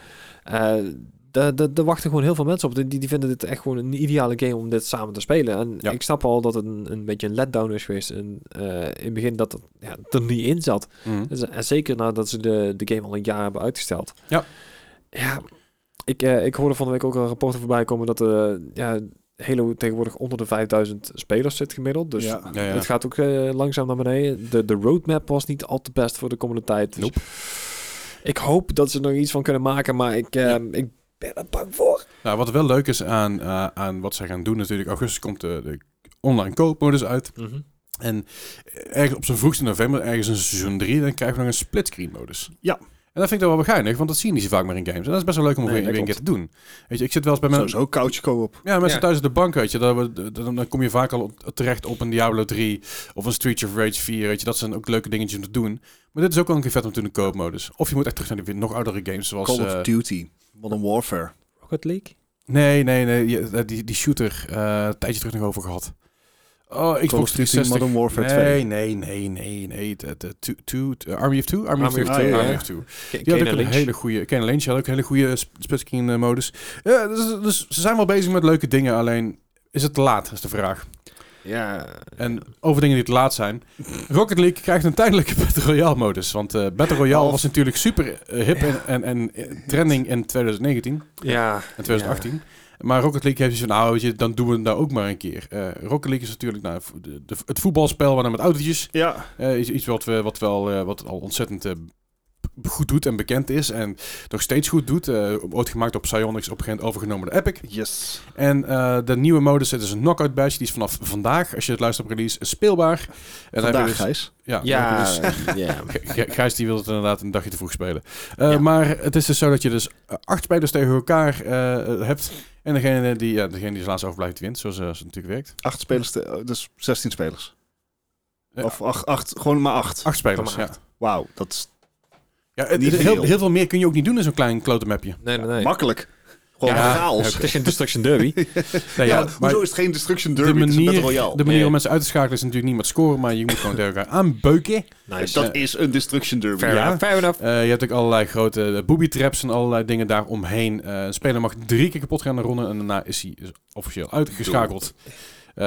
B: Eh, daar- daar daar wachten gewoon heel veel mensen op. Die, die die vinden dit echt gewoon een ideale game om dit samen te spelen. En
A: Ja.
B: ik snap al dat het een, een beetje een letdown is geweest. En, eh, in het begin dat het ja, er niet in zat.
A: Mhm.
B: Dus, En zeker nadat ze de, de game al een jaar hebben uitgesteld.
A: Ja.
B: Ja, ik, eh, ik hoorde van de week ook al rapporten voorbij komen dat eh ja, Halo tegenwoordig onder de 5000 spelers zit gemiddeld. Dus
C: ja.
A: Ja, ja.
B: het gaat ook eh, langzaam naar beneden. De, de roadmap was niet al te best voor de komende tijd. Dus
A: Nope.
B: Ik hoop dat ze er nog iets van kunnen maken, maar ik, eh, ik ben er bang voor.
A: Nou, wat wel leuk is aan, eh, aan wat ze gaan doen natuurlijk. Augustus komt de, de online koopmodus uit. En ergens op zijn vroegste november, ergens in seizoen 3, dan krijgen we nog een splitscreen modus.
C: Ja.
A: En dat vind ik dan wel geinig, want dat zie je niet zo vaak meer in games. En dat is best wel leuk om
B: Nee,
A: weer
B: dat
A: weer een keer te doen. Weet je, ik zit wel eens bij mijn,
C: Sowieso couch co-op.
A: Ja, mensen
B: Ja.
A: thuis op de bank, weet je. Dan, we- dan, dan kom je vaak al op- terecht op een Diablo 3 of een Street of Rage 4, weet je. Dat zijn ook leuke dingetjes om te doen. Maar dit is ook wel een keer vet om te doen in koopmodus. Of je moet echt terug naar die nog oudere games, zoals...
C: Call
A: eh,
C: of Duty. Modern Warfare.
B: Rocket League?
A: nee, nee, nee. je- eh, die, die shooter, eh, een tijdje terug nog over gehad. Oh,
C: Call
A: Xbox
C: of Duty
A: 360.
C: Modern Warfare 2.
A: Nee, nee, nee, nee, nee. De, de, two, two, eh, Army of Two? Army,
B: Army
A: of
B: of
A: Two. Ah,
C: Two,
A: Army
C: ja.
A: of Two.
B: Ken-
A: Die
B: Ken
A: had
B: en
A: ook een
B: Lynch.
A: hele goede... Ken Lynch had ook een hele goede splitscreen eh, modus. Ja, dus, dus ze zijn wel bezig met leuke dingen, alleen... Is het te laat, is de vraag.
B: Ja.
A: En over dingen die te laat zijn. Rocket League krijgt een tijdelijke Battle Royale modus. Want eh, Battle Royale
B: Oh.
A: was natuurlijk super eh, hip en, en, en eh, trending in 2019
B: Ja.
A: en 2018. Maar Rocket League heeft zoiets van, nou weet je, dan doen we het nou ook maar een keer. Eh, Rocket League is natuurlijk nou, vo- de- de- het voetbalspel, maar dan met autootjes.
C: Ja.
A: Eh, iets, iets wat, we, wat, wel, eh, wat al ontzettend eh, b- goed doet en bekend is. En nog steeds goed doet. Eh, ooit gemaakt op Psyonix, op een gegeven moment overgenomen door Epic.
C: Yes.
A: En eh, de nieuwe modus, het is een knockout badge. Die is vanaf vandaag, als je het luistert op release, speelbaar. En dan heb je
C: Vandaag,
A: dus-
C: Gijs.
A: Ja, dan heb
B: Ja.
A: je dus-
B: ja.
A: G- G- Gijs die wil het inderdaad een dagje te vroeg spelen. Eh,
B: Ja.
A: Maar het is dus zo dat je dus eh, acht spelers tegen elkaar eh, hebt. En degene die, ja, degene die als laatste overblijft, wint. Zoals eh, zoals het natuurlijk werkt.
C: Acht spelers, te- dus 16 spelers.
A: Ja.
C: Of acht, acht, gewoon maar acht.
A: Acht spelers,
B: Maar
A: ja.
B: acht.
C: Wauw, dat is
A: ja het-
C: Niet
A: heel,
C: veel.
A: heel veel meer kun je ook niet doen in zo'n klein klote mapje.
B: Nee, nee, nee.
C: makkelijk. Gewoon
B: Ja,
C: chaos.
B: Het is geen Destruction Derby.
A: Nee,
C: Ja,
A: ja, maar
C: hoezo is het geen Destruction
A: de
C: Derby? het is een Battle
A: manier,
C: Royale.
A: de manier
B: Nee.
A: om mensen uit te schakelen is natuurlijk niet met scoren. Maar je moet gewoon tegen elkaar aanbeuken.
B: Nice.
C: dat is een Destruction Derby.
B: fair,
A: Ja.
B: enough. fair enough.
A: Eh, je hebt ook allerlei grote eh, booby traps en allerlei dingen daaromheen. Eh een speler mag drie keer kapot gaan naar ronden en daarna is hij dus officieel uitgeschakeld. Eh,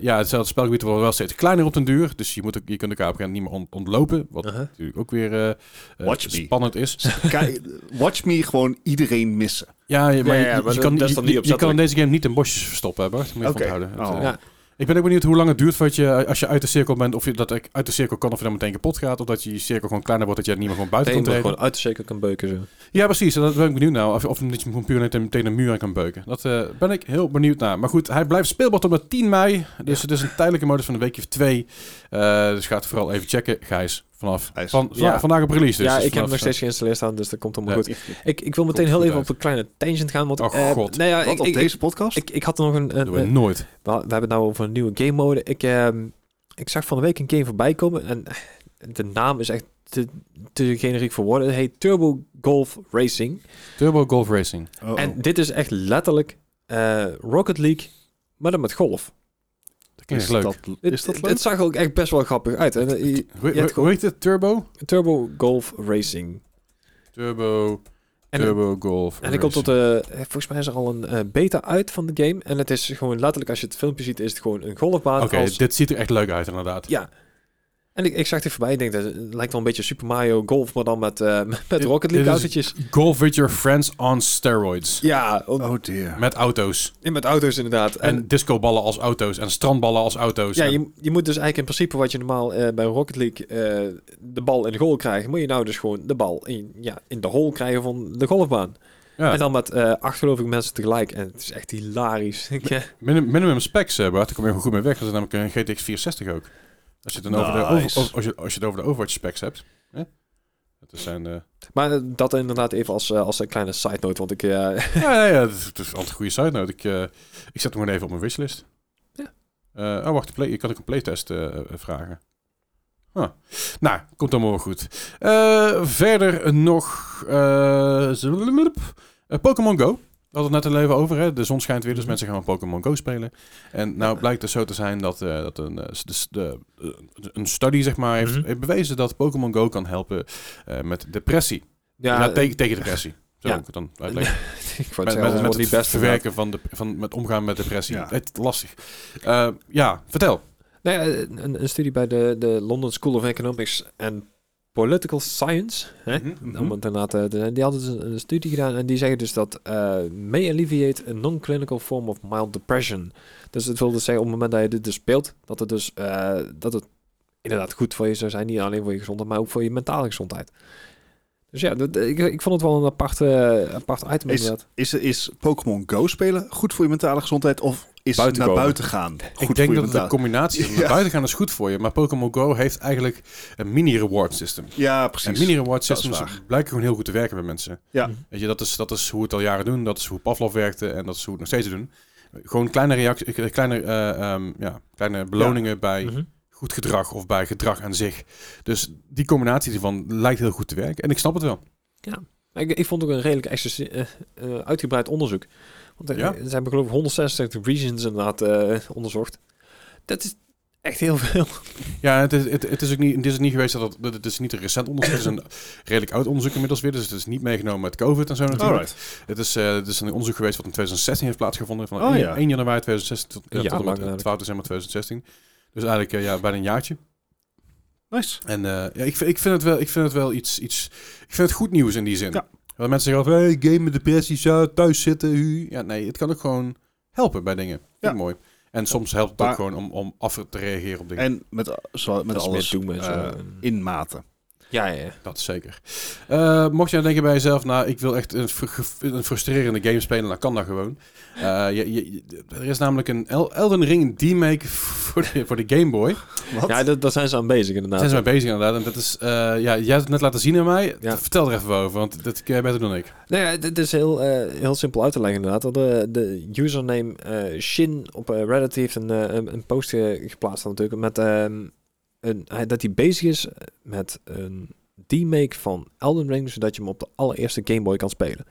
A: ja, hetzelfde spelgebied wordt wel steeds kleiner op den duur. Dus je, moet ook, je kunt elkaar op een gegeven moment niet meer ont- ontlopen. Wat
B: Uh-huh.
A: natuurlijk ook weer eh, eh,
C: Watch me.
A: spannend is.
C: Kijk, watch me gewoon iedereen missen.
A: Ja, je- maar
B: Ja,
A: je-
B: ja,
A: je,
B: maar
A: je
B: dat-
A: kan,
B: dat is
A: je,
B: dan niet
A: je- je kan in
B: opzettelijk.
A: deze game niet in bosjes verstoppen, hè, Bart. Moet je
C: Oké.
A: van onthouden. Het,
C: Oh.
A: eh,
B: Ja.
A: Ik ben ook benieuwd hoe lang het duurt voordat je, als je uit de cirkel bent, of je dat ik uit de cirkel kan, of je dan meteen kapot gaat. Of dat je je cirkel gewoon kleiner wordt, dat je er niet meer gewoon buiten
B: Dat je
A: kan treden.
B: gewoon uit de zeker kan beuken zo.
A: Ja, precies. En dat ben ik benieuwd naar. Of, of dat je hem puur net meteen een muur aan kan beuken. Dat eh, ben ik heel benieuwd naar. Maar goed, hij blijft speelbaar tot en met 10 mei. Dus het is een tijdelijke modus van een weekje of twee. Eh, dus ga het vooral even checken, Gijs. Vanaf
C: Gijs.
A: van, van-
B: Ja.
A: vandaag op release dus.
B: ja,
A: Dus
B: ik heb hem
A: vanaf-
B: nog steeds geïnstalleerd staan, dus dat komt allemaal
A: Ja.
B: goed. Ik, ik wil meteen
A: Komt
B: heel
A: goed
B: even
A: uit.
B: op een kleine tangent gaan, want...
A: Oh,
B: eh,
A: God.
B: nou ja,
C: Wat,
B: ik,
C: op
B: ik,
C: deze podcast?
B: ik, ik had er nog een... een-
A: eh, doen we
B: een-
A: nooit.
B: we, we hebben het nou over een nieuwe game mode. Ik, ehm, ik zag van de week een game voorbij komen en eh, de naam is echt te, te generiek voor woorden. Het heet Turbo Golf Racing.
A: Turbo Golf Racing.
C: Oh, oh.
B: En dit is echt letterlijk eh, Rocket League, maar dan met golf.
A: Dat klinkt leuk.
B: Het-
C: is dat
B: het-
C: leuk?
B: Het zag er ook echt best wel grappig uit. En, eh, je-
A: Hoe-
B: hebt
A: hoe- Hoe heet het? Turbo?
B: Turbo Golf Racing.
A: Turbo,
B: En-
A: Turbo Golf
B: En ik kom tot de. Volgens mij is er al een eh, beta uit van de game. En het is gewoon letterlijk, als je het filmpje ziet, is het gewoon een golfbaan.
A: Oké,
B: als-
A: dit ziet er echt leuk uit inderdaad.
B: Ja. En ik, ik zag dit voorbij. Ik denk dat het lijkt wel een beetje Super Mario Golf, maar dan met, eh, met
A: Dit-
B: Rocket
A: dit
B: League
A: is-
B: autootjes.
A: Golf with your friends on steroids.
B: Ja, ook-
C: Oh dear.
A: Met auto's.
B: en met auto's inderdaad.
A: En,
B: En,
A: discoballen als auto's. En strandballen als auto's.
B: ja,
A: En-
B: je, je moet dus eigenlijk in principe wat je normaal eh, bij Rocket League eh, de bal in de goal krijgt, moet je nou dus gewoon de bal in, ja, in de hole krijgen van de golfbaan.
A: Ja.
B: En dan met eh acht geloof ik mensen tegelijk. En het is echt hilarisch. Ik, eh,
A: Minim- minimum specs, eh, Bart. Daar kom je gewoon goed mee weg. Dat is namelijk een GTX 64 ook. Als je het, dan over, de over,
C: Nice.
A: over- als je, als je het over de Overwatch specs hebt. Hè? Dat zijn... eh,
B: maar eh, dat inderdaad even als, eh, als een kleine side note, want ik... eh,
A: ja, ja, ja, het is, het is altijd een goede side note. Ik, eh, ik zet hem gewoon even op mijn wishlist.
B: Ja.
A: Eh, oh, wacht. Play, je kan ook een playtest eh, eh, vragen. Huh. Nou, komt allemaal wel goed. Eh, verder nog... eh, zululup. Eh, Pokémon Go. We hadden het net al even over, hè? De zon schijnt weer, dus
B: Mhm.
A: mensen gaan wel Pokémon Go spelen. En nou blijkt het zo te zijn dat, eh, dat een, eh, s- de, s- de, eh, een studie, zeg maar, heeft,
B: Mhm.
A: heeft bewezen dat Pokémon Go kan helpen eh, met depressie. Ja,
B: ja, eh,
A: tegen- tegen depressie. Zo
B: ja.
A: moet ik het dan uitleggen. Met,
B: ik wou het
A: met,
B: zeggen,
A: met
B: met,
A: het
B: niet best verwerken.
A: verwerken van, de, van met omgaan met depressie.
C: Ja.
A: Het, lastig. Eh, ja, vertel.
B: Nou ja, een, een studie bij de, de London School of Economics and Political Science. Hè?
A: Hm? Mhm.
B: Om het inderdaad, eh, te- die hadden dus een, een studie gedaan en die zeggen dus dat eh, may alleviate a non-clinical form of mild depression. Dus dat wil dus zeggen, op het moment dat je dit dus speelt, dat het dus eh, dat het inderdaad goed voor je zou zijn. Niet alleen voor je gezondheid, maar ook voor je mentale gezondheid. Dus ja, dat- ik, ik vond het wel een aparte, apart item inderdaad.
C: Is, is Pokémon Go spelen goed voor je mentale gezondheid? Of is
A: Buiten
C: naar
A: komen.
C: buiten gaan goed
A: ik
C: voor je
A: denk dat het een
C: mentale
A: combinatie is.
C: Ja.
A: Naar buiten gaan is goed voor je, maar Pokémon Go heeft eigenlijk een mini-reward system.
C: Ja,
A: En
C: precies.
A: mini-reward
C: Dat is
A: systems
C: waar.
A: blijken gewoon heel goed te werken bij mensen.
C: Ja.
A: Weet je, dat is, dat is hoe het al jaren doen, dat is hoe Pavlov werkte en dat is hoe we het nog steeds doen. Gewoon kleine, reactie, eh, kleine, eh, ehm, ja, kleine beloningen bij
B: Mhm.
A: goed gedrag of bij gedrag aan zich. Dus die combinatie ervan lijkt heel goed te werken. En ik snap het wel.
B: Ik, ik vond ook een redelijk exces- eh, eh, uitgebreid onderzoek. Want er-
A: Ja.
B: er zijn geloof ik 166 regions inderdaad eh, onderzocht. Dat is echt heel veel.
A: Ja, het is, het, het is ook niet, het is niet geweest dat het, dat- het is niet een recent onderzoek is. Het is een redelijk oud onderzoek inmiddels weer. Dus het is niet meegenomen met COVID en zo natuurlijk.
C: Alright.
A: Het is, eh, het is een onderzoek geweest wat in 2016 heeft plaatsgevonden. Van
C: Oh,
A: 1,
C: ja.
A: 1 januari 2016 tot, ja,
B: Ja,
A: tot en met
B: lang eigenlijk.
A: 12 december 2016. Dus eigenlijk eh, ja, bijna een jaartje.
C: Nice.
A: En eh, ja, ik, vind- ik vind het wel, ik vind het wel iets, iets... Ik vind het goed nieuws in die zin.
C: Ja.
A: Want mensen zeggen altijd, hey, gamen, depressies, ja, thuis zitten, hu. Ja, nee, het kan ook gewoon helpen bij dingen. Vind ik mooi. En soms helpt het
C: Maar-
A: ook gewoon om, om af te reageren op dingen.
C: En met, zo, met
B: Dat is
C: alles
B: meer doen met zo.
C: eh, in mate.
B: Ja, ja, ja.
A: Dat zeker. Eh, mocht je nou denken bij jezelf, nou, ik wil echt een, fr- ge- een frustrerende game spelen, dan kan dat gewoon. Eh, je, je, je- er is namelijk een El- Elden Ring remake voor de, voor de Game Boy.
C: Wat?
B: ja dat- daar zijn ze aan bezig inderdaad.
A: Daar zijn ze mee bezig inderdaad. En dat is, eh, ja, jij hebt het net laten zien aan mij.
B: Ja.
A: Vertel er even over, want dat ken jij beter dan ik.
B: Nou ja, dit is heel, eh, heel simpel uit te leggen inderdaad. De, de username eh, Shin op eh, Reddit heeft een, eh, een, een post eh, geplaatst dan natuurlijk met ehm, een, hij- dat hij bezig is eh, met een remake van Elden Ring, zodat je hem op de allereerste Game Boy kan spelen.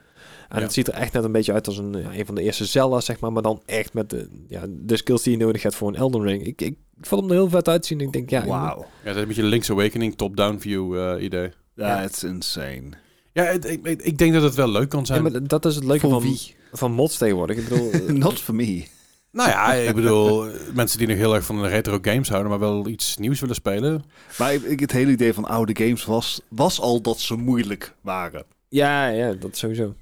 B: En
A: Ja.
B: het ziet er echt net een beetje uit als een, ja, een van de eerste Zelda's, zeg maar, maar dan echt met de, ja, de skills die je nodig hebt voor een Elden Ring. Ik, ik, ik vond hem er heel vet uitzien. Ik denk, ja, ik moet-
C: Wauw.
A: Ja, dat is een beetje een Link's Awakening top-down view eh, idee.
B: Ja.
C: That's insane.
A: Ja, het- ik, ik, ik denk dat het wel leuk kan
B: ja,
A: zijn.
B: maar dat is het leuke
C: Voor
B: van,
C: wie?
B: van mods tegenwoordig. Ik bedoel,
C: Not for me.
A: Nou ja, ik bedoel, mensen die nog heel erg van de retro games houden, maar wel iets nieuws willen spelen.
C: Maar ik- ik- het hele idee van oude games was, was al dat ze moeilijk waren.
B: ja, ja, dat sowieso.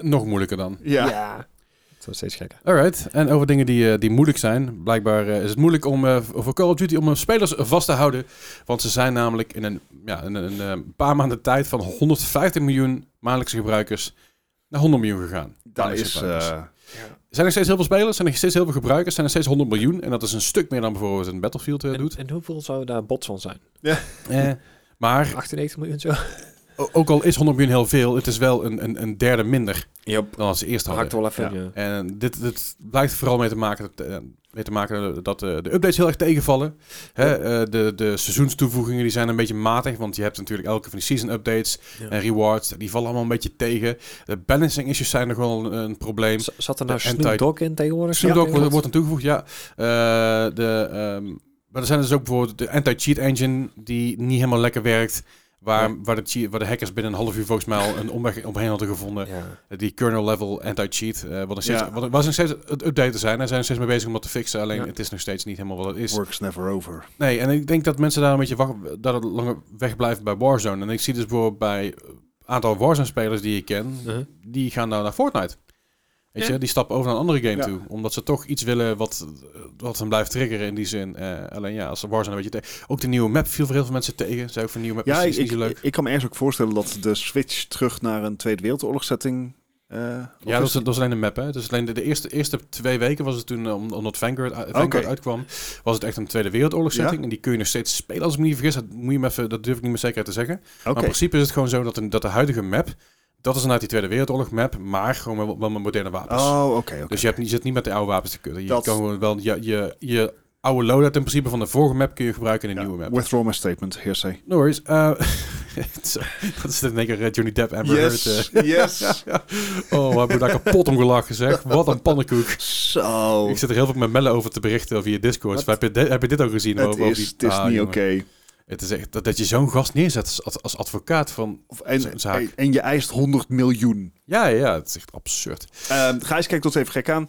A: Nog moeilijker dan.
C: Ja.
B: Het wordt steeds gekker.
A: Alright, en over dingen die, eh, die moeilijk zijn. Blijkbaar eh, is het moeilijk om eh, voor Call of Duty om eh, spelers vast te houden. Want ze zijn namelijk in een, ja, in een, eh, paar maanden tijd van 150 miljoen maandelijkse gebruikers naar 100 miljoen gegaan.
C: Daar
A: Maandelijkse
C: is...
A: gebruikers.
C: eh,
A: Zijn er steeds heel veel spelers, zijn er steeds heel veel gebruikers, zijn er steeds 100 miljoen. En dat is een stuk meer dan bijvoorbeeld een Battlefield eh, doet.
B: En, en hoeveel zou daar bots van zijn?
A: Eh, maar
B: 98 miljoen zo?
A: o- ook al is 100 miljoen heel veel, het is wel een, een, een derde minder
B: Yep.
A: dan als ze eerst
B: Dat
A: hadden.
B: haakt wel even
C: Ja.
B: in, ja.
A: En dit, dit blijkt vooral mee te maken dat, eh, mee te maken dat eh, de updates heel erg tegenvallen. Hè, eh, de, de seizoenstoevoegingen die zijn een beetje matig, want je hebt natuurlijk elke van die season updates
B: Ja.
A: en rewards, die vallen allemaal een beetje tegen. De balancing issues zijn nog wel een, een probleem.
B: Z- Zat er nou
A: De anti-
B: Snoop Dogg in tegenwoordig?
A: Snoop Dogg wordt,
B: Tegenwoordig?
A: wordt aan toegevoegd, ja. Eh, de, ehm, maar er zijn dus ook bijvoorbeeld de anti-cheat engine die niet helemaal lekker werkt. Waar, waar, de, che- waar de hackers binnen een half uur volgens mij al een omweg omheen hadden gevonden.
B: Ja.
A: Die kernel level anti-cheat, eh, wat nog steeds,
C: Ja.
A: wat, was nog steeds het updaten zijn. Daar zijn we steeds mee bezig om dat te fixen. Alleen
B: Ja.
A: het is nog steeds niet helemaal wat het is.
C: Works never over.
A: Nee, en ik denk dat mensen daar een beetje wacht, dat het langer wegblijven bij Warzone. En ik zie dus bijvoorbeeld bij een aantal Warzone-spelers die ik ken,
B: Uh-huh.
A: die gaan nou naar Fortnite. Weet
B: Ja.
A: je, die stappen over naar een andere game
C: Ja.
A: toe. Omdat ze toch iets willen wat, wat hen blijft triggeren in die zin. Eh, alleen ja, als Warzone een beetje tegen... Ook de nieuwe map viel voor heel veel mensen tegen. Zijn ook van nieuwe map is
C: Ja, ik,
A: niet
C: ik,
A: zo leuk.
C: ik kan me ergens ook voorstellen dat de switch terug naar een Tweede Wereldoorlogsetting... eh, of
A: Ja, dat was, dat was alleen de map, hè. Dus alleen de, de eerste, eerste twee weken was het toen, eh, om- omdat Vanguard, eh, Vanguard
C: Oké.
A: uitkwam, was het echt een Tweede Wereldoorlog setting. En die kun je nog steeds spelen, als ik me niet vergis. Dat, moet je me even, dat durf ik niet met zekerheid te zeggen.
C: Oké.
A: Maar in principe is het Oh, gewoon zo dat, een, dat de huidige map, dat is inderdaad die Tweede Wereldoorlog map, maar gewoon wel, wel met moderne wapens.
C: Oh, oké, oké.
A: Dus je, hebt, niet- je zit niet met de oude wapens te kunnen. Je
C: Dat-
A: kan gewoon wel je, je, je oude loadout in principe van de vorige map kun je gebruiken in de
C: Ja,
A: nieuwe map.
C: Withdraw my statement, hearsay.
A: No worries. Eh, zo, dat is in één keer eh, Johnny Depp Amber Heard. eh.
C: yes.
A: Oh, we hebben daar kapot om gelachen, zeg. Wat een pannenkoek.
C: Zo.
A: Ik zit er heel veel met Melle over te berichten via Discord. Heb je, dit- heb je dit ook gezien?
C: Het
A: Over- over
C: is,
A: die-
C: het is
A: Ah,
C: niet oké.
A: jongen. Het is echt dat, dat je zo'n gast neerzet als, ad- als advocaat van...
C: Of- En,
A: Zo'n zaak.
C: en- en je eist 100 miljoen.
A: Ja, ja, het is echt absurd.
C: Ehm Gijs kijkt ons even gek aan.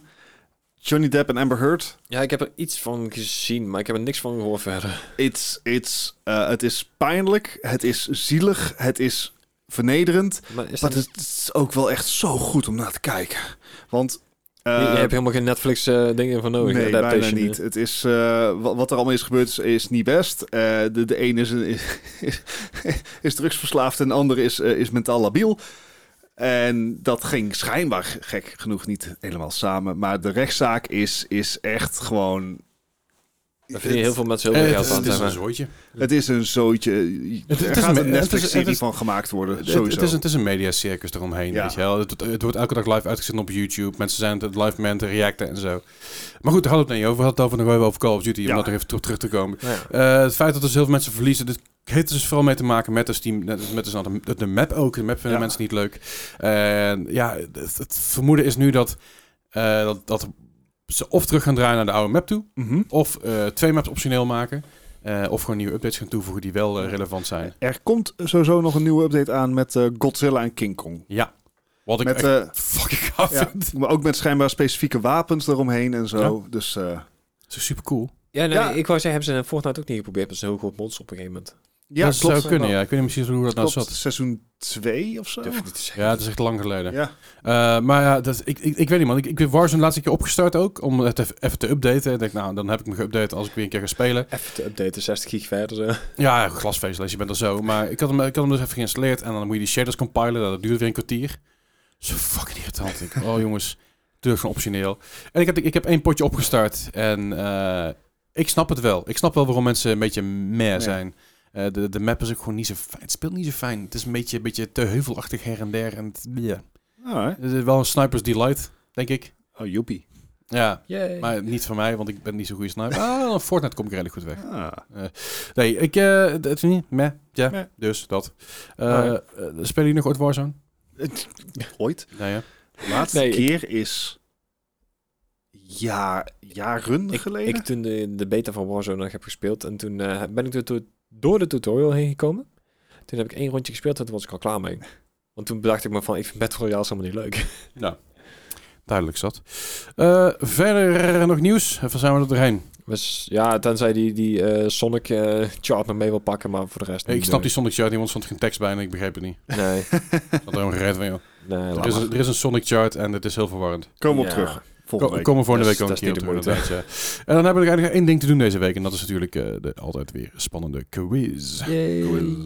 C: Johnny Depp en Amber Heard.
B: ja, ik heb er iets van gezien, maar ik heb er niks van gehoord verder.
C: It's, it's, eh, het is pijnlijk. Het is zielig. Het is vernederend.
B: Maar is
C: Maar
B: dat...
C: het is ook wel echt zo goed om naar te kijken. Want
B: je, je
C: Eh,
B: hebt helemaal geen Netflix eh, dingen van nodig.
C: Nee, bijna
B: adaptation,
C: niet.
B: eh.
C: Het is, eh, wat, wat er allemaal is gebeurd is, is niet best. Eh, de, de ene is, een- is, drugsverslaafd en de andere is, eh, is mentaal labiel. En dat ging schijnbaar, gek genoeg, niet helemaal samen. Maar de rechtszaak is, is echt gewoon...
B: Daar verdienen heel veel mensen heel
A: Eh,
B: veel
A: het,
B: geld
A: is,
B: aan.
A: het is
B: zeg
A: een
B: maar.
A: zooitje.
C: Het is een zootje.
A: Het- het
C: er
A: is
C: gaat
A: me-
C: een
A: het is-
C: Netflix-serie
A: het is-
C: van gemaakt worden,
A: Het,
C: sowieso.
A: het is, een- het is een mediacircus eromheen,
C: Ja.
A: weet je wel. Het, het wordt elke dag live uitgezonden op YouTube. Mensen zijn het live momenten, reacten en zo. Maar goed, daar hadden we het niet over. We hadden het over nog even over Call of Duty, om
C: Ja.
A: dat er even op terug te komen.
B: Nou ja.
A: Eh, het feit dat er zoveel mensen verliezen, dit heeft dus vooral mee te maken met de Steam, net- met dus nou, de, de map ook. De map vinden
C: Ja.
A: mensen niet leuk. En ja, het, het vermoeden is nu dat, eh, dat, dat ze of terug gaan draaien naar de oude map toe,
C: Mhm.
A: of eh, twee maps optioneel maken, eh, of gewoon nieuwe updates gaan toevoegen die wel eh, relevant zijn.
C: Er komt sowieso nog een nieuwe update aan met eh, Godzilla en King Kong.
A: Ja, wat ik
C: Met,
A: echt
C: eh,
A: fucking gaaf
C: ja,
A: vind.
C: maar ook met schijnbaar specifieke wapens eromheen en zo. Dus eh,
A: Dat is super cool.
B: Ja, nee,
C: Ja.
B: ik wou zeggen, hebben ze in Fortnite ook niet geprobeerd met zo'n heel groot monster op een gegeven moment.
C: ja,
A: dat
C: klopt.
A: zou kunnen, ja. Ik weet niet precies hoe dat nou
C: Klopt,
A: zat.
C: seizoen 2 of zo.
B: Durf ik niet te zeggen.
A: Ja, dat is echt lang geleden.
C: Ja.
A: Eh, maar ja, dat, ik, ik, ik weet niet man. Ik, ik heb Warzone de laatste keer opgestart ook, om het even, even te updaten. Ik denk, nou, dan heb ik me geüpdate als ik weer een keer ga spelen.
B: Even te updaten, 60 gig verder. Zo.
A: Ja, glasvezel, je bent er zo. Maar ik had, hem, ik had hem dus even geïnstalleerd en dan moet je die shaders compilen. Nou, Dat duurt weer een kwartier. Zo fucking irritant. Ik, oh jongens, doe het gewoon optioneel. En ik heb, ik heb één potje opgestart en eh, ik snap het wel. Ik snap wel waarom mensen een beetje meh zijn. Eh, de, de map is ook gewoon niet zo fijn. Het speelt niet zo fijn. Het is een beetje, een beetje te heuvelachtig her en der. En het, ja.
C: Alright.
A: Het is wel een sniper's delight, denk ik.
C: Oh, joepie.
A: Ja,
B: Yay.
A: maar niet van mij, want ik ben niet zo'n goede sniper. Ah, Fortnite kom ik redelijk goed weg.
C: Ah.
A: Nee, ik... eh het is niet... Meh. Ja,
C: Meh.
A: dus dat. Eh
B: Alright.
A: eh, spelen jullie nog ooit Warzone?
C: Het- Ooit.
A: Nee, ja.
C: De laatste
B: Nee, ik-
C: keer is ja, jaren geleden.
B: Ik toen de, de beta van Warzone nog heb gespeeld en toen eh, ben ik door, door- door de tutorial heen gekomen. Toen heb ik één rondje gespeeld en toen was ik al klaar mee. Want toen bedacht ik me van, ik vind Battle Royale helemaal niet leuk.
A: Duidelijk zat. Eh, verder nog nieuws. Even zijn we er doorheen.
B: Dus ja, tenzij die, die eh, Sonic eh, chart nog mee wil pakken, maar voor de rest
A: Hey, ik
B: niet,
A: snap
B: eh,
A: die Sonic Chart niet, want er stond geen tekst bij en ik begreep het niet.
B: Nee,
A: Ik had er helemaal gered van, joh.
B: nee,
A: Er is, een- er is een Sonic Chart en het is heel verwarrend.
C: Komen we op terug. Volgende
A: Kom,
C: week.
A: komen we volgende
B: Dat is-
A: week ook een
B: dat is
A: keer op
B: niet
A: terug.
B: de
A: inderdaad, ja. En dan hebben we eigenlijk nog één ding te doen deze week. En dat is natuurlijk eh, de altijd weer spannende quiz.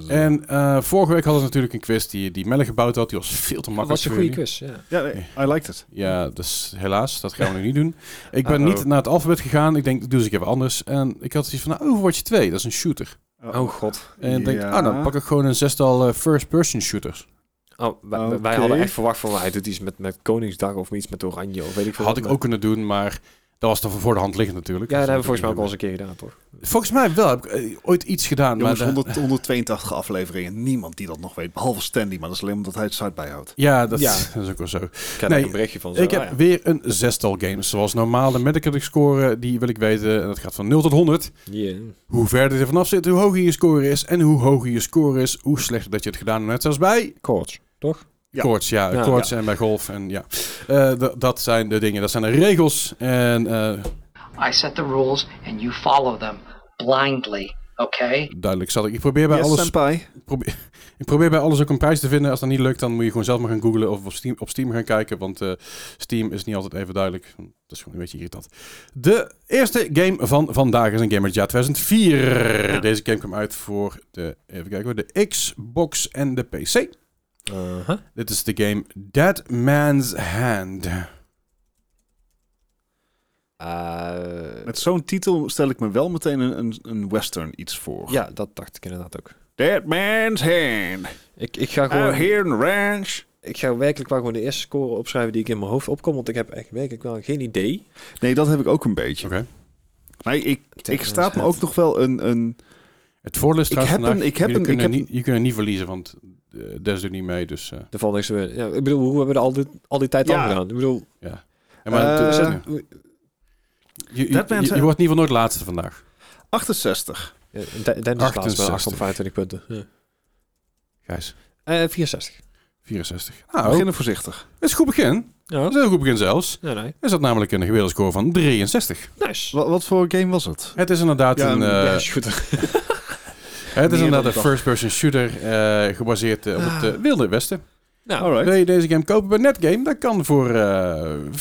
A: En eh, vorige week hadden we natuurlijk een quiz die, die Melle gebouwd had. Die was veel te
B: Dat
A: makkelijk
B: was een
A: voor
B: goede
A: jullie.
B: quiz, ja.
C: Ja, nee, I liked it.
A: Ja, dus helaas, dat gaan we nu niet doen. Ik ben
B: Uh-oh.
A: niet naar het alfabet gegaan. Ik denk, dat doe eens een keer wat anders. En ik had zoiets van, nou, Overwatch 2, dat is een shooter.
B: Oh god.
A: En ik denk,
C: Ja.
A: ah, dan pak ik gewoon een zestal eh, first-person shooters.
B: Oh, wij, wij- wij
C: Oké.
B: hadden echt verwacht van, hij doet iets met, met Koningsdag of iets met Oranje of weet ik veel.
A: Had
B: wat,
A: ik
B: maar-
A: ook kunnen doen, maar dat was dan voor de hand liggend natuurlijk.
B: Ja,
A: Dus
B: dat hebben we
A: dat
B: volgens mij ook al
A: doe
B: eens
A: ik
B: een keer gedaan, toch?
A: niet meer. Volgens mij wel, heb ik eh, ooit iets gedaan.
C: Jongens,
A: maar eh, de-
C: 100, 182 afleveringen. Niemand die dat nog weet. Behalve Stanley, maar dat is alleen omdat hij het site bijhoudt.
A: ja, dat,
B: Ja.
A: dat is ook wel zo.
B: Ik heb
A: Nee,
B: een berichtje van zo.
A: Ik heb
B: ah, ja.
A: weer een zestal games. Zoals normaal, de Metacritic score, die wil ik weten. En dat gaat van 0 tot 100.
B: Yeah.
A: Hoe verder je er vanaf zit, hoe hoger je score is. En hoe hoger je score is, hoe slechter dat je het gedaan hebt. Net zoals bij
B: Koorts, toch?
C: Ja.
A: Koorts, ja.
B: Ja.
A: Koorts en bij golf. En ja. Eh, d- dat zijn de dingen. Dat zijn de regels. En eh,
E: I set the rules and you follow them blindly, okay?
A: duidelijk zal ik. Ik probeer, bij alles,
C: senpai.
A: probeer, ik probeer bij alles ook een prijs te vinden. Als dat niet lukt, dan moet je gewoon zelf maar gaan googlen of op Steam, op Steam gaan kijken. Want eh, Steam is niet altijd even duidelijk. Dat is gewoon een beetje irritant. De eerste game van vandaag is een game uit het jaar 2004. Deze game kwam uit voor de, even kijken, hoor, de Xbox en de PC.
B: Uh-huh.
A: Dit is de game Dead Man's Hand.
B: Eh,
C: Met zo'n titel stel ik me wel meteen een, een, een western iets voor.
B: ja, dat dacht ik inderdaad ook.
C: Dead Man's Hand.
B: Ik, ik ga
C: Out
B: gewoon...
C: here in the ranch.
B: Ik ga werkelijk waar gewoon de eerste score opschrijven die ik in mijn hoofd opkom, want ik heb echt werkelijk wel geen idee.
C: Nee, dat heb ik ook een beetje.
A: Oké.
C: Nee, ik, ik
B: Dead
C: staat me
B: Man's
C: ook nog wel een... een
A: Het voordeel is
C: Ik
A: trouwens
C: heb
A: vandaag,
C: een- ik heb
A: jullie
C: een- ik
A: kunnen
C: heb
A: niet, je kunt niet verliezen, want eh, Des doet niet mee, dus eh,
B: De volgende is weer... Ja, ik bedoel, hoe hebben we al die, al die tijd
C: Ja.
B: al gedaan? Ik bedoel...
A: ja. En maar,
C: Eh,
A: het-
B: zet-
A: ja. je, je,
C: Dead
A: je-
C: Man's
A: je
C: Hand.
A: wordt in ieder geval nooit laatste vandaag.
C: 68.
B: ja, Den- Dennis staat
A: 68.
B: wel 825 punten. Ja.
A: Gijs,
B: Eh, 64.
A: 64.
C: We
A: Nou,
C: Beginnen voorzichtig.
A: dat is een goed begin.
B: Ja,
A: Dat is een heel goed begin zelfs.
B: nee, nee.
A: Er zat namelijk een gemiddelde score van 63.
B: Nice.
C: Wat, wat voor game was het?
A: Het is inderdaad
C: Ja,
A: een, eh,
B: ja, shooter.
A: het is
C: meer dan
A: inderdaad
C: ik
A: een
C: dacht.
A: first-person shooter eh, gebaseerd eh, op het eh, Wilde Westen.
B: Nou,
C: Alright.
A: Wil je deze game kopen bij Netgame? Dat kan voor eh 14,99.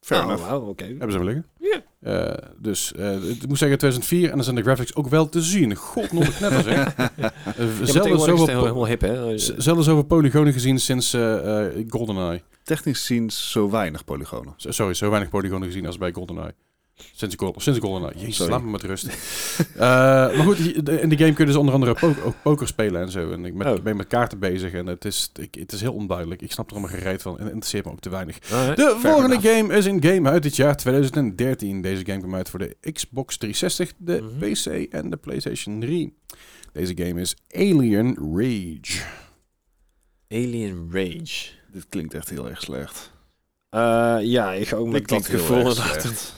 C: Fair
B: oh,
C: enough.
B: wauw, oké.
A: Hebben ze wel liggen.
B: Ja.
A: Eh, dus eh, ik moet zeggen 2004 en dan zijn de graphics ook wel te zien. God, nog het net als hè. Eh,
B: Ja, maar
A: zelden,
B: tegenwoordig is het
A: zoveel, po-
B: helemaal hip, hè?
A: z- zelden zoveel polygonen gezien sinds eh, eh, GoldenEye.
C: Technisch zien zo weinig polygonen.
A: Z- Sorry, zo weinig polygonen gezien als bij GoldenEye. Sinds, Gol sinds
B: Oh,
A: GoldenEye. Jezus,
C: Sorry.
A: laat me met rust. Eh, maar goed, hi- de- in de game kun je dus onder andere po- ook poker spelen en zo. En ik met,
B: Oh.
A: ben met kaarten bezig en het is, ik, het is heel onduidelijk. Ik snap er allemaal gereed van en het interesseert me ook te weinig.
B: Alright.
A: De
C: Fair
A: volgende game is een game uit het jaar 2013. Deze game kwam uit voor de Xbox 360, de
B: Mhm.
A: PC en de PlayStation 3. Deze game is Alien Rage.
B: Alien Rage.
C: Dit klinkt echt heel erg slecht.
B: Eh, ja, ik ga ook
C: Dit
B: met dat
C: klinkt heel
B: gevoel.
C: erg
B: inderdaad.
C: slecht.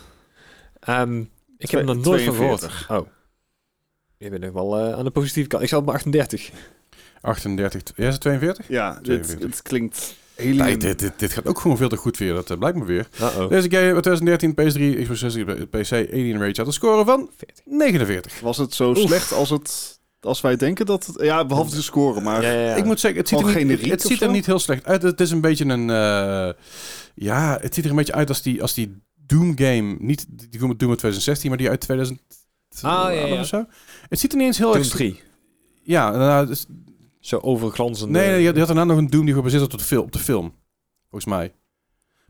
B: Ehm, ik heb er
C: Twee-
B: nog nooit van gehoord.
C: 42.
B: Oh. Je bent nog wel eh, aan de positieve kant. Ik zat op mijn 38.
A: 38, t- ja, is het 42?
C: Ja, dit,
A: 42.
C: dit klinkt heel
A: Nee, dit, dit, dit gaat ook gewoon veel te goed weer, dat eh, blijkt me weer.
B: Uh-oh.
A: Deze game uit 2013, PS3, Xbox 360, PC, Alien Rage had een score van
B: 40.
A: 49.
C: Was het zo
B: Oef.
C: slecht als, het, als wij denken dat het... Ja, behalve de score, maar...
B: Ja, ja, ja.
A: Ik moet zeggen, het ziet, er
C: Gewoon
A: niet, het,
C: generiek of
A: ziet er
C: zo?
A: niet heel slecht uit. Het is een beetje een... eh, ja, het ziet er een beetje uit als die, als die Doom game. Niet die Doom uit 2016, maar die uit 2000
B: Ah, ja, ja.
A: of zo. Het ziet er niet eens heel
B: Doom
A: erg...
B: 3.
A: Ja, nou, het is-
B: Zo overglanzend.
A: nee, nee, je had daarna nog een Doom die gebaseerd was op de, film, op de film. Volgens mij.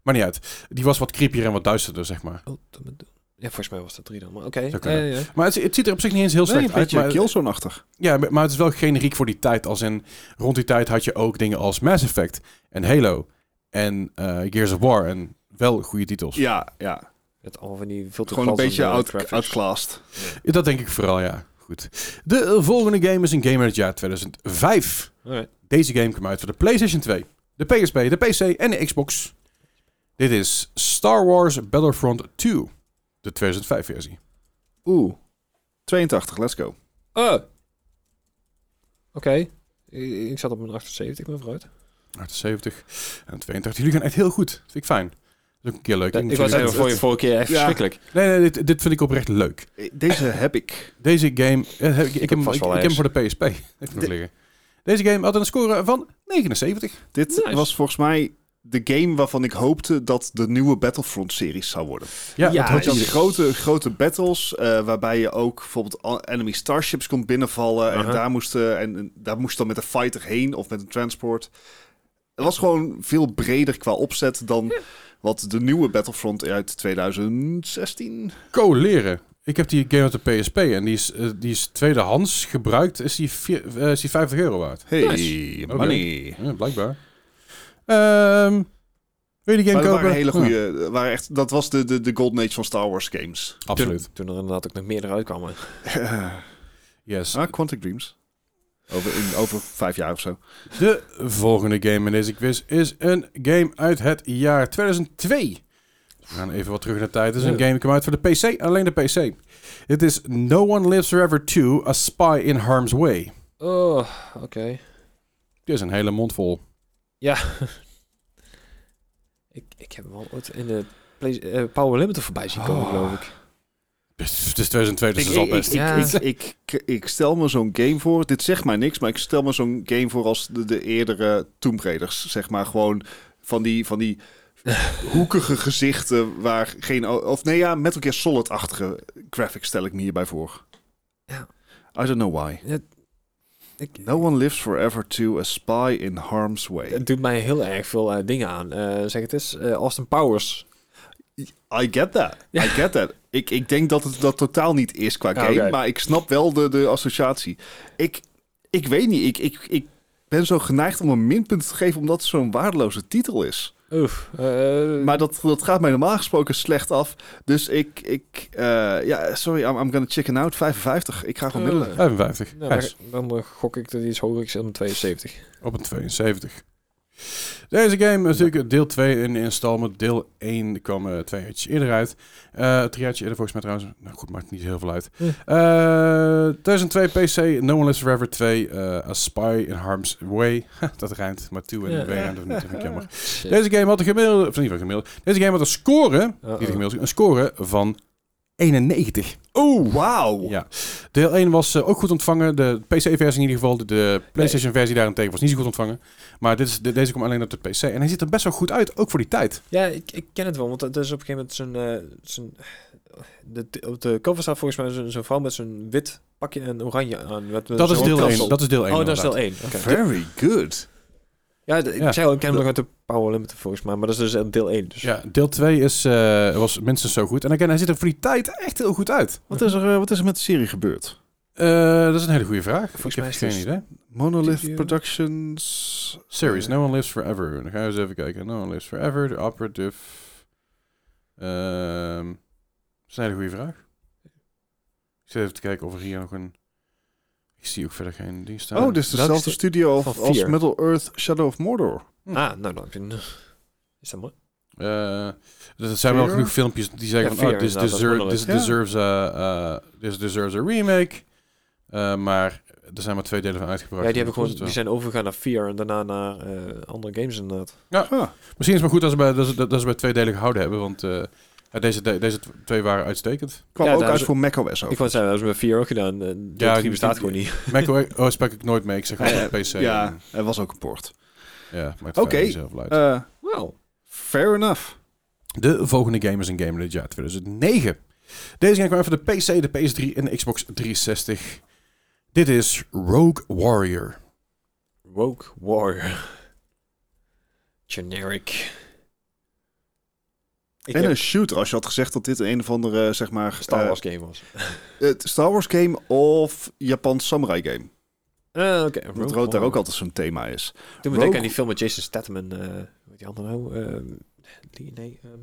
A: Maar niet uit. Die was wat creepier en wat duisterder, zeg maar.
B: Oh, dat moet- ja, volgens mij was dat 3 dan. Maar oké.
A: Zou
B: Ja,
A: kunnen.
B: ja, ja.
A: Maar het, het ziet er op zich niet eens heel slecht
C: Nee, een
A: uit.
C: beetje
A: Maar,
C: Killzone-achtig.
A: ja, maar maar het is wel generiek voor die tijd. Als in, rond die tijd had je ook dingen als Mass Effect en Halo en eh, Gears of War. En wel goede titels.
C: Ja, ja.
B: Met al van die veel te
C: Gewoon een beetje
B: glanzende
C: out,
B: graphics.
C: outclassed.
A: Ja, Dat denk ik vooral, ja. Goed. De volgende game is een game uit het jaar 2005.
B: Alright.
A: Deze game kwam uit voor de PlayStation 2, de PSP, de PC en de Xbox. Dit is Star Wars Battlefront 2, de 2005-versie.
C: Oeh. 82, let's go.
B: Oh. Oké. Ik, ik zat op mijn 78, maar vooruit.
A: 78 en 82. Jullie gaan echt heel goed. Dat vind ik fijn. Dat is ook een keer leuk.
B: ik was
A: natuurlijk-
B: even voor je vorige keer echt
C: Ja.
B: verschrikkelijk.
A: Nee, nee dit, dit vind ik oprecht leuk.
C: Eh, Deze heb ik.
A: Deze game... eh, heb ik, ik, heb, hem-
B: vast
A: ik,
B: wel
A: ik heb hem
B: eens.
A: voor de PSP. Even nog
C: De-
A: liggen. Deze game had een score van 79.
C: Dit
B: Nice.
C: was volgens mij de game waarvan ik hoopte dat de nieuwe Battlefront-series zou worden.
A: Ja,
B: Ja,
A: dat
C: Had
A: had
C: je had
A: je.
C: grote, grote battles, eh, waarbij je ook bijvoorbeeld al- enemy starships kon binnenvallen.
B: Aha.
C: En, daar moest, eh, en en daar moest je dan met een fighter heen of met een transport. Het was gewoon veel breder qua opzet dan wat de nieuwe Battlefront uit 2016...
A: Coleren. Ik heb die game uit de PSP en die is, eh, die is tweedehands gebruikt. Is die, vier, eh, is die 50 euro waard?
C: Hey,
A: Oké.
C: money.
A: Ja, blijkbaar. Ehm, wil je die game
C: Maar dat
A: kopen?
C: waren hele
A: Ja,
C: goede. waren echt, dat was de, de, de Golden Age van Star Wars games.
A: absoluut.
B: Toen, toen er inderdaad ook nog meerdere uitkwamen.
A: Yes.
C: Ah, Quantic Dreams. Over, in, over vijf jaar of zo.
A: De volgende game in deze quiz is een game uit het jaar 2002. We gaan even wat terug naar de tijd. Het is een
B: Ja.
A: game die kwam uit voor de PC, alleen de PC. Dit is No One Lives Forever 2, A Spy in Harm's Way.
B: Oh, oké.
A: Dit is een hele mond vol.
B: Ik, ik heb hem al ooit in de Play- eh, Power Limiter voorbij zien komen,
A: Oh.
B: geloof ik.
A: Het is het is 2002, dus
C: Ik,
A: dat is al
C: ik, ik,
A: best.
B: Ja.
C: ik, ik, ik- ik stel me zo'n game voor. Dit zegt mij niks, maar ik stel me zo'n game voor als de, de eerdere Tomb Raiders. Zeg maar gewoon van die, van die hoekige gezichten waar geen. o- Of nee, ja, Metal Gear Solid-achtige graphics stel ik me hierbij voor.
B: Ja.
C: I don't know why.
B: Ik-
C: No one lives forever to a spy in harm's way.
B: Het doet mij heel erg veel eh, dingen aan. Eh, zeg het eens, eh, Austin Powers.
C: I get that. I get that. Ik, ik denk dat het dat totaal niet is qua
B: Ja,
C: game,
B: Ah, oké.
C: maar ik snap wel de, de associatie. Ik, ik weet niet, ik, ik, ik ben zo geneigd om een minpunt te geven omdat het zo'n waardeloze titel is.
B: Oef. eh,
C: Maar dat, dat gaat mij normaal gesproken slecht af. Dus ik, ik eh, ja, sorry, I'm, I'm gonna chicken out. 55. Ik ga gewoon
B: Eh,
C: middelen.
A: 55.
B: nou,
A: Gijs.
B: dan- dan eh, gok ik dat hij iets hoger is dan 72.
A: Op een 72. Deze game is natuurlijk deel 2 in de installment. Deel 1 kwam eh, twee jaar eerder uit. Eh drie jaar eerder volgens mij trouwens. Nou goed, maakt niet heel veel uit.
B: Hm.
A: Eh, 2002 PC, No One Lives Forever 2, eh, A Spy in Harm's Way. Ha, dat ruimt, maar 2 en
B: Ja.
A: W ruimt er niet, vind ik jammer.
B: Shit.
A: Deze game had een gemiddelde, of niet van gemiddelde, deze game had een score,
B: Uh-oh.
A: niet een gemiddelde, een score van 91.
C: Oh, wauw.
A: Ja. Deel 1 was eh, ook goed ontvangen. De PC-versie in ieder geval. De, de PlayStation-versie daarentegen was niet zo goed ontvangen. Maar dit is, de- deze komt alleen op de PC. En hij ziet er best wel goed uit, ook voor die tijd.
B: Ja, ik, ik ken het wel, want het is op een gegeven moment zo'n... eh, zo'n de, op de cover staat volgens mij zo'n zo'n vrouw met zo'n wit pakje en oranje aan. Met, met
A: Dat is
B: zo'n
A: deel
B: kapsel.
A: 1. Dat is deel 1
B: Oh, dat is deel 1.
C: Very good.
B: Ja, d- ik
A: Ja.
B: zei al, ik ken hem nog uit de Power Limited volgens mij, maar dat is dus eh, deel 1. Dus.
A: Ja, deel 2 is, eh, was minstens zo goed. En again, hij ziet er voor die tijd echt heel goed uit.
C: Wat is er, eh, wat is er met de serie gebeurd?
A: Eh, dat is een hele goede vraag.
B: Volgens
A: ik
B: mij
A: heb
B: is
A: geen
B: het-
A: idee.
C: Monolith
B: Did you-
C: Productions.
A: Series, No One Lives Forever. Dan gaan we eens even kijken. No One Lives Forever, de operative. Ehm, dat is een hele goede vraag. Ik zit even te kijken of er hier nog een... Ik zie ook verder geen ding staan.
C: Oh, dit is
B: Welke
C: dezelfde
B: stu-
C: studio
B: Van
C: als
B: vier.
C: Middle Earth Shadow of Mordor.
B: Ah, nou dan heb je een- Is dat mooi?
A: Eh, dus er zijn wel
C: Fear?
A: genoeg filmpjes die zeggen
B: Ja,
A: van, oh,
B: Fear
A: this,
B: inderdaad, dat is
A: deser-
B: wonderlijk.
A: this, deserves a, eh, this deserves a remake. Eh, maar er zijn maar twee delen van uitgebracht.
B: Ja, die,
A: Dat
B: hebben gewoon,
A: is het wel.
B: die zijn overgegaan naar 4 en daarna naar eh, andere games inderdaad.
C: Ah,
A: Misschien is het maar goed dat ze, bij, dat, ze, dat ze bij twee delen gehouden hebben, want eh, ja, deze, de- deze tw- twee waren uitstekend.
C: kwam
B: Ja,
C: ook
B: daar
C: uit
B: is-
C: voor macOS ook.
B: Ik wou zeggen, dat hebben ze met 4 ook gedaan. en Deel
A: Ja,
B: 3
A: die-
B: bestaat
A: die-
B: gewoon niet.
A: Mac OS oh, sprak ik nooit mee, ik zeg altijd
C: Eh,
A: PC.
C: ja,
A: en-
C: er was ook een port.
A: ja maakt
C: Oké.
A: het zelf uit.
C: Eh,
B: Wow.
C: fair enough.
A: De volgende game is een game in het jaar 2009. Deze game kwam voor de PC, de PS3 en de Xbox 360. Dit is Rogue Warrior.
B: Rogue Warrior. Generic. Ik
C: en
B: heb
C: een shooter. Als je had gezegd dat dit een of andere, zeg maar...
B: Star
C: eh,
B: Wars game was.
C: het Star Wars game of Japans samurai game.
B: Eh, Oké,
C: Want
B: Rogue
C: rood daar
B: Warrior.
C: ook altijd zo'n thema is.
B: Toen
C: Rogue-
B: we denken aan die film met Jason Statham en... eh, hoe heet die andere nou? Ehm, Lee- nee. ehm,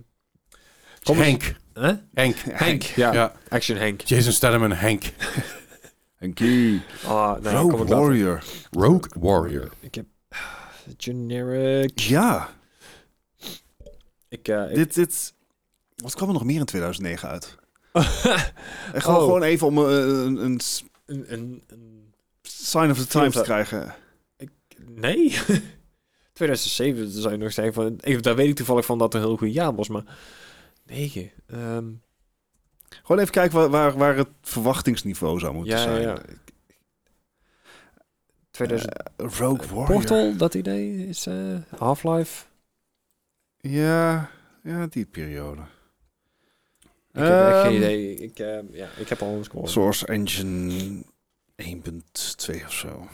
B: Kom eens.
A: Henk.
B: Huh?
A: Henk.
B: Henk. Ja.
A: Ja.
B: Action Henk.
A: Jason Statham en Henk.
C: Enki.
B: Ah, nee, kom
C: Rogue
B: ik later.
C: Warrior.
A: Rogue Warrior.
B: Ik heb... Generic...
C: Ja,
B: Ik, eh, ik-
C: dit, dit... Wat kwam er nog meer in 2009 uit? En gewoon,
B: Oh.
C: gewoon even om eh, een, een
B: een, een, een-
C: sign of the times
B: Filter.
C: te krijgen.
B: Nee. 2007 zou je nog zeggen van... Ik, daar weet ik toevallig van dat het een heel goed jaar was, maar... 9. ehm
C: Gewoon even kijken waar, waar, waar het verwachtingsniveau zou moeten
B: ja, ja,
C: zijn.
B: ja. 2000...
C: Rogue Warrior.
B: Eh, Portal, dat idee is eh, Half-Life.
C: Ja, ja, die periode.
B: Ik heb echt
C: Ehm,
B: geen idee. Ik, eh, ja, ik heb al een score.
C: Source Engine 1.2 of zo.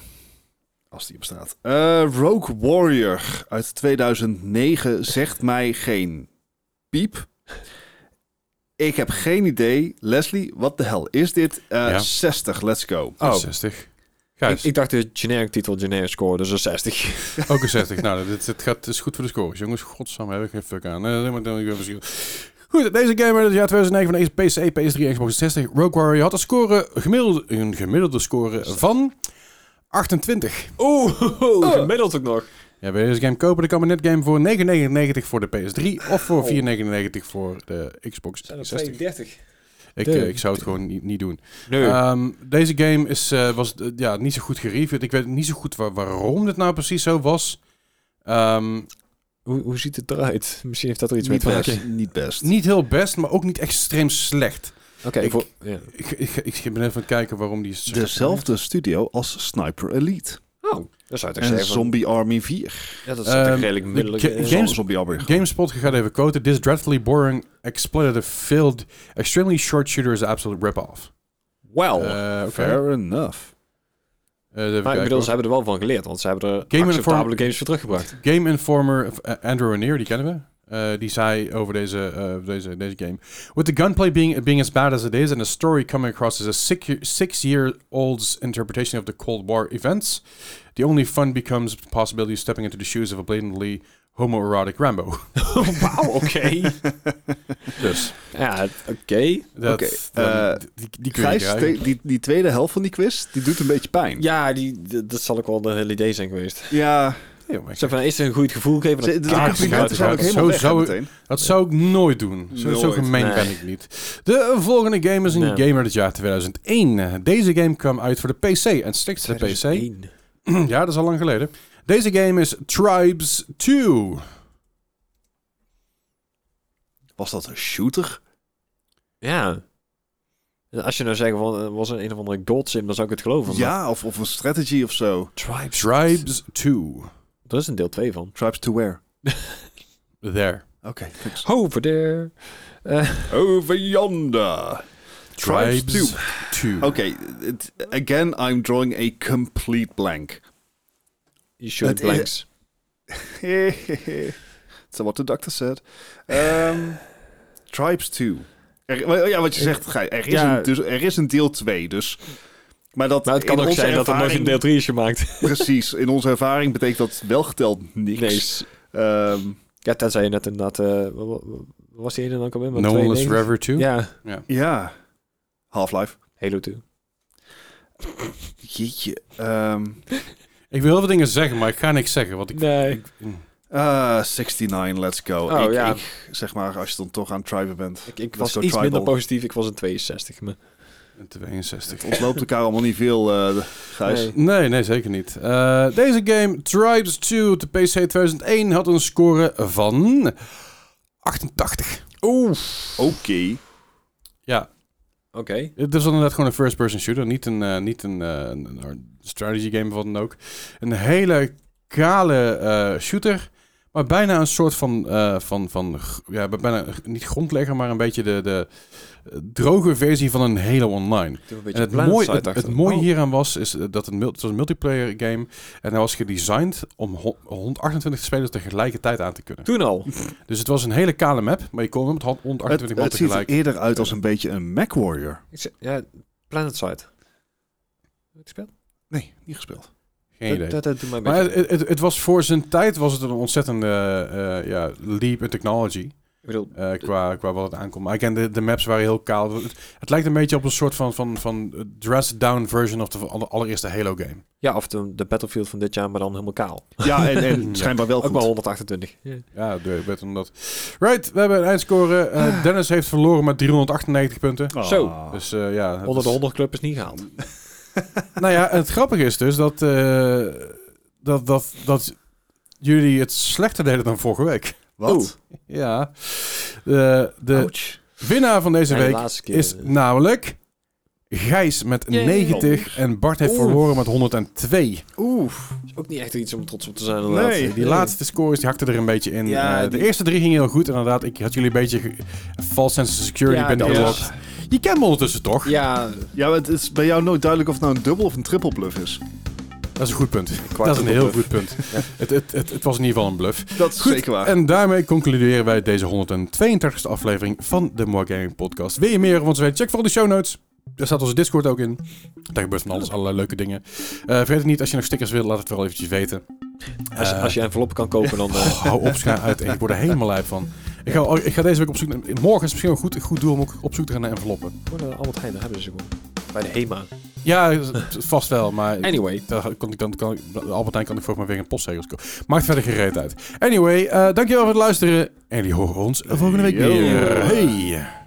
C: Als die bestaat. Eh, Rogue Warrior uit 2009 zegt mij geen piep. Ik heb geen idee. Leslie, wat de hel is dit? Eh,
A: Ja.
C: 60, let's go.
A: Oh.
B: Oh.
A: 60.
B: Ik,
A: Gijs,
B: ik dacht de generic titel, generic score, dus een 60.
A: ook een 60. Nou, dit, dit gaat, dit is goed voor de scores. Jongens, godsamme, heb ik geen fuck aan. Nee, maar dan ik weer verschil. Goed, deze game uit het jaar 2009 van de PC, PS3 en Xbox 60. Rogue Warrior had een, score, gemiddelde, een gemiddelde score van 28.
B: Oeh, gemiddeld ook nog.
A: Ja, wil je deze game kopen? Dan kan een netgame voor 9,99 voor de PS3 of voor
B: Oh.
A: 4,99 voor de Xbox 60.
B: 32.
A: Ik,
B: de-
A: eh, ik zou het gewoon niet, niet doen.
B: Nee.
A: Ehm, deze game is, eh, was eh, ja, niet zo goed gereviewd. Ik weet niet zo goed wa- waarom dit nou precies zo was. Ehm,
B: hoe, hoe ziet het eruit? Misschien heeft dat er iets mee
C: niet,
B: te
C: best,
B: maken.
C: niet best.
A: niet heel best, maar ook niet extreem slecht.
B: Oké,
A: Ik-
B: voor- ja.
A: Ik, ik, ik ben even aan het kijken waarom die... zo-
B: Dus-
C: Dezelfde studio als Sniper Elite.
B: Oh, dat zou ik
C: En
B: zeggen.
C: Zombie Army 4.
B: Ja, dat is toch
A: Ehm,
B: redelijk
A: de
B: middelijk.
A: ga-
B: eh,
A: Games-
C: Zombie Army.
A: GameSpot gaat even quoten. This dreadfully boring, exploitative, failed, extremely short shooter is an absolute rip-off. Eh,
B: Wel.
A: oké. Eh,
C: Fair enough.
A: even
B: maar ik
A: kijken,
B: bedoel, ze
A: hoor.
B: hebben er wel van geleerd, want ze hebben er
A: Inform-
B: acceptabele games voor teruggebracht.
A: Game Informer, of, eh, Andrew Ranier, die kennen we. eh, die zei over deze, eh, deze, deze game. With the gunplay being, being as bad as it is and the story coming across as a six- six-year-old's interpretation of the Cold War events, the only fun becomes the possibility of stepping into the shoes of a blatantly homoerotic Rambo.
B: Wauw, oké.
A: dus,
B: ja, het- oké.
A: dat,
C: Oké,
A: dan-
C: eh,
A: die, die kun je
C: Gijs,
A: krijgen.
C: te- die, die tweede helft van die quiz, die doet een beetje pijn.
B: Ja, die, d- dat zal ook wel de hele idee zijn geweest.
C: ja.
A: Ja, maar ik-
B: Ze van, eerst een goed gevoel geven,
C: De,
B: dan
C: de
A: Ah,
C: complimenten zijn ook
A: zo
C: helemaal weg hè,
A: zou ik-
C: meteen.
A: Dat zou ik nooit doen. Zo, zo
C: Nooit.
A: gemeen
B: Nee.
A: ben ik niet. De volgende game is een
B: Nee.
A: gamer het jaar 2001. Deze game kwam uit voor de PC en strikt de PC.
B: 2001.
A: ja, dat is al lang geleden. Deze game is Tribes 2.
C: Was dat een shooter?
B: Ja. En Als je nou zegt, van, er was een, een of andere goldsim, dan zou ik het geloven. maar
C: Ja, of, of een strategy of zo.
B: Tribes.
A: Tribes 2.
B: Er is een deel 2 van.
C: Tribes to where?
A: There.
C: Oké, thanks.
B: Over there.
C: Over yonder. Tribes
A: Tribes 2.
C: Oké, it- again, I'm drawing a complete blank.
B: You shoot
C: Het is-
B: blanks.
C: So what the doctor said. Ehm, Tribes 2. Er, wel, ja, wat je zegt, Gij, er is,
B: Ja.
C: een, dus, er is een deel 2, dus... Maar, dat
B: Maar het kan
C: in
B: ook
C: onze
B: zijn dat er nooit een
C: ervaring-
B: deel 3 is gemaakt.
C: Precies, in onze ervaring betekent dat wel geteld niks. Ehm,
B: Ja, tenzij je net inderdaad... eh, wa- wa- wa- was die ene dan ook al in? maar
A: No One Lives
B: 92?
A: Forever 2.
B: Ja,
C: ja, Half-Life.
B: Halo 2.
C: Jeetje. Ehm
A: Ik wil heel veel dingen zeggen, maar ik ga niks zeggen. Want ik,
B: Nee.
C: ah, 69, let's go.
B: Oh,
C: ik,
B: ja.
C: ik, zeg maar, als je dan toch aan het triben bent.
B: Ik, ik
C: Let's
B: was
C: go
B: iets minder
C: tribal.
B: positief. Ik was een 62. Maar...
A: 62.
C: Het loopt elkaar allemaal niet veel, eh Gijs.
B: Nee.
A: Nee, nee, zeker niet. Eh, deze game, Tribes 2, op de PC 2001, had een score van 88. Oeh.
C: Oké.
A: Ja,
B: Oké.
A: Het is inderdaad gewoon een first-person shooter, niet een, eh, niet een, eh, een- een strategy game of wat dan ook. Een hele kale eh, shooter, maar bijna een soort van, eh, van, van g- ja, bijna g- niet grondlegger, maar een beetje de, de eh, droge versie van een Halo Online.
B: Ik doe een
A: En
B: beetje
A: het, mooie, het,
B: Planet Side
A: het
B: achter.
A: mooie
B: Oh.
A: hieraan was, is eh, dat het, mul- het was een multiplayer game en hij was gedesigned om ho- 128 spelers tegelijkertijd aan te kunnen.
B: Toen al.
A: Dus het was een hele kale map, maar je kon hem met 128
C: Het,
A: man
C: het ziet er
A: tegelijk.
C: eerder uit als een beetje een Mac Warrior.
B: Ik zeg- ja, Planet Side. Heb ik gespeeld?
C: Nee, niet gespeeld.
A: Geen idee.
B: Dat, dat, dat doet mij een
A: Maar
B: beetje...
A: het, het, het was voor zijn tijd was het een ontzettende eh, ja, leap in technology.
B: Ik bedoel,
A: eh, qua, qua wat het aankomt. Maar ik ken de, de maps waren heel kaal. Het, het lijkt een beetje op een soort van, van, van dressed down version of de aller- allereerste Halo game.
B: ja, of de, de Battlefield van dit jaar, maar dan helemaal kaal.
C: Ja, en, en
A: Ja.
C: schijnbaar wel
B: Ook maar
C: goed.
B: 128.
A: Ja, de- werd omdat. Right, we hebben een eindscore.
B: Ah.
A: Eh, Dennis heeft verloren met 398 punten.
C: Ah.
B: Zo.
A: Dus eh, ja, het
B: Onder de
A: is-
B: 100 club is niet gehaald.
A: Nou ja, het grappige is dus dat, eh, dat, dat, dat jullie het slechter deden dan vorige week.
C: Wat?
A: Ja. De, de
C: Ouch.
A: winnaar van deze
B: Nee, de
A: week
B: laatste keer.
A: is namelijk Gijs met 90 en Bart heeft
B: Oeh.
A: verloren met 102.
C: Oeh.
B: Is ook niet echt iets om trots op te zijn.
C: inderdaad.
A: Die laatste scores die hakten er een beetje in.
B: Ja,
A: Eh, de
B: die-
A: eerste drie gingen heel goed inderdaad. Ik had jullie een beetje ge- false sense of security
B: Ja,
A: binnen
B: dat
A: gelokt. Je kent me ondertussen toch?
B: Ja,
C: Ja, maar het is bij jou nooit duidelijk of het nou een dubbel of een triple bluff is.
A: Dat is een goed punt. Dat is een heel
B: bluff.
A: goed punt. het, het, het, het was in ieder geval een bluff.
C: Dat is
A: Goed,
C: zeker waar.
A: en daarmee concluderen wij deze 132e aflevering van de More Gaming Podcast. Wil je meer van ons weten? Check vooral de show notes. Daar staat onze Discord ook in. Daar gebeurt van alles, allerlei leuke dingen. Eh, vergeet het niet, als je nog stickers wilt, laat het vooral eventjes weten.
B: als,
A: Eh,
B: als je enveloppen kan kopen, dan... eh,
A: Oh, hou op, scha uit. Ik word er helemaal lijp van. Ik ga, ik ga deze week op zoek naar... Morgen is misschien wel goed, een goed doel om ook op zoek te gaan naar enveloppen.
B: Gewoon naar Albert Heijn, daar hebben ze gewoon. Bij de HEMA.
A: Ja, vast wel, maar...
B: Anyway.
A: Daar Eh, kon ik dan, kan, ik- Albert Heijn kan ik volgens mij weer een postzegels kopen. Maakt verder gereed uit. Anyway, eh, dankjewel voor het luisteren. En jullie horen ons volgende week
C: Yo.
A: weer. Hey.